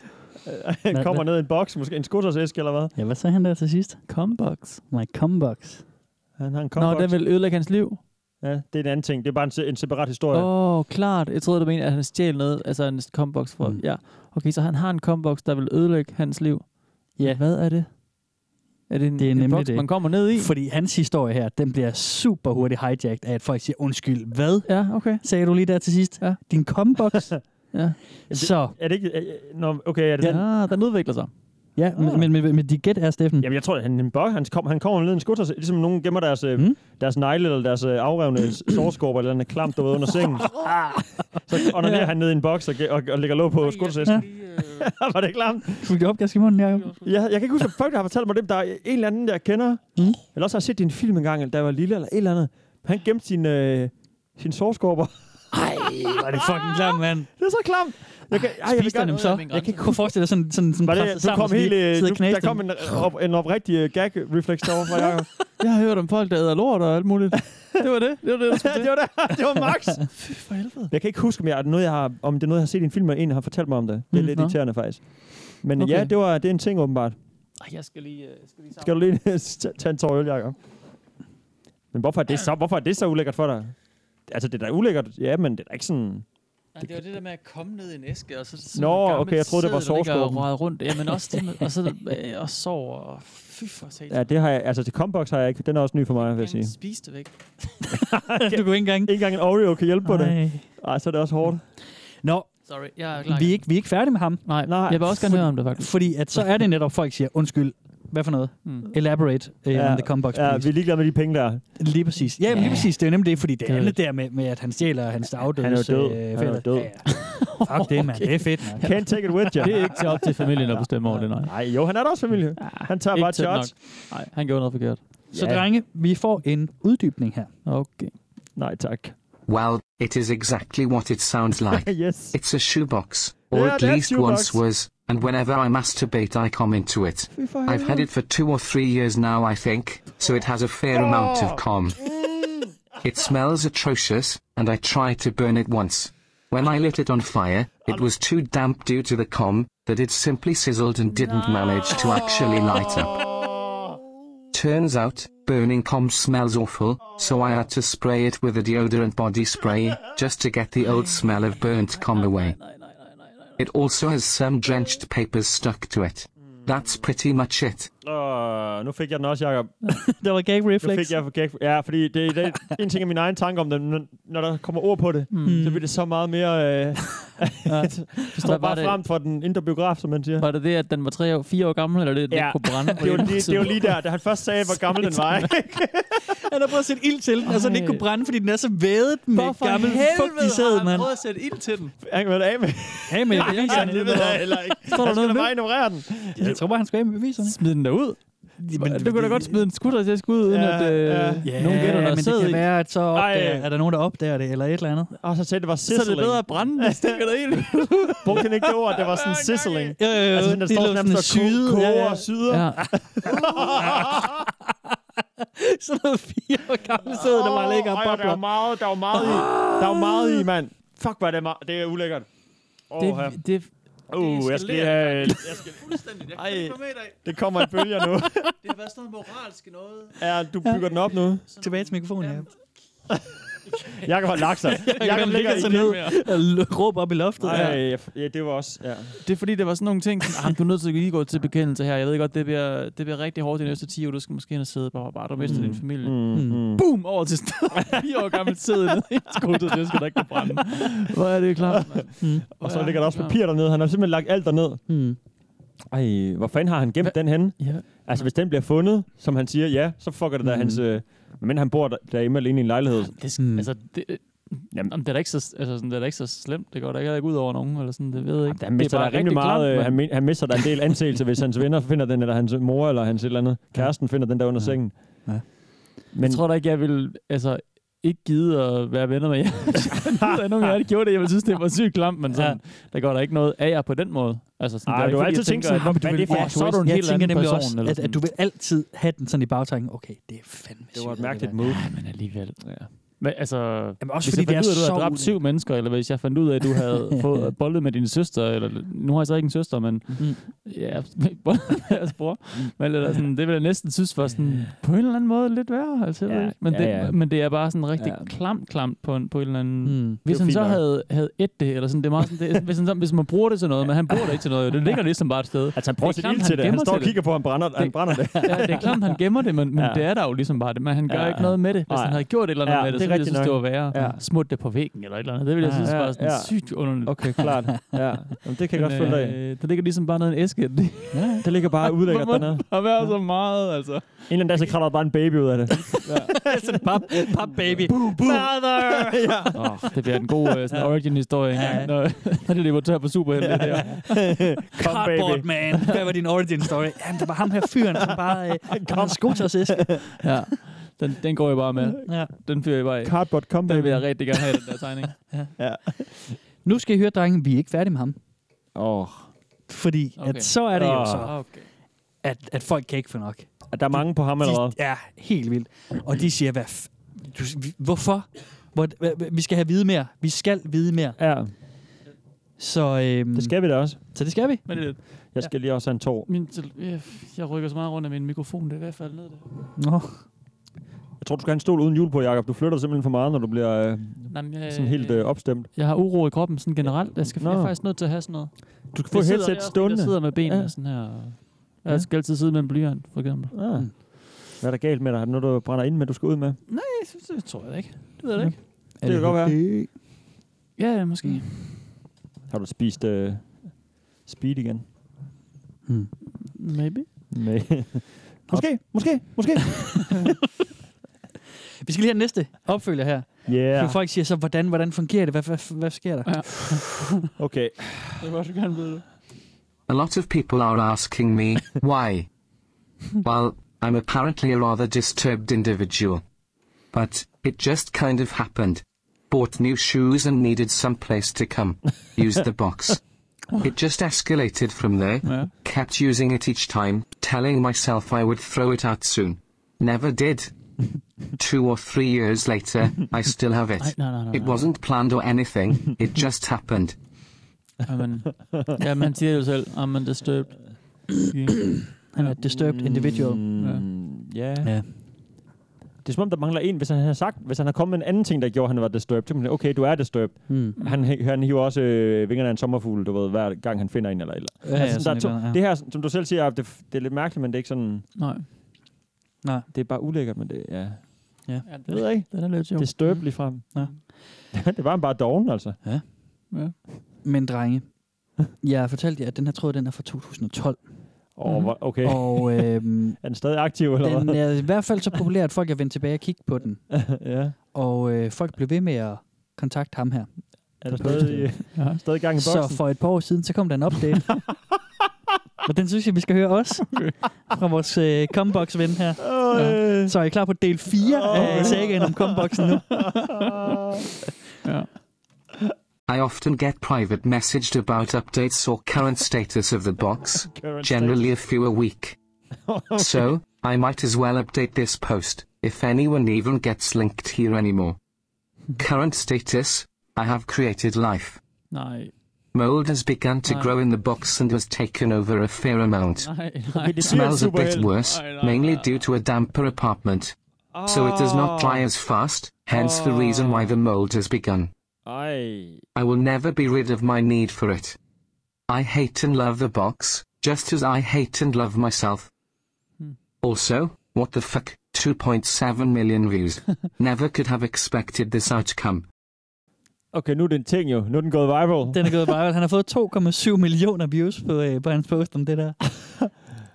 S3: Han kommer ned i en boks, måske en skuttersæsk eller hvad?
S5: Ja, hvad sagde han der til sidst?
S4: Combox.
S5: My combox.
S3: Han har en
S4: Nå,
S3: komboks.
S4: den vil ødelægge hans liv.
S3: Ja, det er en anden ting. Det er bare en, se- en separat historie.
S4: Åh, oh, klart. Jeg troede, du mente, at han stjal noget, altså en combox fra... Mm. Ja. Okay, så han har en combox, der vil ødelægge hans liv.
S5: Ja.
S4: Hvad er det? Er det en,
S5: det er
S4: en
S5: nemlig
S4: boks,
S5: det.
S4: man kommer ned i?
S5: Fordi hans historie her, den bliver super hurtigt hijacked af, at folk siger, undskyld, hvad?
S4: Ja, okay.
S5: Sagde du lige der til sidst?
S4: Ja.
S5: Din komboks?
S4: ja.
S3: Det,
S5: Så.
S3: Er det ikke... Er, er- nå, okay, er det
S5: Ja,
S4: den udvikler sig.
S5: Ja, men, men, men, men de gæt er, Steffen.
S3: Jamen, jeg tror, at han, han, bør- han, kom, han kommer ned i en skutter, ligesom nogen gemmer deres,
S5: Hmm?
S3: mm. deres negle eller deres øh, afrevne s- sårskorper eller andet klamt, der var under sengen. så onanerer han ned i en boks og, ge- og, og lægger låg på skuttersæsken. Ah, var det klamt?
S5: Fik du opgaske i munden, Jacob?
S3: Ja, jeg kan ikke huske, at folk der har fortalt mig det, men der er en eller anden, jeg kender,
S5: mm.
S3: eller også har set det i en film engang, eller da jeg var lille, eller et eller andet. Han gemte sin, øh, sin sårskorper.
S5: Ej, var det fucking klamt, mand.
S3: Det er så klamt. Jeg kan, ej, jeg vil
S5: Spiste han
S3: gerne-
S5: dem så? Jeg kan ikke forestille dig sådan, sådan, sådan
S3: Var det,
S5: presset
S3: du
S5: sammen,
S3: kom
S5: og sådan
S3: helt,
S5: lige
S3: øh,
S5: sidde og
S3: du,
S5: knæse
S3: der kom
S5: dem.
S3: en, op, en oprigtig øh, gag-refleks derovre fra Jacob.
S4: Jeg har hørt om folk, der æder lort og alt muligt. Det var det. Det var det, der skulle
S3: det var det. Det var max.
S4: Fy for helvede.
S3: Jeg kan ikke huske, om, jeg, er det noget, jeg har, om det er noget, jeg har set i en film, og en har fortalt mig om det. Det er
S4: Mm,
S3: mm, lidt
S4: nå.
S3: irriterende, faktisk. Men
S4: Okay.
S3: okay. ja, det, var, det er en ting, åbenbart.
S4: Ej, jeg skal lige... øh, skal lige
S3: Skal du lige tage en tår øl, Jacob? Men hvorfor er, det så, hvorfor er det så ulækkert for dig? Altså, det er da ulækkert, ja, men det er da ikke sådan...
S4: Nej, det var det der med at komme ned i en æske, og så sådan
S3: Nå,
S4: en gammel
S3: okay, jeg troede, det var
S4: sæd, der ligger og
S3: soveskåben.
S4: roder rundt. Ja, men også det med, og så øh, og sår, og fy for satan.
S3: Ja, det har jeg, altså til Combox har jeg ikke, den er også ny for mig, vil jeg sige.
S4: Spis det væk.
S5: du kunne ikke engang... Ikke
S3: engang en Oreo kan hjælpe på det. Ej, så er det også hårdt.
S5: Nå,
S4: Sorry, jeg er klar.
S5: vi er, ikke, vi er ikke færdige med ham.
S4: Nej, Nej. jeg vil også gerne høre om det, faktisk.
S5: Fordi at så er det netop, folk siger, undskyld, hvad for noget?
S4: Mm.
S5: Elaborate uh, ja, on the combox,
S3: ja, vi
S5: please.
S3: er ligeglade med de penge, der er.
S5: Lige præcis. Ja, men lige præcis. Det er jo nemlig det, fordi det
S3: Det er
S5: andet der med, med, at han stjæler hans afdødes...
S3: Han er jo død.
S5: øh,
S3: Han er jo
S5: fætter.
S3: død.
S5: Ja, ja. Fuck det, mand. Det er fedt, mand.
S3: Can't take it with you.
S4: Det er ikke til op til familien at bestemme over det, nej. Ah,
S3: Nej, jo, han er da også familie. Han tager bare shots.
S4: Nej, han gjorde noget forkert.
S5: Så drenge, vi får en uddybning her.
S4: Okay.
S3: Nej, tak.
S14: Well, it is exactly what it sounds like.
S3: yes.
S14: It's a shoebox, or
S3: Yeah,
S14: at
S3: that's
S14: least
S3: shoebox.
S14: once was, and whenever I masturbate, I come into it.
S3: Fy for
S14: I've had
S3: helvede.
S14: it for two or three years now, I think, so it has a fair amount
S3: Oh.
S14: of com. It smells atrocious, and I tried to burn it once. When I lit it on fire, it was too damp due to the com that it simply sizzled and didn't manage to actually light up. Turns out, burning com smells awful, so I had to spray it with a deodorant body spray just to get the old smell of burnt com away. It also has some drenched papers stuck to it. That's pretty much it.
S3: Åh, nu fik jeg den også, Jacob.
S5: der var gag
S3: Nu fik jeg for gag, ja, fordi det, det er en ting af mine egne tanker om det, men når der kommer ord på det,
S4: Mm.
S3: mm. så bliver det så meget mere... Øh, det
S4: Hvad var
S3: står bare
S4: det?
S3: frem for den indre biograf, som man siger.
S4: Var det det, at den var tre år, fire år gammel, eller det, at den ikke kunne brænde? på
S3: det var,
S4: det
S3: lige, det var lige der, da han først sagde, hvor gammel den var. ikke?
S5: Han har prøvet at sætte ild til den, og så den ikke kunne brænde, fordi den er så vædet med
S4: Hvorfor
S5: gammel
S4: helvede
S5: fugtig
S4: har
S5: sæd,
S4: han
S5: mand.
S4: prøvet at sætte ild til den?
S3: Han kan være af med.
S5: Af med
S3: Ja,
S5: beviserne.
S3: det ved jeg heller ikke.
S5: Står der
S3: Han skal
S5: noget
S3: da
S5: med?
S3: bare ignorere den.
S5: Jeg tror bare, han skal af med beviserne.
S4: Smid den derud.
S5: Men,
S4: Du kunne da godt smide en skutter til skud, uden
S3: Ja,
S4: at øh,
S5: Ja,
S4: nogen gætter, der
S5: men det
S4: sidder
S5: kan
S4: i.
S5: være, at så opdager,
S3: Ej.
S5: er der nogen, der opdager det, eller et eller andet.
S3: Og så sagde det var
S4: Så
S3: sizzling.
S4: er det bedre at brænde den, stikker der ind.
S3: Brugte han ikke det ord, det var sådan sizzling.
S5: Jo, jo, jo.
S3: Altså, sådan, der
S5: Det
S3: står
S5: lå
S3: nærmest og
S5: sådan syde.
S3: ko- koger
S5: Ja, ja.
S3: og syder.
S4: Ja.
S5: Sådan noget fire år gammel sæd, der bare ligger og
S3: Åh, ej, Der
S5: bobler.
S3: var meget, der var meget i. Der var meget i, mand. Fuck, hvor er det, meget. det er ulækkert. Åh,
S4: Det,
S3: her.
S4: det,
S3: Uh, jeg skal lige have... Jeg skal...
S4: Fuldstændig. Jeg
S3: Ej, det kommer i bølger nu.
S4: Det har været sådan noget moralsk noget.
S3: Ja, du bygger den op nu.
S5: Tilbage til mikrofonen, ja.
S3: Jakob har lagt sig. Jakob
S5: Jakob
S3: ligger
S5: ligger
S3: i
S5: sig
S3: det.
S5: ned og l- råber op i loftet.
S3: Nej, jeg- ja, det var også... Ja.
S4: Det er fordi, det var sådan nogle ting, som, ah, du er nødt til at lige gå til bekendelse her. Jeg ved godt, det bliver, det bliver rigtig hårdt de næste 10 år. Du skal måske ind og sidde bare, bare du mister din familie.
S3: Mm.
S4: Boom! Over til stedet. 4 år gammel sidde ned i skuddet. Det skal da ikke kunne brænde. Hvor er det klart, mand.
S3: Og så ligger der også papir dernede. Han har simpelthen lagt alt dernede.
S5: Mm.
S3: Ej, hvor fanden har han gemt den henne?
S4: Ja. Mm.
S3: Altså, hvis den bliver fundet, som han siger, ja, så fucker det der hans... Øh, men han bor der, derhjemme alene i en lejlighed.
S4: Det, skal, altså, det, Jamen. Jamen, det, er da ikke så, altså, sådan, det er da ikke så slemt. Det går da ikke, ikke ud over nogen, eller sådan, det ved jeg ikke.
S3: Han mister
S4: det
S3: da
S4: er bare
S3: rimelig
S4: rigtig
S3: meget. øh,
S4: klamt,
S3: han,
S4: mand.
S3: men- han mister da en del anseelse, hvis hans venner finder den, eller hans mor, eller hans et eller andet. Kæresten finder den der under sengen.
S5: Ja.
S3: Men
S4: Jeg tror da ikke, jeg ville altså, ikke gide at være venner med jer. Hvis der nogen af jer, der gjorde det. Jeg ville synes, det var sygt klamt, men sådan, der går der ikke noget af jer på den måde. Altså, sådan,
S3: Ej,
S4: det
S3: du
S4: er ikke,
S3: har
S4: fordi,
S3: altid
S4: jeg
S3: tænkt
S4: tænker,
S3: sådan,
S4: at-
S3: "Nå, men
S4: men
S3: det er
S4: hvorfor
S3: faktisk-
S4: så er du en
S5: jeg
S4: helt
S5: tænker
S4: anden
S5: nemlig
S4: person.
S5: også,
S4: eller
S5: at, at
S4: sådan.
S5: du vil altid have den sådan i bagtanken. Okay, det er fandme
S3: det var et
S5: sygt,
S3: mærkeligt
S5: der.
S3: move.
S4: Men alligevel, ja. Men altså, Jamen
S5: også
S4: hvis
S5: fordi
S4: jeg
S5: det er
S4: fandt ud af, at
S5: så
S4: du havde dræbt
S5: ulækkert.
S4: syv mennesker, eller hvis jeg fandt ud af, at du havde fået boldet med din søster, eller nu har jeg så ikke en søster, men
S5: mm.
S4: ja, boldet med deres bror. Men eller sådan, det ville jeg næsten synes var sådan, på en eller anden måde lidt værre. Altså, jeg ved
S5: Ja,
S4: ikke. men,
S5: ja,
S4: det,
S5: ja.
S4: men det er bare sådan rigtig
S5: Ja.
S4: ja. klamt, klamt på en, på en eller anden... Mm.
S5: Det er
S4: Hvis han
S5: fint
S4: så
S5: nok.
S4: havde, havde et det, eller sådan, det er meget sådan, det, er- hvis, han, så- hvis man bruger det til noget, men han bruger det ikke til noget, det ligger ligesom bare et sted. Altså han
S3: prøver at sætte ild til det. Han
S4: gemmer
S3: står og
S4: til
S3: kigger på, han brænder- han brænder det.
S4: ja, det er klart, han gemmer det, men, men
S3: Ja.
S4: det er der jo ligesom bare det. Men han gør
S3: Ja.
S4: ikke noget med det. Hvis
S3: Nej.
S4: han havde gjort et eller andet
S3: Ja,
S4: med det,
S3: det
S4: så
S3: er
S4: ville jeg
S3: rigtigt
S4: synes, det var
S3: nok.
S4: værre.
S3: Ja.
S4: Smut det på væggen eller et eller andet. Det ville jeg
S3: Ja,
S4: synes
S3: ja,
S4: var sådan
S3: ja.
S4: sygt underligt.
S3: Okay, klart. Ja. Jamen, det kan jeg godt følge dig i.
S4: øh, Der ligger ligesom bare noget i en æske.
S3: Ja. Det ligger bare udlækkert
S4: Hvor må
S3: dernede.
S4: den bare være så meget, altså. En
S3: eller anden dag, så kratter der bare en baby ud af det.
S5: Sådan pap, pap baby. Father!
S3: ja.
S4: Oh, det bliver en god øh, sådan origin-historie engang, når, når det løber tør på superhelte. Ja. Der.
S5: Cardboard man. Hvad var din origin story? Jamen, det var ham her fyren, som bare øh, kom sko til os æske.
S4: Ja. Den, den går jeg bare med.
S5: Ja.
S4: Den fyrer jeg bare i.
S3: Cardboard come
S4: Den vil jeg rigtig gerne have, den der tegning.
S3: ja.
S5: Nu skal I høre, drenge, vi er ikke færdige med ham.
S3: Oh.
S5: Fordi okay.
S4: Okay. Ah,
S5: at så er det jo
S3: Åh.
S5: så,
S4: okay.
S5: at, at folk kan ikke få nok.
S3: At der er mange på ham allerede.
S5: De, ja, helt vildt. Og de siger, hvad f- du, vi- hvorfor? Hvor, hva- hva- vi skal have vide mere. Vi skal vide mere.
S3: Ja.
S5: Så, øhm,
S3: Det skal vi da også.
S5: Så det skal vi.
S4: Men det,
S3: Jeg skal lige også have en tår.
S4: Min tel- øh, jeg rykker så meget rundt af min mikrofon, det er i hvert fald ned der.
S5: Nå.
S3: Jeg tror, du skal have en stol uden hjul på, Jacob. Du flytter simpelthen for meget, når du bliver øh,
S4: Nej, men jeg-
S3: sådan helt øh, opstemt.
S4: Jeg har uro i kroppen sådan generelt. Jeg skal
S3: Nå.
S4: jeg er faktisk nødt til at have sådan noget.
S3: Du skal få et
S4: Jeg sidder-
S3: headset
S4: jeg er også en,
S3: stående.
S4: Jeg sidder med benene
S3: Ja.
S4: ja. sådan her. Jeg skal altid sidde med en blyant, for eksempel. Mm.
S3: Ja. Ah. Hvad er der galt med dig? Er det noget, du brænder ind med, du skal ud med?
S4: Nej, jeg synes, det tror jeg da ikke. Det ved jeg da
S3: Ja.
S4: ikke.
S3: Det kan godt være.
S4: Ja, måske.
S3: Har du spist øh, speed igen?
S4: Maybe.
S3: Nej.
S5: Måske,
S3: måske, måske.
S5: vi skal lige have næste opfølger her.
S3: Yeah.
S5: For folk siger så, hvordan, hvordan fungerer det? Hvad, hvad, hvad sker der? Ja.
S3: okay.
S4: Det var så gerne vide det.
S14: A lot of people are asking me why. well, I'm apparently a rather disturbed individual. But it just kind of happened. Bought new shoes and needed some place to come. Used the box. It just escalated from there. Kept using it each time, telling myself I would throw it out soon. Never did. Two or three years later, I still have it.
S4: I- no, no, no,
S14: it
S4: no.
S14: wasn't planned or anything, it just happened.
S4: Jamen, ja, man siger jo selv, "Ah, at man disturbed.
S5: Han er et disturbed individual.
S3: Ja.
S5: ja.
S3: Det er som om, der mangler en. Hvis han havde sagt, hvis han havde kommet med en anden ting, der gjorde, at han var disturbed, så kunne man sige, okay, du er disturbed.
S5: Mm.
S3: Han, han hiver også øh, vingerne af en sommerfugl, du ved, hver gang han finder en eller et eller. andet. Altså,
S5: Ja, ja, sådan
S3: der er
S5: et
S3: to,
S5: eller andet, ja.
S3: Det her, som du selv siger, Jacob, det, det er lidt mærkeligt, men det er ikke sådan...
S4: Nej.
S5: Nej.
S3: Det er bare ulækkert, men det ja.
S5: Ja.
S3: Det ved jeg ikke.
S4: Den er lidt sjov.
S3: Det er støbeligt frem.
S5: Ja.
S3: det var han bare doven, altså.
S5: Ja.
S4: Ja.
S5: Men drenge, jeg har fortalt jer, at den her tråd, den er fra 2012.
S3: Åh, hvor- okay.
S5: Og øhm,
S3: Er den stadig aktiv, eller
S5: den
S3: hvad?
S5: er øh, i hvert fald så populær, at folk er vendt tilbage og kigge på den.
S3: ja.
S5: Og øh, folk blev ved med at kontakte ham her.
S3: Er der stadig, ja. stadig gang i boksen?
S5: Så for et par år siden, så kom der en update. og den synes jeg, vi skal høre også. Fra vores øh, Combox-ven her. Ja. Så er I klar på del 4 af sagaen om Comboxen nu?
S14: I often get private messaged about updates or current status of the box,
S3: Current
S14: generally a few a week. So, I might as well update this post, if anyone even gets linked here anymore. Current status I have created life.
S4: Nej.
S14: Mold has begun to
S4: Aye.
S14: grow in the box and has taken over a fair amount.
S4: Aye, aye.
S14: It smells a bit
S4: Superheld.
S14: worse,
S4: Aye, aye,
S14: mainly due to a damper apartment. So it does not dry as fast, hence the reason why the mold has begun.
S3: Ej.
S14: I will never be rid of my need for it. I hate and love the box, just as I hate and love myself. Hmm. Also, what the fuck, 2.7 million views. never could have expected this outcome.
S3: Okay, nu er det en ting jo. Nu er den gået viral.
S5: Den er gået viral. Han har fået 2,7 millioner views på, øh, på hans post om det der. Ah.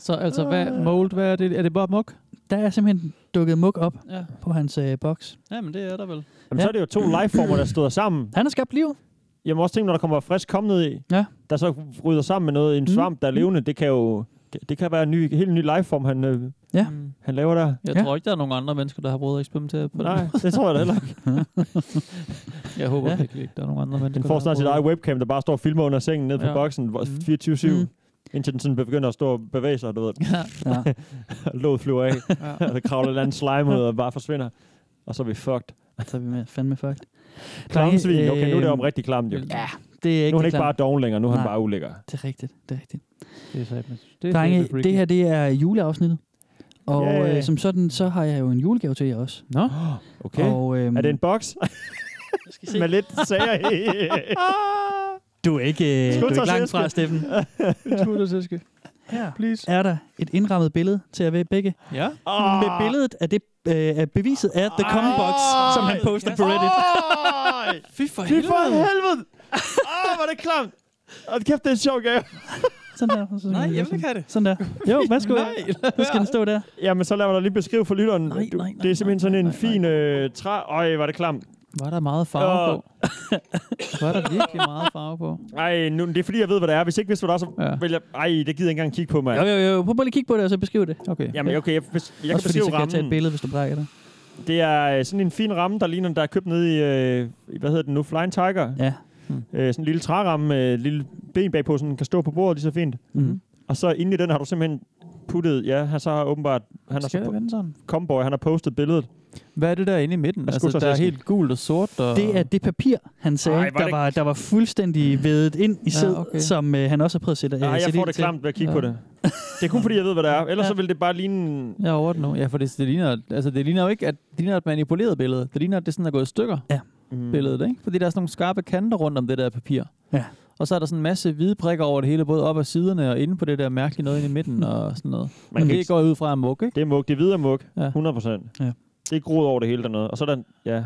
S4: Så altså, hvad, mold, hvad er det? Er det bare muk?
S5: Der er simpelthen dukket muk op
S4: ja.
S5: på hans øh, boks.
S4: Ja, men det er der vel.
S3: Jamen, ja. så er det jo to liveformer, der støder sammen.
S5: Han har skabt liv.
S3: Jeg må også tænke, når der kommer frisk kom ned i,
S5: ja.
S3: der så rydder sammen med noget i en svamp, der er levende. Det kan jo det, det kan være en ny, helt ny liveform, han, øh,
S5: ja.
S3: han laver der.
S4: Jeg ja. tror ikke, der er nogen andre mennesker, der har prøvet at eksperimentere på
S3: Nej, det tror jeg da heller ikke.
S4: jeg håber ja. virkelig ikke, der er nogen andre mennesker.
S3: Den får snart sit eget webcam, der bare står og filmer under sengen nede på
S4: Ja. Mm.
S3: boksen hvor- 24-7. Indtil den sådan begynder at stå og bevæge sig, du ved.
S5: Ja.
S3: Låget flyver af,
S4: Ja.
S3: og der kravler et eller andet slime ud og bare forsvinder. Og så er vi fucked.
S5: Så er vi med, fandme fucked.
S3: Klamsvin.
S5: Drenge,
S3: Okay, nu er det
S5: øhm,
S3: om rigtig klamt, jo.
S5: Ja, det er ikke
S3: Nu er han
S5: det
S3: ikke bare
S5: klamt.
S3: doven længere, nu er han
S5: Nej,
S3: bare ulækker.
S5: Det er rigtigt, det er rigtigt.
S4: Det er satme.
S5: Det Drenge,
S4: satme freaky.
S5: det her det er juleafsnittet. Og
S3: Yeah.
S5: øh, som sådan, så har jeg jo en julegave til jer også.
S4: Nå,
S3: Okay.
S5: Og, øhm,
S3: er det en boks? Med lidt sager i.
S5: Du er ikke, øh, du
S3: Skud
S5: er ikke
S3: dig,
S5: langt fra,
S3: Sælske.
S5: Steffen.
S4: Skud dig, Sælske.
S5: Her
S4: Please.
S5: er der et indrammet billede til jer ved begge.
S4: Ja.
S5: Med billedet af det øh, af beviset af The Common Box, som han poster på Reddit. Fy for
S3: Fy for helvede! Åh, hvor er det klamt! Og kæft, det er en sjov gave.
S5: Sådan der. Sådan
S3: Nej, jeg vil
S5: ikke have det. Sådan der. Jo, værsgo.
S3: Nej,
S5: Nu skal den stå der.
S3: Jamen, så lad mig da lige beskrive for lytteren. Nej, nej, nej, det er simpelthen sådan en fin øh, træ... Øj, var det klamt.
S4: Var der meget farve på? Var der virkelig meget farve på?
S3: Ej, nu, det er fordi, jeg ved, hvad det er. Hvis jeg ikke vidste, hvad det er, så ja. vil jeg... Ej, det gider jeg ikke engang kigge på, mig.
S5: Jo, jo, jo. Prøv bare lige at kigge på det, og så beskriv det.
S4: Okay.
S3: Jamen, okay, jeg, bes- jeg kan
S5: Også fordi,
S3: beskrive
S5: så kan jeg tage et
S3: rammen.
S5: billede, hvis du brækker dig.
S3: Det er øh, sådan en fin ramme, der ligner, der er købt nede i, øh, i hvad hedder den nu, Flying Tiger.
S5: Ja.
S3: Hmm. Øh, sådan en lille træramme, med øh, lille ben bagpå, sådan kan stå på bordet lige så fint.
S5: Mhm.
S3: Og så inde i den har du simpelthen puttet, ja, han så har åbenbart, han
S4: Skal
S3: har
S4: jeg
S3: så
S4: vende sådan?
S3: Comboy, han har postet billedet.
S4: Hvad er det der inde i midten?
S3: Værsgo, så
S4: Altså, der er
S3: Sælske.
S4: helt gult og sort. Og...
S5: Det er det papir, han sagde,
S4: Ej,
S5: Ej,
S4: var
S5: der,
S4: det-
S5: var, der var fuldstændig vedet ind i
S4: Ja,
S5: sæd,
S4: okay.
S5: som øh, han også har prøvet at sætte øh,
S3: Nej, jeg
S5: sætte
S3: får
S5: ild
S3: det
S5: til.
S3: klamt ved at kigge på det. Det er kun fordi, jeg ved, hvad det er. Ellers så ville det bare ligne... en-
S4: Jeg er over det nu. Ja, for det, det, ligner, altså, det ligner jo ikke, at det ligner et manipuleret billede. Det ligner, at det sådan er gået i stykker,
S5: ja.
S4: billedet. Ikke? Fordi der er sådan nogle skarpe kanter rundt om det der papir.
S5: Ja.
S4: Og så er der sådan en masse hvide prikker over det hele, både op ad siderne og inde på det der mærkelige noget inde i midten og sådan noget.
S3: Man
S4: Men
S3: kan
S4: det
S3: ikke-
S4: går jeg ud fra at mugge, ikke?
S3: Det er mug. Det er videre mug.
S4: Ja.
S3: 100 procent.
S5: Ja.
S3: Det er groet over det hele dernede. Og så er der... Ja. Mm.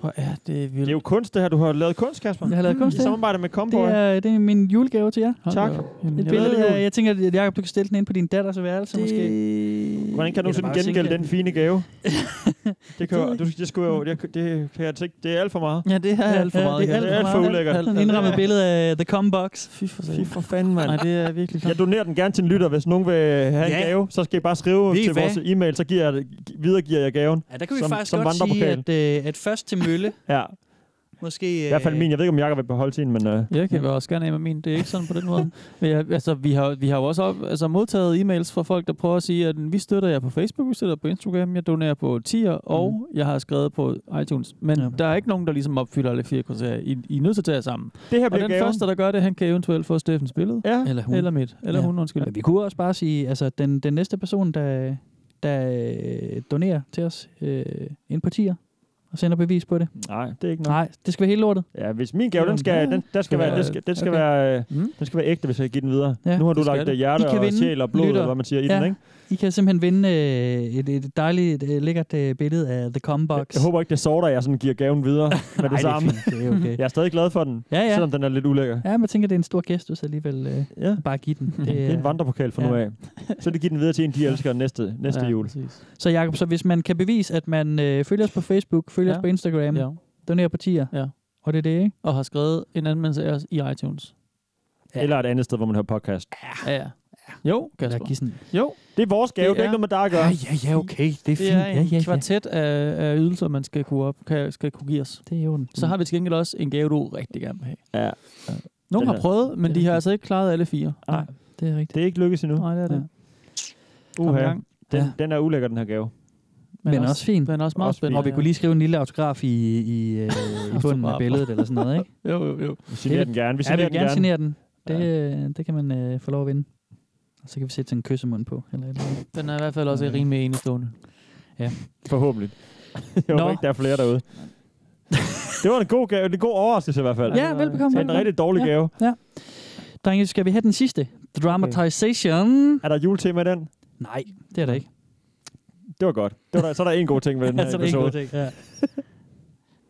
S4: Hvor er det vildt.
S3: Det er jo kunst, det her. Du har lavet kunst, Kasper.
S5: Jeg har lavet kunst,
S3: Mm, I
S5: ja.
S3: samarbejde med Comboy.
S5: Det er, det er min julegave til jer.
S3: Hold da op.
S5: Et
S3: Jamen, jeg ved
S5: billede
S3: det jo.
S5: af, jeg tænker, at Jacob, du kan stille den ind på din datters værelse det... måske.
S3: Hvordan kan du
S5: Eller
S3: sådan
S5: bare
S3: gengælde
S5: sænke
S3: den fine gave? det kan jo, du, det skulle jo, det, det kan jeg altså ikke, det er alt for meget.
S4: Ja, det er alt for meget.
S3: Det er alt for, for ulækkert.
S5: Sådan indrammet billede af Øh, The Com Box.
S4: Fy for,
S3: Fy for fanden, mand.
S4: Nej, det er virkelig
S3: Jeg donerer den gerne til en lytter, hvis nogen vil have en
S5: Ja.
S3: gave, så skal I bare skrive
S5: Ved I
S3: til
S5: hvad?
S3: vores e-mail, så giver jeg, det- videregiver jeg gaven.
S5: Ja, der kan vi
S3: som,
S5: faktisk
S3: som
S5: godt sige,
S3: vandrepokal.
S5: at, øh, at først til Mølle,
S3: Ja,
S5: måske... øh,
S3: i hvert fald min. Jeg ved ikke, om Jacob vil beholde sin, men... Øh,
S4: Jeg kan også gerne af med min. Det er ikke sådan på den måde. Men jeg, altså, vi har, vi har jo også op, altså, modtaget e-mails fra folk, der prøver at sige, at vi støtter jer på Facebook, vi støtter jer på Instagram, jeg donerer på Tier, og
S3: Mm.
S4: jeg har skrevet på iTunes. Men ja. der er ikke nogen, der ligesom opfylder alle fire kriterier. I, I er nødt til at tage jer sammen.
S3: Det her
S4: og
S3: bliver
S4: den
S3: gaven.
S4: første, der gør det, han kan eventuelt få Steffens billede.
S3: Ja.
S5: Eller hun.
S4: Eller mit.
S5: Ja.
S4: Eller ja. hun, undskyld.
S5: Men vi kunne også bare sige, altså den, den næste person, der, der øh, donerer til os øh, ind på tier og sender bevis på det.
S3: Nej, det er ikke noget.
S5: Nej, det skal være hele lortet.
S3: Ja, hvis min gave, den skal, den, der skal
S5: Ja,
S3: være, den skal, den skal,
S5: okay.
S3: være, øh, den skal være ægte, hvis jeg giver den videre.
S5: Ja,
S3: nu har du
S5: det skal
S3: lagt
S5: det.
S3: det. hjerte
S5: I kan
S3: og
S5: vinde,
S3: sjæl og blod,
S5: lytter.
S3: eller hvad man siger, i
S5: Ja.
S3: den, ikke?
S5: I kan simpelthen vinde øh, et, et dejligt, øh, lækkert øh, billede af The Combox.
S3: Jeg håber ikke, det sorter, at jeg sådan giver gaven videre med
S5: det er
S3: det samme.
S5: fint. Det er okay.
S3: jeg er stadig glad for den,
S5: Ja, ja.
S3: selvom den er lidt ulækker.
S5: Ja, men jeg tænker, det er en stor gestus alligevel. Øh,
S3: ja.
S5: Bare give den.
S3: Det er en vandrepokal for nu
S5: ja.
S3: af. Så det giver den videre til en, de elsker næste, næste
S5: Ja,
S3: jul.
S5: Så Jacob, så hvis man kan bevise, at man øh, følger os på Facebook, følger
S4: Ja.
S5: os på Instagram,
S4: Ja.
S5: donerer på tier,
S4: Ja.
S5: og det er det, ikke?
S4: Og har skrevet en anmeldelse af os i iTunes.
S3: Ja. Eller et andet sted, hvor man hører podcast.
S4: Ja, ja. Jo, Kasper.
S5: Gissen.
S4: Jo.
S3: Det er vores gave, det er, ikke noget med dig at gøre.
S5: ja, okay. Det
S4: er en kvartet af, af ydelser, man skal kunne, op, kan, skal kunne give os.
S5: Det er jo
S4: Så har vi til gengæld også en gave, du rigtig gerne vil have.
S3: Ja.
S4: Nogle
S3: Den
S4: har
S3: her.
S4: prøvet, men de har altså ikke klaret alle fire.
S3: Nej,
S5: det er rigtigt.
S3: Det er ikke lykkedes endnu.
S4: Nej, det er det. Kom i
S3: Uha.
S4: gang.
S3: Den,
S5: Ja.
S3: den er ulækker, den her gave.
S5: Men, men også, også fint.
S4: Men også meget spændende.
S5: Og vi kunne lige skrive en lille autograf i, i, øh, i bunden af
S4: Autograf.
S5: billedet eller sådan noget, ikke?
S4: Jo, jo, jo.
S3: Vi signerer den gerne. Vi
S5: ja, vi
S3: signerer
S5: vil
S3: den
S5: gerne
S3: gerne.
S5: signere den. Det, øh, det kan man øh, få lov at vinde. Og så kan vi sætte sådan en kyssemund på. Eller et eller andet.
S4: Den er i hvert fald også
S5: Okay.
S4: rimelig enestående.
S5: Ja.
S3: Forhåbentlig. Jeg
S5: Nå.
S3: håber ikke, der er flere derude. Det var en god gave, en god overraskelse i hvert fald.
S5: Ja, velbekomme.
S3: Det er en rigtig dårlig
S5: ja.
S3: gave.
S5: Ja. Drenge, skal vi have den sidste? Dramatization.
S3: Er der juletema i den?
S5: Nej, det er der ikke.
S3: Det var godt. Det var der, så er der en god ting med den her
S5: Altså, det er en god
S3: episode.
S5: ting.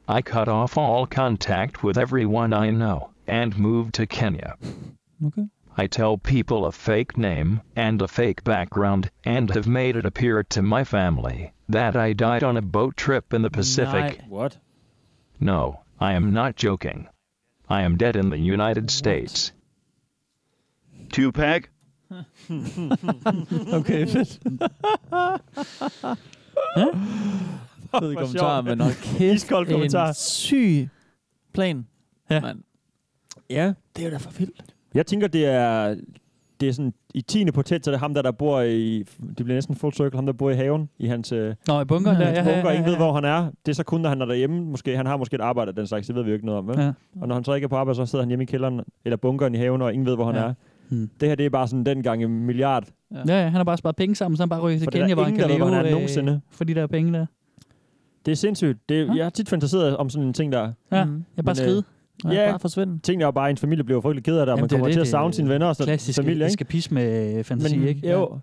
S5: Ja.
S7: I cut off all contact with everyone I know and moved to Kenya.
S4: Okay.
S7: I tell people a fake name and a fake background and have made it appear to my family that I died on a boat trip in the Pacific.
S3: What?
S7: No, I am not joking. I am dead in the United States. Tupac?
S4: Okay, fedt. Fed
S3: hvor
S4: kommentar,
S3: sjovt.
S4: men nok kæft.
S3: Iskold kommentar.
S4: En syg plan. Ja.
S3: Ja.
S4: Det er jo da for vildt.
S3: Jeg tænker, det er det er sådan i 10. potent, så det er ham der, der bor i, det bliver næsten full circle, ham der bor i haven, i hans øh,
S5: Nå, i bunkeren
S3: i
S5: der,
S3: hans
S5: ja, ja,
S3: bunker,
S5: ja,
S3: ingen
S5: ja,
S3: ved,
S5: ja.
S3: hvor han er. Det er så kun, når han er derhjemme. Måske, han har måske et arbejde af den slags, det ved vi jo ikke noget om. Vel?
S5: Ja.
S3: Ja. Og når han så ikke er på arbejde, så sidder han hjemme i kælderen, eller bunkeren i haven, og ingen ved, hvor han
S5: Ja.
S3: er.
S5: Hmm.
S3: Det her, det er bare sådan den gang en milliard.
S5: Ja. ja, han har bare sparet penge sammen, så han bare ryger til
S3: For det er
S5: Kenya,
S3: der
S5: hvor han
S3: ingen,
S5: kan
S3: der ved,
S5: leve
S3: hvor han er
S5: øh,
S3: nogensinde.
S5: for de der penge der.
S3: Det er sindssygt. Det, Jeg har tit fantaseret om sådan en ting der.
S5: Ja, Mhm. jeg bare skride.
S3: Øh,
S5: Ja,
S3: ja,
S5: bare forsvinde.
S3: Ting der er bare, at ens familie bliver frygtelig ked af det, og man
S5: Jamen, det er
S3: kommer
S5: det,
S3: til at
S5: det
S3: savne
S5: er
S3: sine venner og sin
S5: klassisk
S3: familie. Ikke?
S5: eskapisme fantasi,
S3: Men-
S5: ikke?
S3: Jo.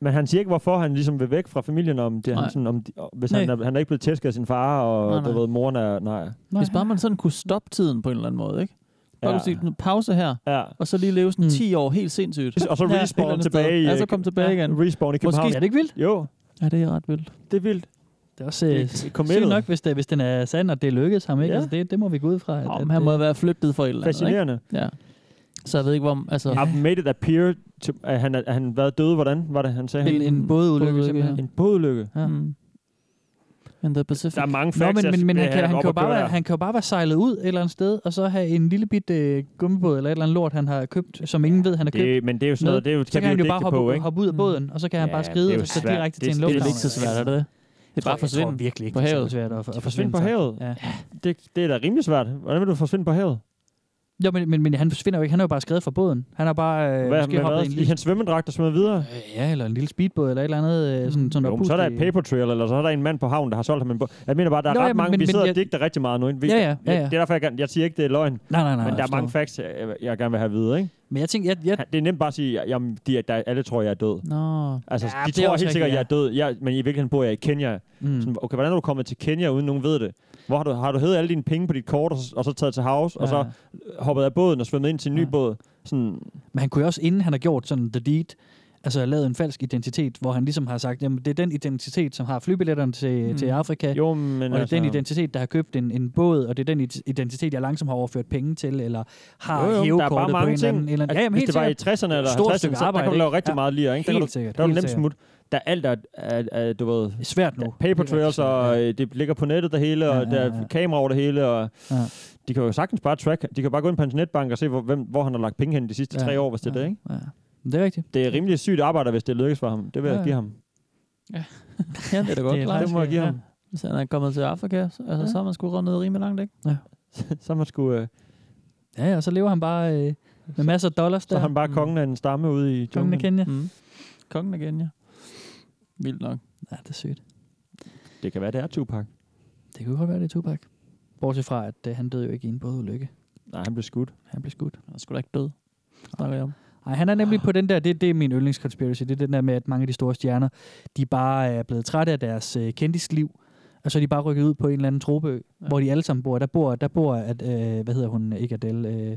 S3: Men han siger ikke, hvorfor han ligesom vil væk fra familien, om det er
S4: Nej.
S3: han sådan, om, de- og hvis
S4: Nej.
S3: han er, han er ikke blevet tæsket af sin far, og
S4: Nej, nej.
S3: du ved, moren er... Nej.
S4: Hvis bare man sådan kunne stoppe tiden på en eller anden måde, ikke? Bare
S3: Ja.
S4: ja. sige, "Nu, pause her,
S3: ja.
S4: og så lige leve sådan
S3: Mm.
S4: 10 år helt sindssygt.
S3: Og så
S4: Ja, et
S3: respawn
S4: eller andet
S3: tilbage i,
S4: Sted. Ja,
S3: øh,
S4: så kom tilbage
S3: ja,
S4: igen.
S3: respawn i København.
S4: Måske,
S3: Er det ikke vildt? Jo.
S4: Ja, det er ret vildt.
S3: Det er vildt.
S5: Det er også
S4: Det er
S5: øh,
S4: committed.
S5: sygt nok, hvis, det, hvis den er sand, og det lykkedes ham, ikke? Ja.
S4: Ja.
S5: Altså, det, det må vi gå ud fra.
S4: Nå, men han må være flygtet for et eller andet, ikke?
S3: Fascinerende.
S4: Ja. Så jeg ved ikke, hvor... Altså,
S3: I've made it appear, to, at han, er- at han været døde, hvordan var det, han sagde?
S4: En- en bådeulykke, simpelthen.
S3: En bådeulykke.
S5: Ja.
S4: Mm. Men the Pacific.
S3: Der er mange
S5: Nå,
S3: facts,
S5: men, men, men
S3: jeg-
S5: han, kan,
S3: jeg
S5: han,
S3: op
S5: kan jo
S3: at
S5: bare
S3: køre
S5: være,
S3: der.
S5: han kan jo bare være sejlet ud et eller andet sted, og så have en lille bit øh, gummibåd eller et eller andet lort, han har købt, som ingen ved, han har
S3: Det-
S5: købt.
S3: men det er jo sådan
S5: med.
S3: noget, det er jo-
S5: så
S3: kan
S5: kan
S3: vi
S5: han
S3: jo
S5: bare
S3: digte
S5: hoppe,
S3: på, ikke? Mm.
S5: hoppe ud af båden, og så kan han bare
S3: det er
S5: skride
S3: jo
S5: og så
S3: svært.
S5: direkte
S3: Det-
S5: til en
S3: det er
S5: lufthavn.
S3: ikke så svært, er det det?
S4: Det er bare at forsvinde
S5: Jeg tror virkelig ikke,
S4: på
S5: det er så
S4: havet.
S5: svært at, at
S3: At
S5: forsvinde.
S3: forsvinde på
S5: sig.
S3: havet?
S5: Ja.
S3: Det, det er da rimelig svært. Hvordan vil du forsvinde på havet?
S5: Jo, men, men, men han forsvinder jo ikke. Han er jo bare skrevet fra båden. Han har bare øh,
S3: Hvad,
S5: måske
S3: med
S5: hoppet
S3: hvad?
S5: i en
S3: I
S5: lille... Øh,
S3: hans svømmedragt og smider videre?
S5: Ja, eller en lille speedbåd eller et eller andet. Øh, sådan, sådan
S3: Jo, men så er der et
S5: oppustelig-
S3: paper trail, eller så er der en mand på havnen, der har solgt ham en båd. Jeg mener bare, der er
S5: Nå,
S3: ret
S5: ja, men-
S3: mange,
S5: men-
S3: vi
S5: men
S3: sidder
S5: jeg-
S3: og digter rigtig meget nu. Ikke? Vi-
S5: Ja, ja, ja, ja.
S3: Det er derfor, jeg, gerne- jeg siger ikke, det er løgn.
S5: Nej, nej, nej,
S3: Men der
S5: jeg
S3: er mange facts, jeg, jeg gerne vil have videre, ikke?
S5: Men jeg tænker, jeg, jeg...
S3: Det er nemt bare at sige, jamen, de, er- der, alle tror, jeg er død.
S5: Nå.
S3: Altså,
S5: Ja,
S3: ja,
S5: det
S3: de
S5: er
S3: tror
S5: også
S3: helt sikkert,
S5: rigtigt,
S3: jeg er død, jeg, men i virkeligheden bor jeg i Kenya.
S5: Mm.
S3: Sådan, okay, hvordan er du kommet til Kenya, uden nogen ved det? Hvor har du, har du hævet alle dine penge på dit kort, og, så- og så taget til havs, ja. og
S5: Ja.
S3: så hoppet af båden og svømmet ind til en ny ja. båd? Sådan,
S5: Men han kunne jo også, inden han har gjort sådan the deed, altså lavet en falsk identitet, hvor han ligesom har sagt, jamen det er den identitet, som har flybilletterne til, mm.
S3: Mm.
S5: til Afrika,
S3: jo, men
S5: og det er
S3: altså-
S5: den identitet, der har købt en, en båd, og det er den id- identitet, jeg langsomt har overført penge til, eller har
S3: Jo, jo, men der er bare
S5: hævekortet på en
S3: mange
S5: eller anden...
S3: ting.
S5: en Eller anden.
S3: Altså,
S5: jamen,
S3: hvis
S5: helt
S3: det var i
S5: sikkert.
S3: 60'erne eller
S5: Stort
S3: 50'erne,
S5: stykke
S3: så der
S5: arbejde,
S3: kunne du lave
S5: ikke?
S3: rigtig meget lige. Ikke? Der
S5: helt
S3: kan du-
S5: sikkert,
S3: Der er du
S5: helt
S3: nemt
S5: sikkert.
S3: smut. Der er alt, der er, er, er, du ved...
S5: Svært nu.
S3: Paper trails, og øh, det ligger på nettet det hele, og
S5: Ja, ja,
S3: der er kamera over det hele, og
S5: Ja.
S3: de kan jo sagtens bare track. De kan bare gå ind på hans netbank og se, hvor, hvem, hvor han har lagt penge hen de sidste
S5: Ja,
S3: tre år, hvis det er det, ikke?
S5: Ja. Det er rigtigt.
S3: Det er rimelig sygt arbejde, hvis det lykkes for ham. Det vil
S4: Ja,
S3: jeg
S4: ja.
S3: give ham.
S4: Ja, ja det er da godt
S3: Det er
S4: klart.
S3: faktisk- Det må jeg give
S4: Ja.
S3: ham.
S4: Hvis han er kommet til Afrika, så, altså,
S5: Ja.
S4: ja. så er man sgu rundt ned rimelig langt, ikke?
S5: Ja.
S3: så man skulle... Øh,
S5: Ja, ja, og så lever han bare øh, med masser af dollars der.
S3: så er han bare kongen af en stamme ude i
S5: Kongen af
S3: junglen.
S5: Kenya.
S4: Mm. Kongen af Kenya. Vildt nok.
S5: Ja, det er sygt.
S3: Det kan være, det er Tupac.
S5: Det kunne godt være, det er Tupac. Bortset fra, at øh, han døde jo ikke i en bådulykke.
S3: Nej, han blev skudt.
S5: Han blev skudt.
S4: Han skulle da ikke død. Snakker jeg om.
S5: Nej, han er nemlig på den der, det, det er min yndlingsconspiracy, det er den der med, at mange af de store stjerner, de bare er blevet trætte af deres øh, kendtisliv, og så er de bare rykket ud på en eller anden tropeø, ja. hvor de alle sammen bor. Der bor, der bor at, øh, hvad hedder hun, ikke Adele, øh,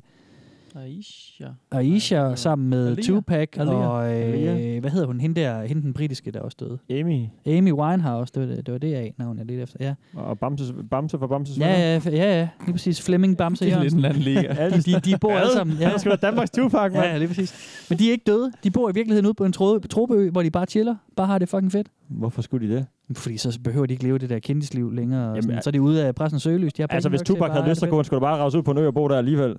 S4: Aisha.
S5: Aisha ja. sammen med
S4: Alia.
S5: Tupac,
S4: Alia.
S5: og
S4: Alia.
S5: øh, hvad hedder hun, hende der, hende den britiske, der også døde.
S3: Amy.
S5: Amy Winehouse, det var det, det, var det af navn, jeg lidt efter, ja.
S3: Og Bamse, Bamse fra Bamses
S5: Ja, ja, f- ja, ja, lige præcis. Flemming Bamse
S3: Det er
S5: Jørgensen.
S3: lidt en anden liga.
S5: de, de, de bor
S3: Hvad?
S5: alle sammen.
S3: Der skal være Danmarks Tupac, mand.
S5: Ja, lige præcis. Men de er ikke døde. De bor i virkeligheden ude på en tro- tropeø, hvor de bare chiller. Bare har det fucking fedt.
S3: Hvorfor skulle de det?
S5: Fordi så behøver de ikke leve det der kendtisliv længere. Jamen,
S3: Jamen,
S5: sådan,
S3: al-
S5: så er de ude af pressens søgelys. De har penge
S3: Altså, hvis
S5: nok til
S3: Tupac
S5: bare
S3: havde
S5: at
S3: lyst, så
S5: have
S3: kunne han
S5: det
S3: sgu da bare rave ud på en ø og bo der alligevel.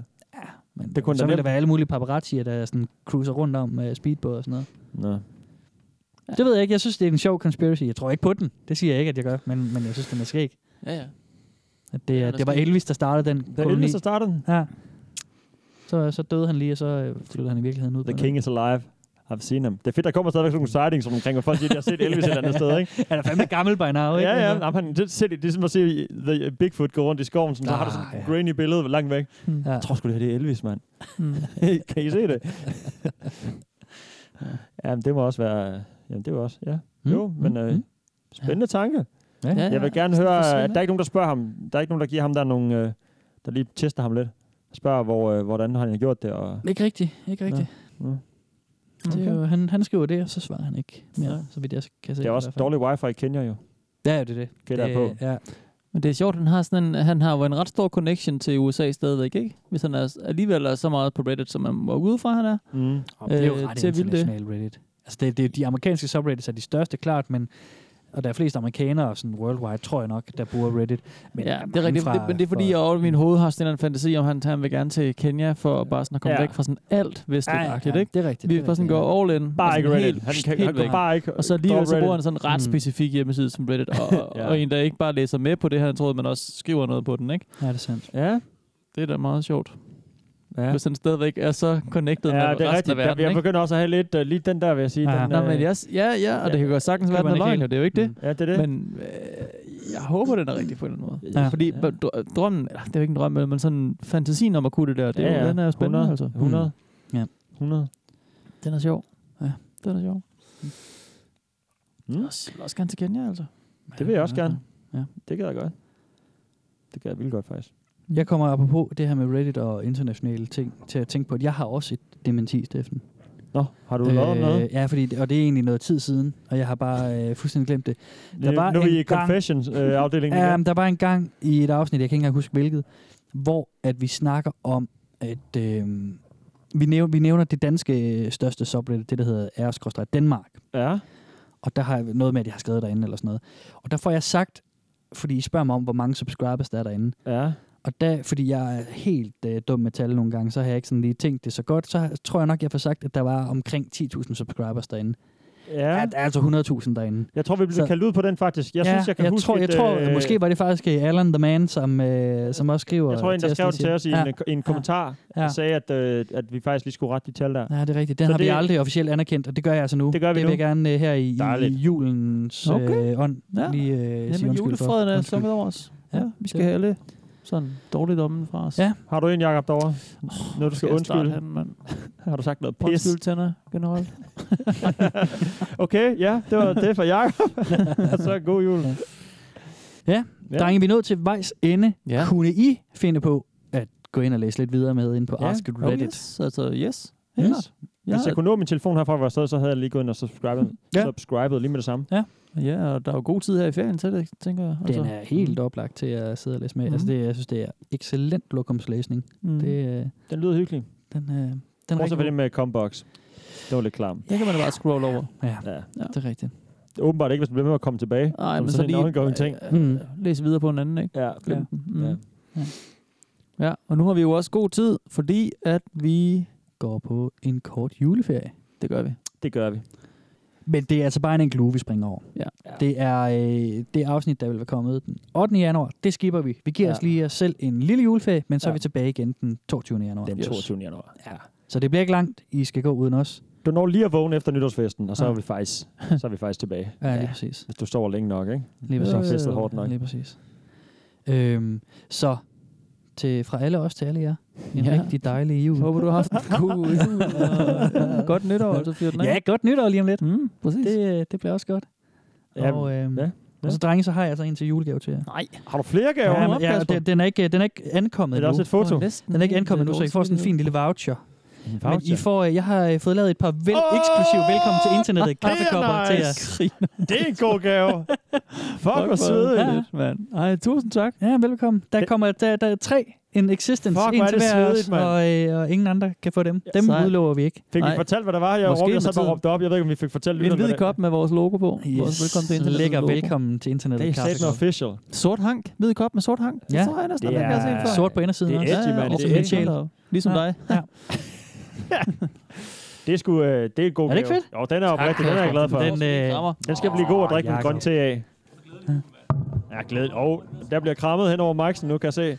S5: fedt.
S3: det kunne
S5: så
S3: da
S5: ville der
S3: nemt.
S5: være alle mulige paparazzier, der sådan cruiser rundt om uh, speedbåd og sådan noget.
S3: Nå.
S5: Ja. Det ved jeg ikke. Jeg synes, det er en sjov conspiracy. Jeg tror ikke på den. Det siger jeg ikke, at jeg gør. Men, men jeg synes, den er skæg.
S4: Ja, ja.
S5: At det,
S4: Ja,
S5: ja,
S4: der
S5: det var
S4: skal-
S5: Elvis, der startede den.
S3: Det er
S5: koloni.
S3: Elvis, der startede den?
S5: Ja. Så, så døde han lige, og så øh, flyttede han i virkeligheden ud.
S3: The
S5: på
S3: king is alive. I've seen him. Det er fedt, der kommer stadigvæk sådan nogle sightings rundt omkring, hvor folk siger, at de har set Elvis et eller andet sted, ikke?
S5: Han er fandme gammel by now, ikke?
S3: Ja, ja.
S5: Altså.
S3: Jamen, han, det, selv, det er som at se øh, the Bigfoot gå rundt i skoven, sådan, så har du
S5: Ah,
S3: sådan et grainy billede langt væk.
S5: Ja.
S3: Jeg tror sgu, det her det er Elvis, mand.
S5: Mm.
S3: kan I se det? jamen, det må også være... øh, Jamen, det var også... Ja. Jo, men øh, spændende tanke.
S5: Hmm. Ja, ja,
S3: Jeg vil
S5: ja.
S3: gerne
S5: Sådan
S3: høre,
S5: forsvinder.
S3: at der er ikke nogen, der spørger ham. Der er ikke nogen, der giver ham der nogle... Øh, der lige tester ham lidt. Spørger, hvor, øh, hvordan han har gjort det. Og...
S5: Ikke rigtigt, ikke rigtigt.
S3: Ja. Ja.
S5: Det er jo, han, han skriver det, og så svarer han ikke mere, så vidt jeg kan se.
S3: Det er
S5: i
S3: også
S5: hvert fald.
S3: dårlig wifi i Kenya jo.
S5: Ja, ja, det er det.
S3: Gætter jeg
S5: Det-
S3: på.
S5: Ja.
S4: Men det er sjovt, han har, sådan en, han har jo en ret stor connection til USA stadigvæk, ikke? Hvis han er, alligevel er så meget på Reddit, som man må gå ud fra, han er. Øh,
S3: Mm.
S5: Og det er jo ret
S4: til at ville det.
S5: international Reddit. Altså, det, det, de amerikanske subreddits er de største, klart, men og der er flest amerikanere sådan worldwide, tror jeg nok, der bruger Reddit. Men
S4: Ja,
S5: der
S4: det er
S5: mange
S4: rigtigt,
S5: fra-
S4: det, men det er fordi,
S5: fra-
S4: jeg over i min hoved har sådan en eller anden fantasi om, han, han vil gerne til Kenya for bare sådan at komme
S5: Ja.
S4: ja. væk fra sådan alt vestligt-agtigt,
S5: Ja, ja,
S4: ikke?
S5: det er rigtigt, det
S4: Vi vil
S5: er
S4: bare sådan
S5: rigtigt,
S4: gå
S5: ja.
S4: all in.
S3: Bare
S4: og
S3: ikke
S4: sådan
S3: Reddit.
S4: Helt,
S3: Han kan-
S4: helt
S3: han går
S4: væk.
S3: bare ikke-
S4: Og så alligevel
S3: drop
S4: så bruger han
S3: Reddit.
S4: sådan en ret
S3: Mm.
S4: specifik hjemmeside som Reddit, og, og,
S3: Ja.
S4: og en, der ikke bare læser med på det, han troede, men også skriver noget på den, ikke?
S5: Ja, det er sandt.
S4: Ja, det er da meget sjovt.
S5: Ja.
S4: Hvis han stadigvæk er så connected
S3: Ja,
S4: med
S3: det
S4: resten
S3: er rigtigt.
S4: af verden,
S3: jeg
S4: ikke?
S3: begynder også at have lidt, uh, lige den der, vil jeg sige.
S4: Ja.
S3: Den,
S4: Nå,
S3: øh,
S4: men jeg, s- ja, ja, og det kan godt sagtens være, at
S3: Køber
S4: den er
S3: man ikke
S4: løgn,
S3: helt.
S4: jo, det er jo ikke det.
S3: Ja, det er det.
S4: Men øh, jeg håber, den er rigtig på en eller anden måde.
S3: Ja.
S4: Ja. Fordi ja. drømmen, eller, det er jo ikke en drøm, men sådan fantasien om at kunne det der, det er, ja, ja. den er jo spændende.
S3: 100,
S4: altså.
S3: 100.
S5: Ja.
S3: 100.
S4: Den er sjov. Ja, den er sjov. Mm. Jeg vil også gerne til Kenya, altså.
S3: Det vil jeg også gerne.
S5: Ja.
S3: Det gad jeg godt. Det gad jeg vildt godt, faktisk.
S5: Jeg kommer apropos det her med Reddit og internationale ting til at tænke på, at jeg har også et dementi, Steffen. Øh,
S3: Nå, har du lavet noget?
S5: Ja, fordi, det- og det er egentlig noget tid siden, og jeg har bare øh, fuldstændig glemt det.
S3: Det- Øh, nu er vi i confessions-afdelingen
S5: Gang,
S3: igen.
S5: um, der var en gang i et afsnit, jeg kan ikke engang huske hvilket, hvor at vi snakker om, at øh, vi, nævner, vi nævner det danske øh, største subreddit, det der hedder r Danmark.
S3: Ja.
S5: Og der har jeg noget med, at jeg har skrevet derinde eller sådan noget. Og der får jeg sagt, fordi I spørger mig om, hvor mange subscribers der er derinde.
S3: Ja.
S5: Og der, fordi jeg er helt øh, dum med tal nogle gange, så har jeg ikke sådan lige tænkt det så godt. Så har- tror jeg nok, jeg får sagt, at der var omkring 10.000 subscribers derinde.
S3: Ja.
S5: Der er altså 100.000 derinde.
S3: Jeg tror, vi blev
S5: Så-
S3: kaldt ud på den, faktisk. Jeg synes, jeg kan
S5: jeg
S3: huske
S5: tror, jeg
S3: et,
S5: tror,
S3: øh,
S5: måske var det faktisk øh, Alan the Man, som, øh, som også skriver
S3: Jeg tror, en, der skrev det til
S5: lige
S3: os i
S5: siger-
S3: en, i en kommentar,
S5: ja.
S3: ja. sagde, at, øh, at vi faktisk lige skulle rette de tal der.
S5: Ja, det er rigtigt. Den
S3: Så
S5: har vi
S3: det-
S5: aldrig officielt anerkendt, og det gør jeg altså nu.
S3: Det gør vi
S5: det
S3: nu.
S5: vil jeg gerne øh, her i, i
S3: Dejligt.
S5: julens okay.
S4: Okay.
S5: øh, ånd
S4: Ja.
S5: lige øh, sige
S4: Jamen,
S5: undskyld for.
S4: julefreden er
S5: Undskyld.
S4: stukket over os.
S5: Ja,
S4: Ja, vi skal have alle sådan dårligt om fra os.
S5: Ja.
S3: Har du en, Jacob, derovre? Noget, du skal,
S4: skal jeg starte
S3: undskylde?
S4: henne, mand?
S3: Har du sagt noget pis?
S4: Undskyld, Tanner, generelt.
S3: okay, ja, det var det for Jacob. Og så god jul.
S5: Ja,
S3: Ja.
S5: ja. drenge, vi er nået til vejs ende.
S4: Ja.
S5: Kunne I finde på at gå ind og læse lidt videre med ind på ja.
S3: Ja.
S5: Ask
S3: Oh,
S5: Reddit?
S3: yes.
S4: Altså, yes.
S3: Yes.
S4: Ja.
S3: Hvis jeg kunne nå min telefon herfra, hvor jeg sad, så havde jeg lige gået ind og subscribet,
S5: Ja.
S3: ja. subscribet lige med det samme.
S4: Ja. Ja, og der er jo god tid her i ferien til det, tænker jeg. Altså. Mm.
S5: Den er helt oplagt til at sidde og læse med. Mm. Altså,
S4: Mhm.
S5: det, jeg synes, det er excellent lokumslæsning.
S4: Mhm.
S5: Det, øh,
S3: Den lyder hyggelig.
S5: Den, øh, den
S3: Den
S5: rigtig
S3: Også for
S5: god.
S3: det med Combox. Det var lidt klam.
S4: Ja, kan man da bare scrolle over.
S5: Ja,
S3: ja.
S5: det er rigtigt.
S3: Det er åbenbart ikke, hvis man bliver med at komme tilbage.
S4: Nej,
S3: som
S4: men så
S3: sådan en
S4: lige
S3: ongoing ting.
S5: Mm.
S4: øh, læse videre på en anden, ikke?
S3: Ja.
S4: ja. Mm.
S3: Ja.
S4: ja. Ja, og nu har vi jo også god tid, fordi at vi
S5: går på en kort juleferie.
S4: Det gør vi.
S3: Det gør vi.
S5: Men det er altså bare en enkelt uge, vi springer over.
S4: Ja.
S5: Det er øh, det afsnit, der vil være kommet den 8. januar. Det skipper vi. Vi giver ja.
S3: Ja.
S5: os lige os selv en lille juleferie, men så ja. er
S3: Ja.
S5: vi tilbage igen den 22. januar.
S3: Den 22. januar.
S5: Ja. Så det bliver ikke langt. I skal gå uden os.
S3: Du når lige at vågne efter nytårsfesten, og så
S5: Ja.
S3: er vi faktisk, så er vi faktisk tilbage.
S5: Ja, lige præcis.
S3: Hvis du står længe nok, ikke?
S5: Lige
S3: Hvis du har
S5: præcis.
S3: festet hårdt nok.
S5: Lige præcis. Øhm, så til, fra alle os til alle jer. En ja. rigtig dejlig jul.
S4: Håber du har haft en god jul. Og, ja, godt nytår, altså fyr den af.
S5: Ja, godt nytår lige om lidt.
S4: Mm, præcis.
S5: Det, øh, det bliver også godt.
S4: Ja,
S5: og, øhm,
S4: ja,
S5: og så drenge, så har jeg altså en til julegave til jer.
S4: Nej.
S3: Har du flere gaver?
S5: Ja,
S3: Hold
S5: men,
S3: op,
S5: ja,
S3: Kasper.
S5: den, den, er ikke, den er ikke ankommet
S3: Er der også
S5: endnu.
S3: et foto?
S5: Den er- Den er ikke ankommet endnu, så I får sådan en fin lille voucher. Men I
S3: voucher?
S5: får, øh, jeg har øh, fået lavet et par vel eksklusive velkommen til internettet
S3: det er
S5: kaffekopper til jer.
S3: nice. Det er en god gave. Fuck, hvor svedigt.
S5: Ja.
S4: mand. Ej, tusind tak.
S5: Ja, velkommen. Der kommer der, der er tre in existence,
S3: Fuck, hvor
S5: en
S3: er
S5: til
S3: det
S5: hver af os,
S3: svedigt, mand.
S5: og, øh, og ingen andre kan få dem.
S3: Ja,
S5: Dem
S3: sejt.
S5: udlover vi ikke.
S3: Fik vi fortalt, hvad der var? Jeg,
S5: Måske
S3: råbte, jeg
S5: med
S3: sad bare
S5: tiden.
S3: og råbte op. Jeg ved ikke, om vi fik fortalt
S4: En
S3: hvad
S4: hvid
S3: det-
S4: kop med vores logo på. Vores velkommen til internettet.
S5: Lækker
S4: logo.
S5: velkommen til internettet.
S3: Det er satme official.
S4: Sort hank. Hvid kop med sort hank.
S5: Ja.
S4: Det tror jeg næsten,
S5: Det
S4: at man kan
S5: er-
S4: se før.
S5: Sort på indersiden
S4: Det er
S5: også.
S4: edgy, mand. Det er
S5: edgy.
S4: edgy. Ligesom dig.
S5: Ja.
S3: Det er sgu, øh, det er en god
S5: Er det ikke
S3: gave.
S5: fedt?
S3: Jo, den er
S5: Tak,
S3: oprigtig. Den er jeg glad for.
S5: Den, øh,
S3: den skal blive god at drikke
S5: Åh,
S3: en grøn te af. Jeg glæder Og der bliver krammet hen over mic'en nu, kan jeg se.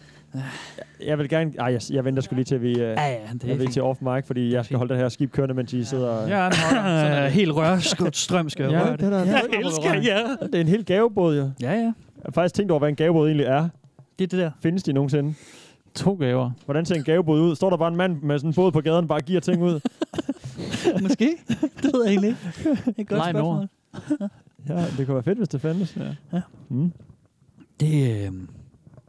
S3: Jeg vil gerne... Ej, jeg, jeg venter sgu lige til, vi... Øh, ja,
S5: ja, det er
S3: jeg vil
S5: fint.
S3: til off mic, fordi jeg skal holde det her skib kørende, mens I sidder... og-
S5: Ja, øh, helt rørskudt strøm skal
S3: Ja,
S5: røre
S3: det er der- Jeg elsker jer. Det er en hel gavebåd, jo.
S5: Ja, ja. Jeg
S3: har faktisk tænkt over, hvad en gavebåd egentlig er.
S5: Det er det der.
S3: Findes de nogensinde?
S4: To gaver.
S3: Hvordan ser en gavebåd ud? Står der bare en mand med sådan en båd på gaden, bare giver ting ud?
S5: Måske. Det ved jeg egentlig ikke. Det er et godt
S4: Nej,
S5: spørgsmål.
S3: Ja, det kunne være fedt, hvis det fandtes. Ja.
S5: Ja.
S3: Mm.
S5: Det, øh,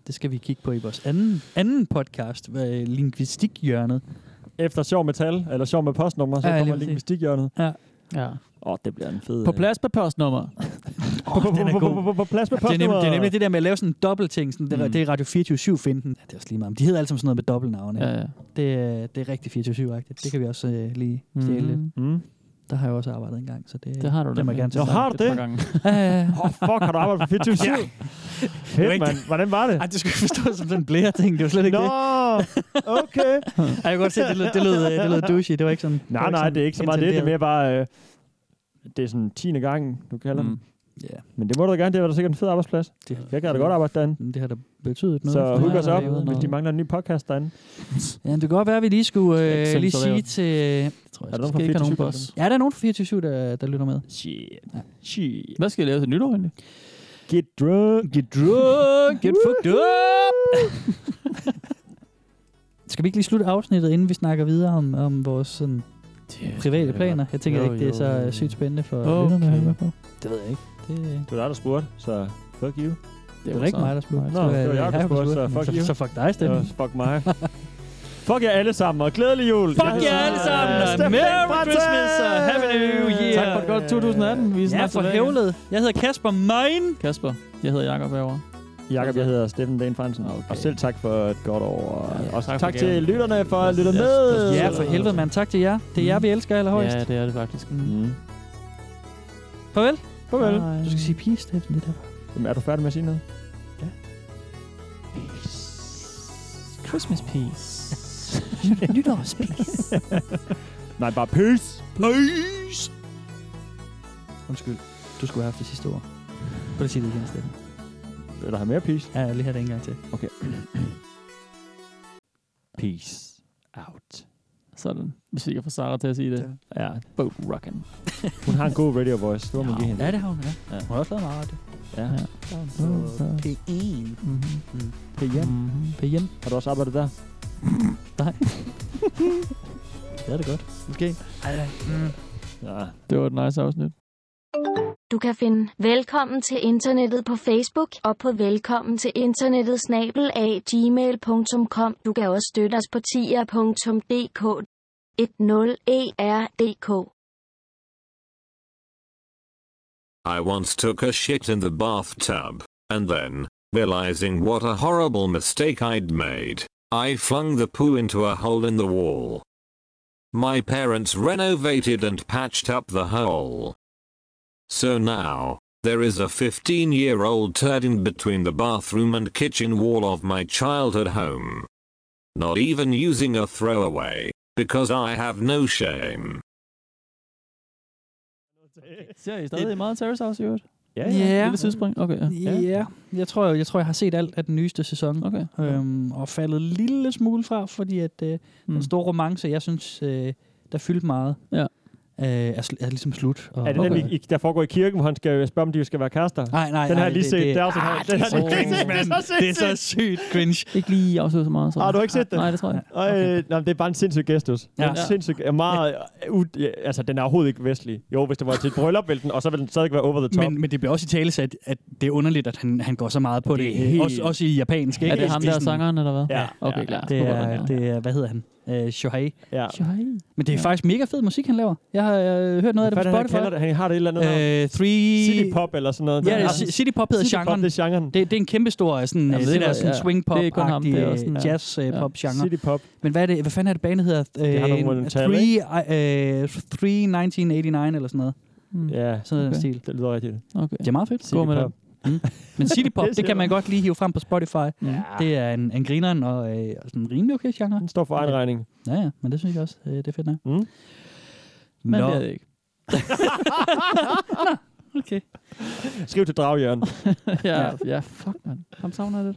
S5: det skal vi kigge på i vores anden, anden podcast, øh, Linguistikhjørnet.
S3: Efter sjov med tal, eller sjov med postnummer, så
S5: Ja,
S3: ja,
S5: lige
S3: kommer
S5: præcis.
S3: linguistikhjørnet.
S5: Ja.
S4: Ja.
S3: Åh, det bliver en fed...
S4: På plads med postnummer.
S5: Den er god.
S3: På plads med
S5: Det er, nemlig, det er
S3: postnummer.
S5: nemlig det der med at lave sådan en dobbeltting. Sådan, det, er-
S4: Mm.
S5: det er Radio 24-7-finden. Ja, det er også lige meget. men De hedder alle sammen sådan noget med dobbeltnavne.
S4: Ja, ja.
S5: Det, er- det er rigtig 24-7-agtigt. Det kan vi også øh, lige stjæle
S4: Mhm.
S5: lidt.
S3: Mm.
S5: Der har jeg også arbejdet en gang, så det,
S4: Det har du
S5: det
S4: nemlig.
S5: må jeg gerne
S4: Nå,
S5: tage
S4: har du
S5: et
S4: det?
S5: par gange. ja, ja, ja.
S3: Åh, oh, fuck, har du arbejdet på 24 7
S5: Ja. Det var
S3: Fedt,
S5: ikke
S3: mand.
S5: det.
S3: Hvordan var det?
S5: Ej, det skulle jeg forstå som sådan en blære-ting. Det var slet ikke
S3: Nå,
S5: det.
S3: okay.
S5: Ej, jeg kan godt se, det lød, det lød, øh, det lød douchey. Det var ikke sådan...
S3: Nej, nej, det er ikke så meget det. Det er mere bare, øh, det er sådan 10. gang, du kalder mm. den.
S5: Yeah.
S3: Men det må du da gerne, det var da sikkert en fed arbejdsplads.
S5: Det, Mm,
S3: jeg kan da godt arbejde derinde.
S5: Det har da betydet noget.
S3: Så
S5: for
S3: hook
S5: jer,
S3: os
S5: der
S3: op,
S5: lavede
S3: hvis
S5: noget.
S3: de mangler en ny podcast derinde.
S5: Ja, det kan godt være, at vi lige skulle
S3: ikke
S5: øh,
S3: sende
S5: lige
S3: sig
S5: sige
S3: derover.
S5: til... Jeg tror,
S3: Er
S5: jeg
S3: der nogen
S5: skal
S3: fra
S5: ikke have
S3: 24/7,
S5: nogen boss. Ja, der er nogen fra 24 der, der lytter med. Shit. Ja. Shit.
S4: Hvad skal jeg lave til nytår egentlig?
S3: Get drunk.
S5: Get drunk. Get fucked up. Skal vi ikke lige slutte afsnittet, inden vi snakker videre om, om vores sådan, private planer? Jeg tænker
S4: Jo,
S5: ikke, det er
S4: jo,
S5: så
S4: jo,
S5: øh,
S4: jo.
S5: sygt spændende for
S4: Okay.
S5: lytterne at høre med på.
S4: Det ved jeg ikke.
S5: Det,
S3: det var dig, der spurgte, så fuck you.
S5: Det var ikke mig, der spurgte.
S3: Nå, det var jeg, der spurgte, så fuck you.
S5: Så, så fuck dig, Steffen.
S3: Ja, fuck mig. fuck jer alle sammen, og glædelig jul.
S5: Fuck
S3: Jeg
S5: jer
S3: hedder
S5: alle sammen, og
S3: Steffen
S5: Merry
S3: Fransen.
S5: Christmas, og Happy New Year.
S4: Tak for et godt 2018. Vi er
S5: Ja,
S4: snart
S5: for
S4: tilbage.
S5: hævlet. Jeg hedder Kasper Mein.
S4: Kasper, jeg hedder Jakob herovre.
S3: Jakob, jeg hedder Steffen Dan Fransen. Okay. Og selv tak for et godt år. Og, ja, og tak, tak til
S5: gaven.
S3: lytterne for at lytte med.
S5: Ja, for helvede, mand. Tak til jer. Det er jer, vi elsker allerhøjst.
S4: Ja, det er det faktisk.
S3: Mm.
S5: Farvel.
S3: Farvel.
S5: Du skal sige peace, Steffen. Det der.
S3: Jamen, er du færdig med at sige noget?
S4: Christmas peace.
S5: Nytårspis.
S3: Nej, bare peace.
S5: Peace. Undskyld. Du skulle have haft det sidste ord. Prøv lige at sige det igen, Steffen.
S3: Vil du have mere peace?
S5: Ja, jeg vil lige have det en gang til.
S3: Okay. Peace out.
S4: Sådan. Hvis vi kan få Sarah til at sige det.
S3: Ja.
S4: Boat rockin'.
S3: Hun har en god radio voice. Det må man give hende.
S5: Ja, det har hun, ja. Hun har også lavet meget radio.
S3: Ja.
S5: P1. Mm-hmm.
S3: P1.
S5: P1.
S3: Har du også arbejdet der?
S5: Nej. det er det godt. Måske. Ej, nej. Mm.
S3: Ja.
S4: Det var et nice afsnit.
S15: Du kan finde Velkommen til internettet på Facebook og på velkommen til internettet snabel af gmail.com. Du kan også støtte os på tier.dk E 10erdk.
S16: I once took a shit in the bathtub, and then, realizing what a horrible mistake I'd made, I flung the poo into a hole in the wall. My parents renovated and patched up the hole. So now, there is a 15 year old turd in between the bathroom and kitchen wall of my childhood home. Not even using a throwaway, because I have no shame.
S4: Ser I stadig meget Terrace House i øvrigt?
S3: Ja,
S4: ja. Lille sidespring. Okay, ja.
S5: ja. ja. Jeg, tror, jeg, jeg tror, jeg har set alt af den nyeste sæson.
S4: Okay.
S5: Øhm, og faldet en lille smule fra, fordi at øh, mm.
S4: Mm.
S5: den store romance, jeg synes, øh, der fyldte meget,
S4: Ja.
S5: øh, er, sl- er ligesom slut. Og,
S3: Er det okay. den, I, I- der foregår i kirken, hvor han skal spørge, om de skal være kærester?
S5: Nej, nej,
S3: Den
S5: nej,
S3: har jeg lige
S5: det-
S3: set.
S5: det-
S3: Det, er også,
S5: Ah,
S3: ah,
S5: det
S3: den
S5: er
S3: har
S5: så
S3: jeg lige set.
S5: cringe,
S3: Det er så
S5: mand. Det er så sygt cringe.
S4: Ikke lige afsløret så meget. Så.
S3: Ah, du har ikke set den?
S4: Nej, det tror jeg.
S3: Ej, nej, øh, det er bare en sindssyg gestus. Ja.
S4: Ja.
S3: En sindssyg, er meget, u, ja, altså, den er overhovedet ikke vestlig. Jo, hvis det var til et bryllup, ville den, og så ville den stadig være over the top.
S5: Men, men det bliver også i tale sat, at det er underligt, at han, han går så meget på det. det.
S3: helt-
S5: Også, også i japansk. Ikke?
S4: Er det ham, der er
S5: sådan-
S4: sangeren, eller hvad?
S5: Ja,
S4: Okay,
S5: ja,
S4: klar.
S5: Det
S4: Håber
S5: er,
S4: jeg,
S5: det er, hvad hedder han? Øh, Shohei.
S3: Ja.
S4: Shohei.
S5: Men det er
S4: Ja.
S5: faktisk mega fed musik, han laver. Jeg har øh, hørt noget af det
S3: Hvad
S5: på
S3: er det, han
S5: Spotify. Øh,
S3: kalder det? Han har det et eller andet navn.
S5: three...
S3: City pop eller sådan noget.
S5: Ja,
S3: Den
S5: det er
S3: har-
S5: ci- city pop hedder
S3: City pop,
S5: genren.
S3: det er genren.
S5: Det, det er en kæmpe stor øh, sådan,
S4: Jamen,
S5: Jamen,
S4: det
S5: det, det
S4: var-
S5: der sådan
S4: ja.
S5: swing pop
S4: Det er ikke kun ham, det er også den- ja.
S5: jazz øh,
S4: Ja.
S5: pop genre.
S4: City
S3: pop.
S5: Men hvad er det hvad fanden er det banen hedder?
S3: Det har nogle
S5: Øh,
S3: monumentale,
S5: three, øh, three 1989 eller sådan noget.
S4: Mm.
S3: Ja,
S5: sådan okay. stil.
S3: Det lyder rigtigt.
S4: Okay.
S5: Det er meget fedt.
S3: City Gå med pop.
S5: Mm. Men City Pop,
S3: Det
S5: det
S3: siger
S5: kan man godt lige hive frem på Spotify. Ja. Det er en, en grineren og øh, og sådan en rimelig okay genre. Den
S3: står for egen regning.
S5: Ja, ja, men det synes jeg også, øh, det er fedt nok.
S3: Mm.
S4: Man
S5: Nå.
S4: bliver det ikke.
S5: okay.
S3: Skriv til Dragjørn.
S4: ja, ja, fuck, man. Ham savner jeg lidt.